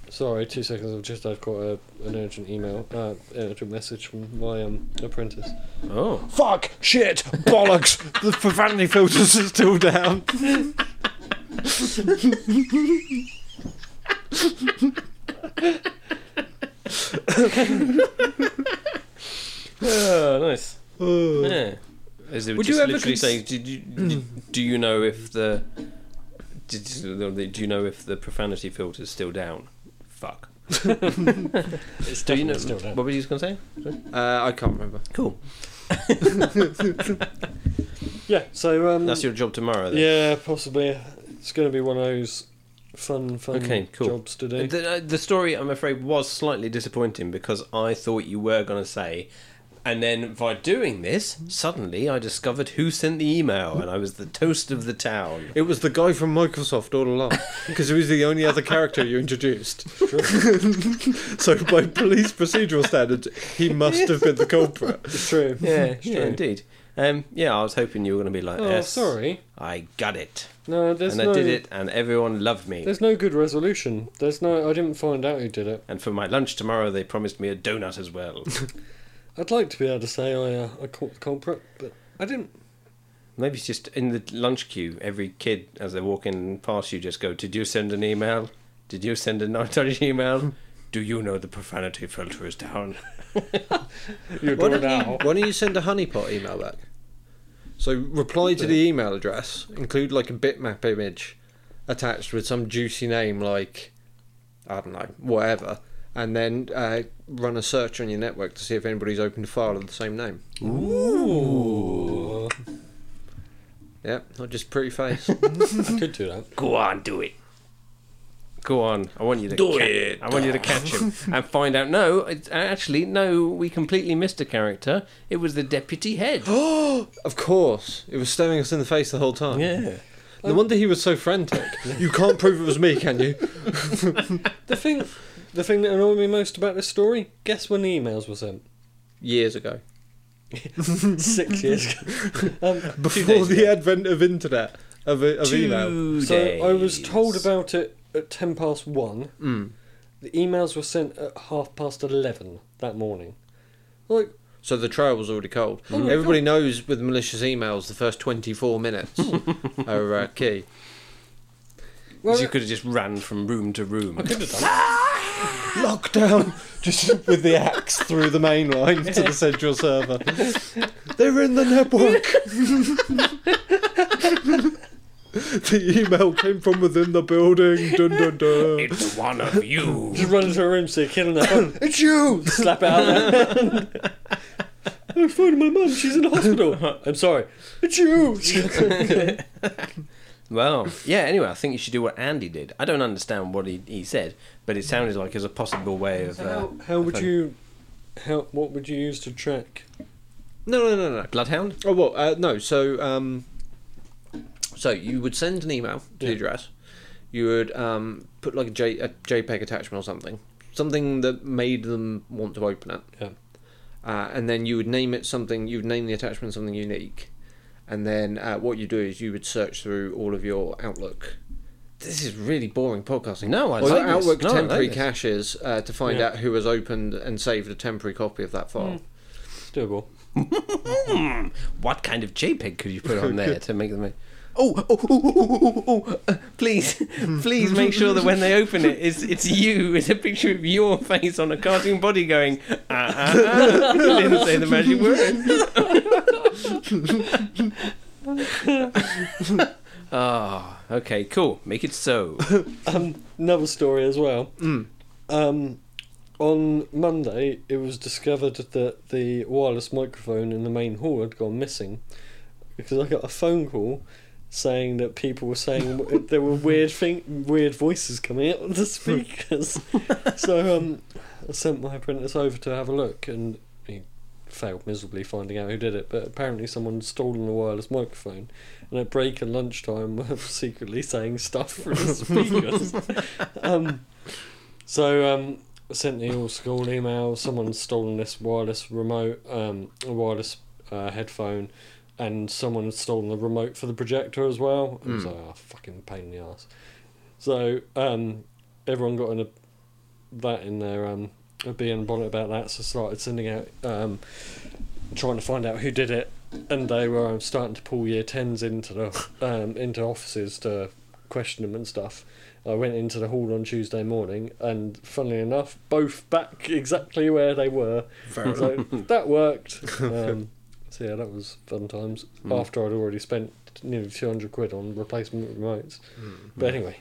Sorry, two seconds. I've just I've got a, an urgent email, uh, an urgent message from my um, apprentice.
Oh.
Fuck! Shit! Bollocks! the profanity filters are still down.
Oh, nice. yeah. As they would,
Would you
just
ever
literally
cons-
say, Did you, did- do you know if the d- d- do you know if the profanity filter's still down? Fuck.
[LAUGHS] It's
Do you know?
definitely still down.
What were you going to say?
Uh, I can't remember.
Cool.
Yeah, so um,
That's your job tomorrow. Then.
yeah, possibly it's going to be one of those fun, fun
Okay, cool.
jobs to do.
The, uh, the story, I'm afraid, was slightly disappointing because I thought you were going to say, and then by doing this, suddenly I discovered who sent the email, and I was the toast of the town.
It was the guy from Microsoft all along, [LAUGHS] because he was the only other character you introduced. [LAUGHS] so, by police procedural standards, he must have been the culprit.
It's true.
[LAUGHS] Yeah,
[LAUGHS] It's
yeah
true.
indeed. Um, yeah, I was hoping you were going to be like,
Oh,
yes,
sorry.
I got it.
No, there's
and
no.
I did it, and everyone loved me.
There's no good resolution. There's no. I didn't find out who did it.
And for my lunch tomorrow, they promised me a donut as well.
I'd like to be able to say I, uh, I caught the culprit, but I didn't.
Maybe it's just in the lunch queue, every kid, as they're walking past you, just go, Did you send an email? Did you send a not an [LAUGHS] email? Do you know the profanity filter is down?
You're
Why
doing
don't,
now.
you, why don't you send a honeypot email back? So reply to the email address, include like a bitmap image attached with some juicy name like I don't know, whatever, and then uh, run a search on your network to see if anybody's opened a file of the same name.
Ooh.
Yeah, not just pretty face.
[LAUGHS]
[GASPS]
I could do that.
Go on, do it. Go on. I want you to
Do
ca-
it.
I want you to catch him and find out. No, it's, uh, actually, no. We completely missed a character. It was the deputy head.
[GASPS] of course, it was staring us in the face the whole time.
yeah.
No wonder he was so frantic. you can't prove it was me, can you?
The thing, the thing that annoyed me most about this story. Guess when the emails were sent?
Years ago,
Six years ago. Um,
before
days
the advent of internet of, of email.
Two
so I was
days.
told about it at ten past one.
Mm.
The emails were sent at half past eleven that morning. Like,
So the trail was already cold.
Oh my
Everybody knows with malicious emails, the first 24
[LAUGHS]
minutes are uh, key.
well, uh,
you could have just ran from room to room.
I could have done.
Lockdown! [LAUGHS] Just with the axe through the main line to the central server. They're in the
[LAUGHS]
network! the email came from within the building. Dun, dun, dun.
It's one of
[LAUGHS]
you.
[LAUGHS] Just run into a room, see a kid on the phone,
It's you!
[LAUGHS] slap it out. I phoned my mum. She's in the hospital. I'm sorry. It's you. [LAUGHS]
Well, yeah, anyway, I think you should do what Andy did. I don't understand what he, he said, but it sounded like it was a possible way of. Uh,
how, how would you? How? What would you use to track?
No, no, no, no.
Bloodhound?
Oh well, uh, no. So, um, so you would send an email to the
Yeah.
address. You would um, put like a, J, a JPEG attachment or something, something that made them want to open it.
Yeah.
Uh, and then you would name it something. You would name the attachment something unique. And then uh, what you do is you would search through all of your Outlook. This is really boring podcasting.
No, I
Or
like
your
this.
Outlook
No, I like
temporary
this.
caches uh, to find
Yeah.
out who has opened and saved a temporary copy of that file.
Doable.
Hmm, what kind of JPEG could you put [LAUGHS] on there to make them. Oh, oh, oh, oh, oh, oh, oh, uh, [LAUGHS] please, please make sure that when they open it, it's, it's you. It's a picture of your face on a cartoon body going, ah, ah, ah. didn't say the magic word. [LAUGHS] Ah, okay, cool. Make it so.
[LAUGHS] Um, another story as well. Um, on Monday, it was discovered that the wireless microphone in the main hall had gone missing because I got a phone call saying that people were saying w- there were weird thing, weird voices coming out of the speakers. so um, I sent my apprentice over to have a look, and he failed miserably finding out who did it. But apparently, someone had stolen the wireless microphone, and at break and lunchtime, [LAUGHS] were secretly saying stuff through the speakers. um, so um, I sent the all school email. Someone's stolen this wireless remote, um, a wireless uh, headphone, and someone had stolen the remote for the projector as well. It was like, oh, fucking pain in the ass. So um, everyone got in a, that in their um, a bee in a bonnet about that. So started sending out, um, trying to find out who did it, and they were um, starting to pull year tens into the um, into offices to question them and stuff. I went into the hall on Tuesday morning, and funnily enough, both back exactly where they were.
[LAUGHS] Hmm.
So that worked. Um, so yeah, that was fun times. After I'd already spent nearly 200 quid on replacement remotes.
Hmm.
But anyway,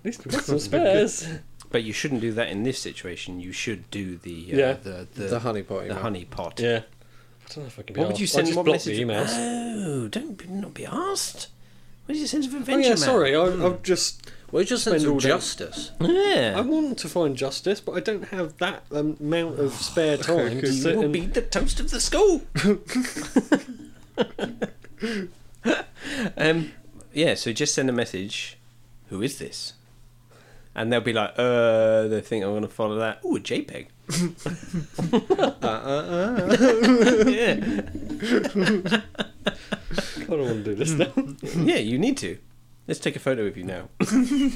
at least we've got
[LAUGHS]
some spares.
But you shouldn't do that in this situation. You should do the uh,
Yeah.
the the,
The, honey pot
the
email.
honey pot.
yeah. I don't know if I can be
What would
arsed.
you
I
send?
just
What
blocked the
message? [GASPS]
emails.
Oh, don't be, not be asked. What did you send to
Oh
adventure?
yeah,
Man?
sorry. I, I've just
Well, it's just sense
Spend
of
all day-
justice.
I
Yeah.
want to find justice, but I don't have that um, amount
[LAUGHS]
of spare time to
You
sit
will
and
be the toast of the school. [LAUGHS] um, yeah. So just send a message. Who is this? And they'll be like, uh, they think I'm going to follow that. Ooh, a JPEG. [LAUGHS]
Uh,
yeah.
I don't want to do
Hmm.
this now. [LAUGHS]
yeah, you need to. Let's take a photo of you now. then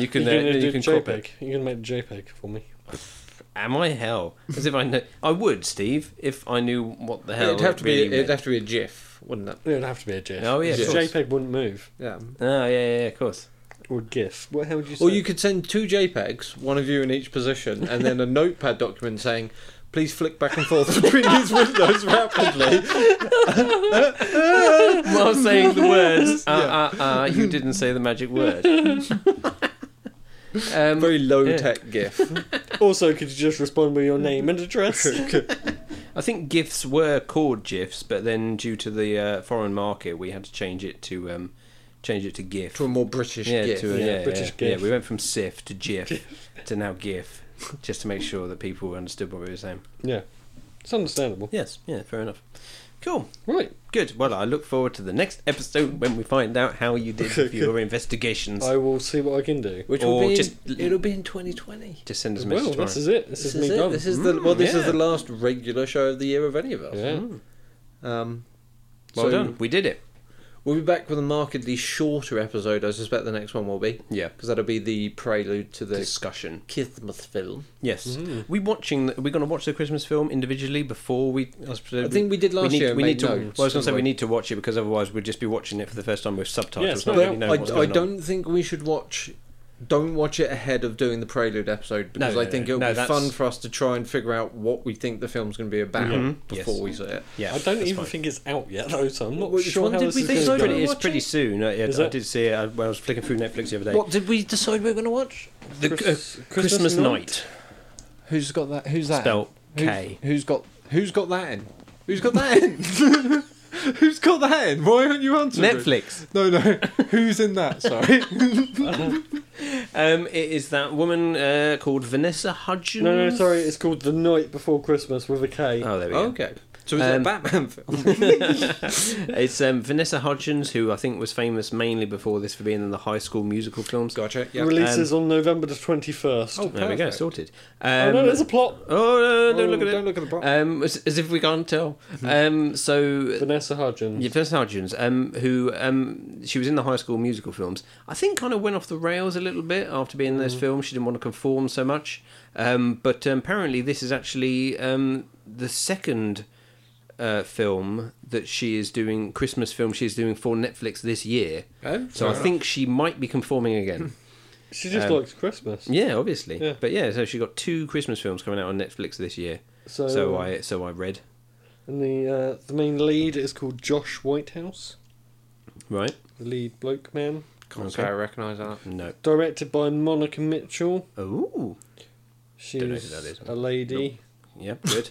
you can,
You're
uh,
gonna
then
do
you can crop
JPEG.
it.
You're gonna make JPEG for me.
Am I hell? As if I know. I would, Steve, if I knew what the hell.
it'd have to
really
be. It'd
meant.
have to be a GIF, wouldn't it?
It would have to be a GIF.
Oh, yeah,
Because
of course.
JPEG wouldn't move
Yeah.
Oh yeah, yeah, yeah, of course. [LAUGHS]
or GIF. Well, how would you? Say?
Or you could send two JPEGs, one of you in each position, and then a [LAUGHS] notepad document saying, "Please flick back and forth [LAUGHS] between these windows rapidly."
While saying the
[LAUGHS]
words, uh, uh, uh, you didn't say the magic word. um,
[LAUGHS] Very low
Yeah.
tech GIF.
also could you just respond with your name
[LAUGHS]
and address?
I think GIFs were called GIFs, but then due to the uh, foreign market, we had to change it to um, change it to GIF.
to a more British
yeah,
GIF.
to a,
Yeah,
yeah,
British
yeah,
GIF.
Yeah, we went from SIF to GIF [LAUGHS] to now GIF, just to make sure that people understood what we were saying.
yeah, it's understandable.
Yes, yeah, fair enough. Cool,
Right,
good. Well, I look forward to the next episode when we find out how you
[LAUGHS]
did with your investigations.
I will see what I can do.
Which
Or
will be
just-
in, it'll be in 2020.
Just send us a message
Well,
tomorrow.
this is it. This, is, me
it.
done.
This is Mm. the well. This is
yeah.
the last regular show of the year of any of us.
yeah.
Hmm.
Um,
well
so
done, we did it.
We'll be back with a markedly shorter episode. I suspect the next one will be
Yeah,
because that'll be the prelude to the
discussion.
Kismuth film.
Yes,
Mm.
we watching. The, we're going to watch the Christmas film individually before we. I, suppose
I think we did last
need,
year. and
We
made
need to.
notes,
well, I was going to say
didn't
we need to watch it because otherwise we'd just be watching it for the first time with
Yeah,
subtitles.
it's
not
not-
really know what's
Well, I, I
going on.
don't think we should watch. Don't watch it ahead of doing the prelude episode because
no,
I think
no.
it'll
No,
be
that's-
fun for us to try and figure out what we think the film's going to be about
Mhm. Yes.
before we see it.
Yeah,
I don't
that's fine.
even think it's out yet, though, so I'm not
Which
sure
one
how
did
this
we
is
think
going
It's
to
so?
go.
pretty, it's
watch
pretty
it?
soon. I, I,
Is
I
it?
did see it uh, when I was flicking through Netflix the other day.
What did we decide we were going to watch?
The
Chris-
uh,
Christmas
Christmas,
Night?
night,
Who's got that? Who's that?
spelt
Who's-
K.
who's got?
Who's got that in? Who's got that in? Who's got that in? Why aren't you answering?
[LAUGHS] Netflix.
No, no. Who's in that? Sorry.
Um, it is that woman uh, called Vanessa Hudgens.
No, no, sorry. It's called The Night Before Christmas with a K.
Oh, there we go.
okay. So is it
Um,
a Batman film?
It's um, Vanessa Hudgens, who I think was famous mainly before this for being in the High School Musical films.
Gotcha. Yeah.
Releases on November the 21st.
Oh,
There we go,
perfect.
sorted.
oh,
Um,
no, there's a plot.
Oh, no, no, don't
Oh,
look at
Don't
it.
look at the box.
Um, as, as if we can't tell.
Mm-hmm.
Um, so,
Uh, Vanessa Hudgens.
yeah, Vanessa Hudgens, um, who um, she was in the High School Musical films, I think kind of went off the rails a little bit after being in those
Mm.
films. She didn't want to conform so much. Um, but um, apparently, this is actually um, the second uh, film that she is doing, Christmas film she is doing for Netflix this year.
Oh,
So I think she might be conforming again.
She just
um,
likes Christmas.
Yeah, obviously.
Hmm. Yeah.
But yeah, so she got two Christmas films coming out on Netflix this year.
So,
So I so I read.
And the uh, the main lead is called Josh Whitehouse,
Right?
the lead bloke man.
Can't
okay.
say I recognise that.
No.
Directed by Monica Mitchell.
Ooh.
She's
Don't know who that is.
a lady.
Yep. Good.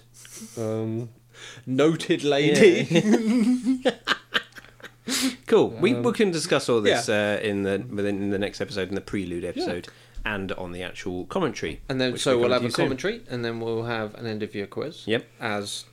Um,
Noted lady.
cool. we,
Um,
we can discuss all this uh, in the within in the next episode, in the prelude episode, and on the actual commentary.
[LAUGHS] And then,
which
so
we
we'll
come
have
to
a
you soon.
commentary, and then we'll have an end of year quiz.
Yep.
As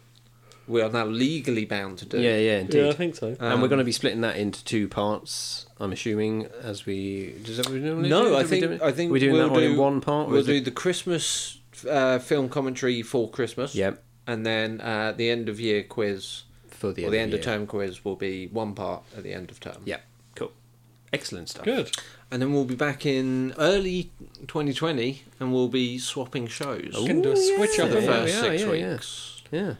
we are now legally bound to do.
Yeah. Yeah. Indeed. Uh,
yeah, I think so.
and we're
Um,
going to be splitting that into two parts. I'm assuming as we does that what we normally do?
No, I
Do we do
think
it-
I think
we're doing
we'll
that one in
do-
one part. or
We'll
is it-
do the Christmas uh, film commentary for Christmas.
Yep.
And then uh, the end of year quiz
For the
or
end,
the end of
year.
term quiz will be one part at the end of term.
Yep. Cool. Excellent stuff.
Good.
And then we'll be back in early 2020, and we'll be swapping shows
Ooh,
Can do a switch
for
up
yeah,
the
yeah,
first
yeah,
six
yeah, yeah.
weeks.
Yeah.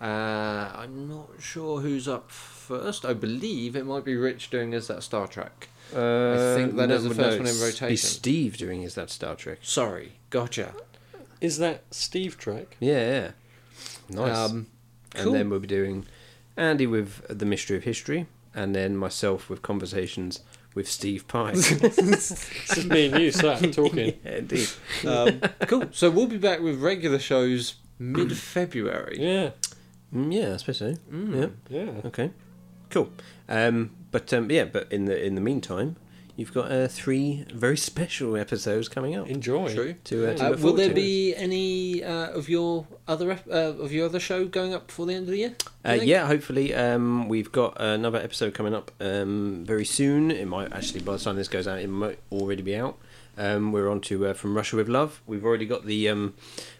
Uh, I'm not sure who's up first. I believe it might be Rich doing as that Star Trek.
Uh,
think that
no,
is the
no,
first one in
it's-
rotation.
It's Steve doing is that Star Trek?
Sorry, gotcha.
Is that Steve Trek?
Yeah, yeah. Nice.
Um,
And
cool.
then we'll be doing Andy with The Mystery of History. and then myself with conversations with Steve
[LAUGHS]
Pye.
It's just me and you sat
yeah,
talking.
indeed.
Um, cool. So we'll be back with regular shows mid February.
Yeah,
Mm, yeah, I suppose so.
Mm.
Yeah.
yeah.
Okay, cool. Um, but um, yeah, but in the in the meantime, you've got uh, three very [LAUGHS] special episodes coming up.
Enjoy.
True.
To, uh, to
Uh,
look
will
forward
there
to.
be any uh, of your other ep- uh, of your other show going up before the end of the year? I
Uh,
think?
yeah, hopefully um, we've got another episode coming up um, very soon. It might actually, by the time this goes out, it might already be out. Um, we're on to uh, from Russia with Love. We've already got the um,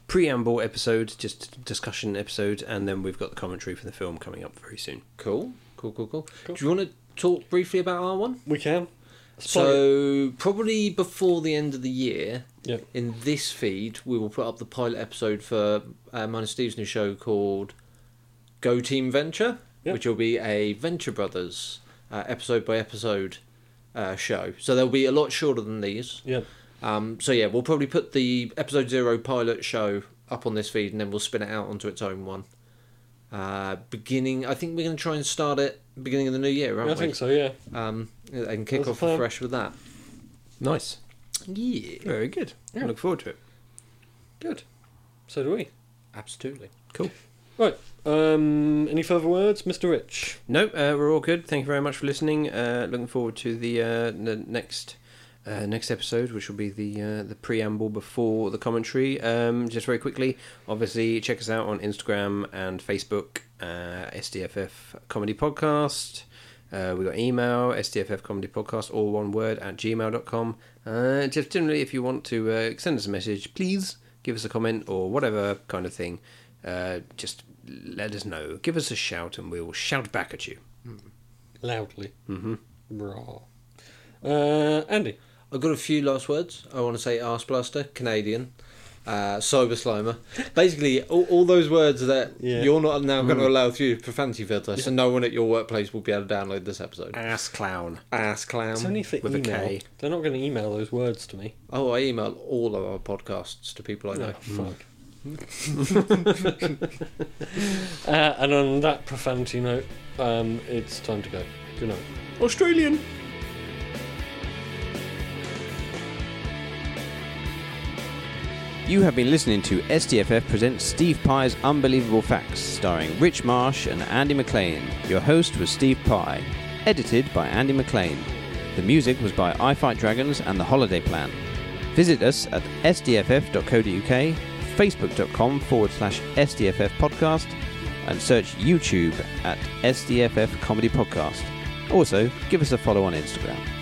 preamble episode, just discussion episode, and then we've got the commentary for the film coming up very soon.
Cool. Cool. Cool. Cool.
Cool.
Do you want to talk briefly about our one?
We can. Spot it.
So probably before the end of the year,
Yep.
in this feed, we will put up the pilot episode for uh, Man and Steve's new show called Go Team Venture,
Yep.
which will be a Venture Brothers uh, episode by episode uh, show. So they'll be a lot shorter than these.
Yep.
Um, so yeah, we'll probably put the episode zero pilot show up on this feed, and then we'll spin it out onto its own one. Uh, beginning, I think we're going to try and start it beginning of the new year,
Yeah,
aren't
I
we?
think so. Yeah.
Um, and kick
That's
off
the plan.
fresh with that.
Nice,
Yeah,
very good. I look forward to it.
Good. So do we.
absolutely.
Cool.
Um, any further words, Mr. Rich?
No, uh, we're all good. Thank you very much for listening. Uh, looking forward to the uh, the next uh, next episode, which will be the uh, the preamble before the commentary. Um, just very quickly, obviously, check us out on Instagram and Facebook, uh, SDFF Comedy Podcast. Uh, we got email, SDFF Comedy Podcast, all one word, at gmail.com. Uh, just generally, if you want to uh, send us a message, please give us a comment or whatever kind of thing. Uh, just let us know. Give us a shout and we'll shout back at you.
Loudly.
Mm-hmm.
Raw. Uh, Andy.
I've got a few last words. I want to say arse blaster, Canadian, uh, sober slimer. Basically, all, all those words that
Yeah.
you're not now going to allow through your profanity filter, so no one at your workplace will be able to download this episode.
Ass clown.
Ass clown.
It's only for
Um, with a
email.
K.
They're not going to email those words to me. Oh,
Oh, I email all of our podcasts to
Oh,
people I know.
Hmm.
fuck. [LAUGHS] uh, and on that profanity note, um, it's time to go. Good night.
Australian. You have been listening to SDFF presents Steve Pye's Unbelievable Facts, starring Rich Marsh and Andy McLean. Your host was Steve Pye, edited by Andy McLean. The music was by I Fight Dragons and The Holiday Plan. Visit us at sdff.co.uk, facebook.com forward slash SDFF podcast, and search YouTube at SDFF Comedy Podcast. Also, give us a follow on Instagram.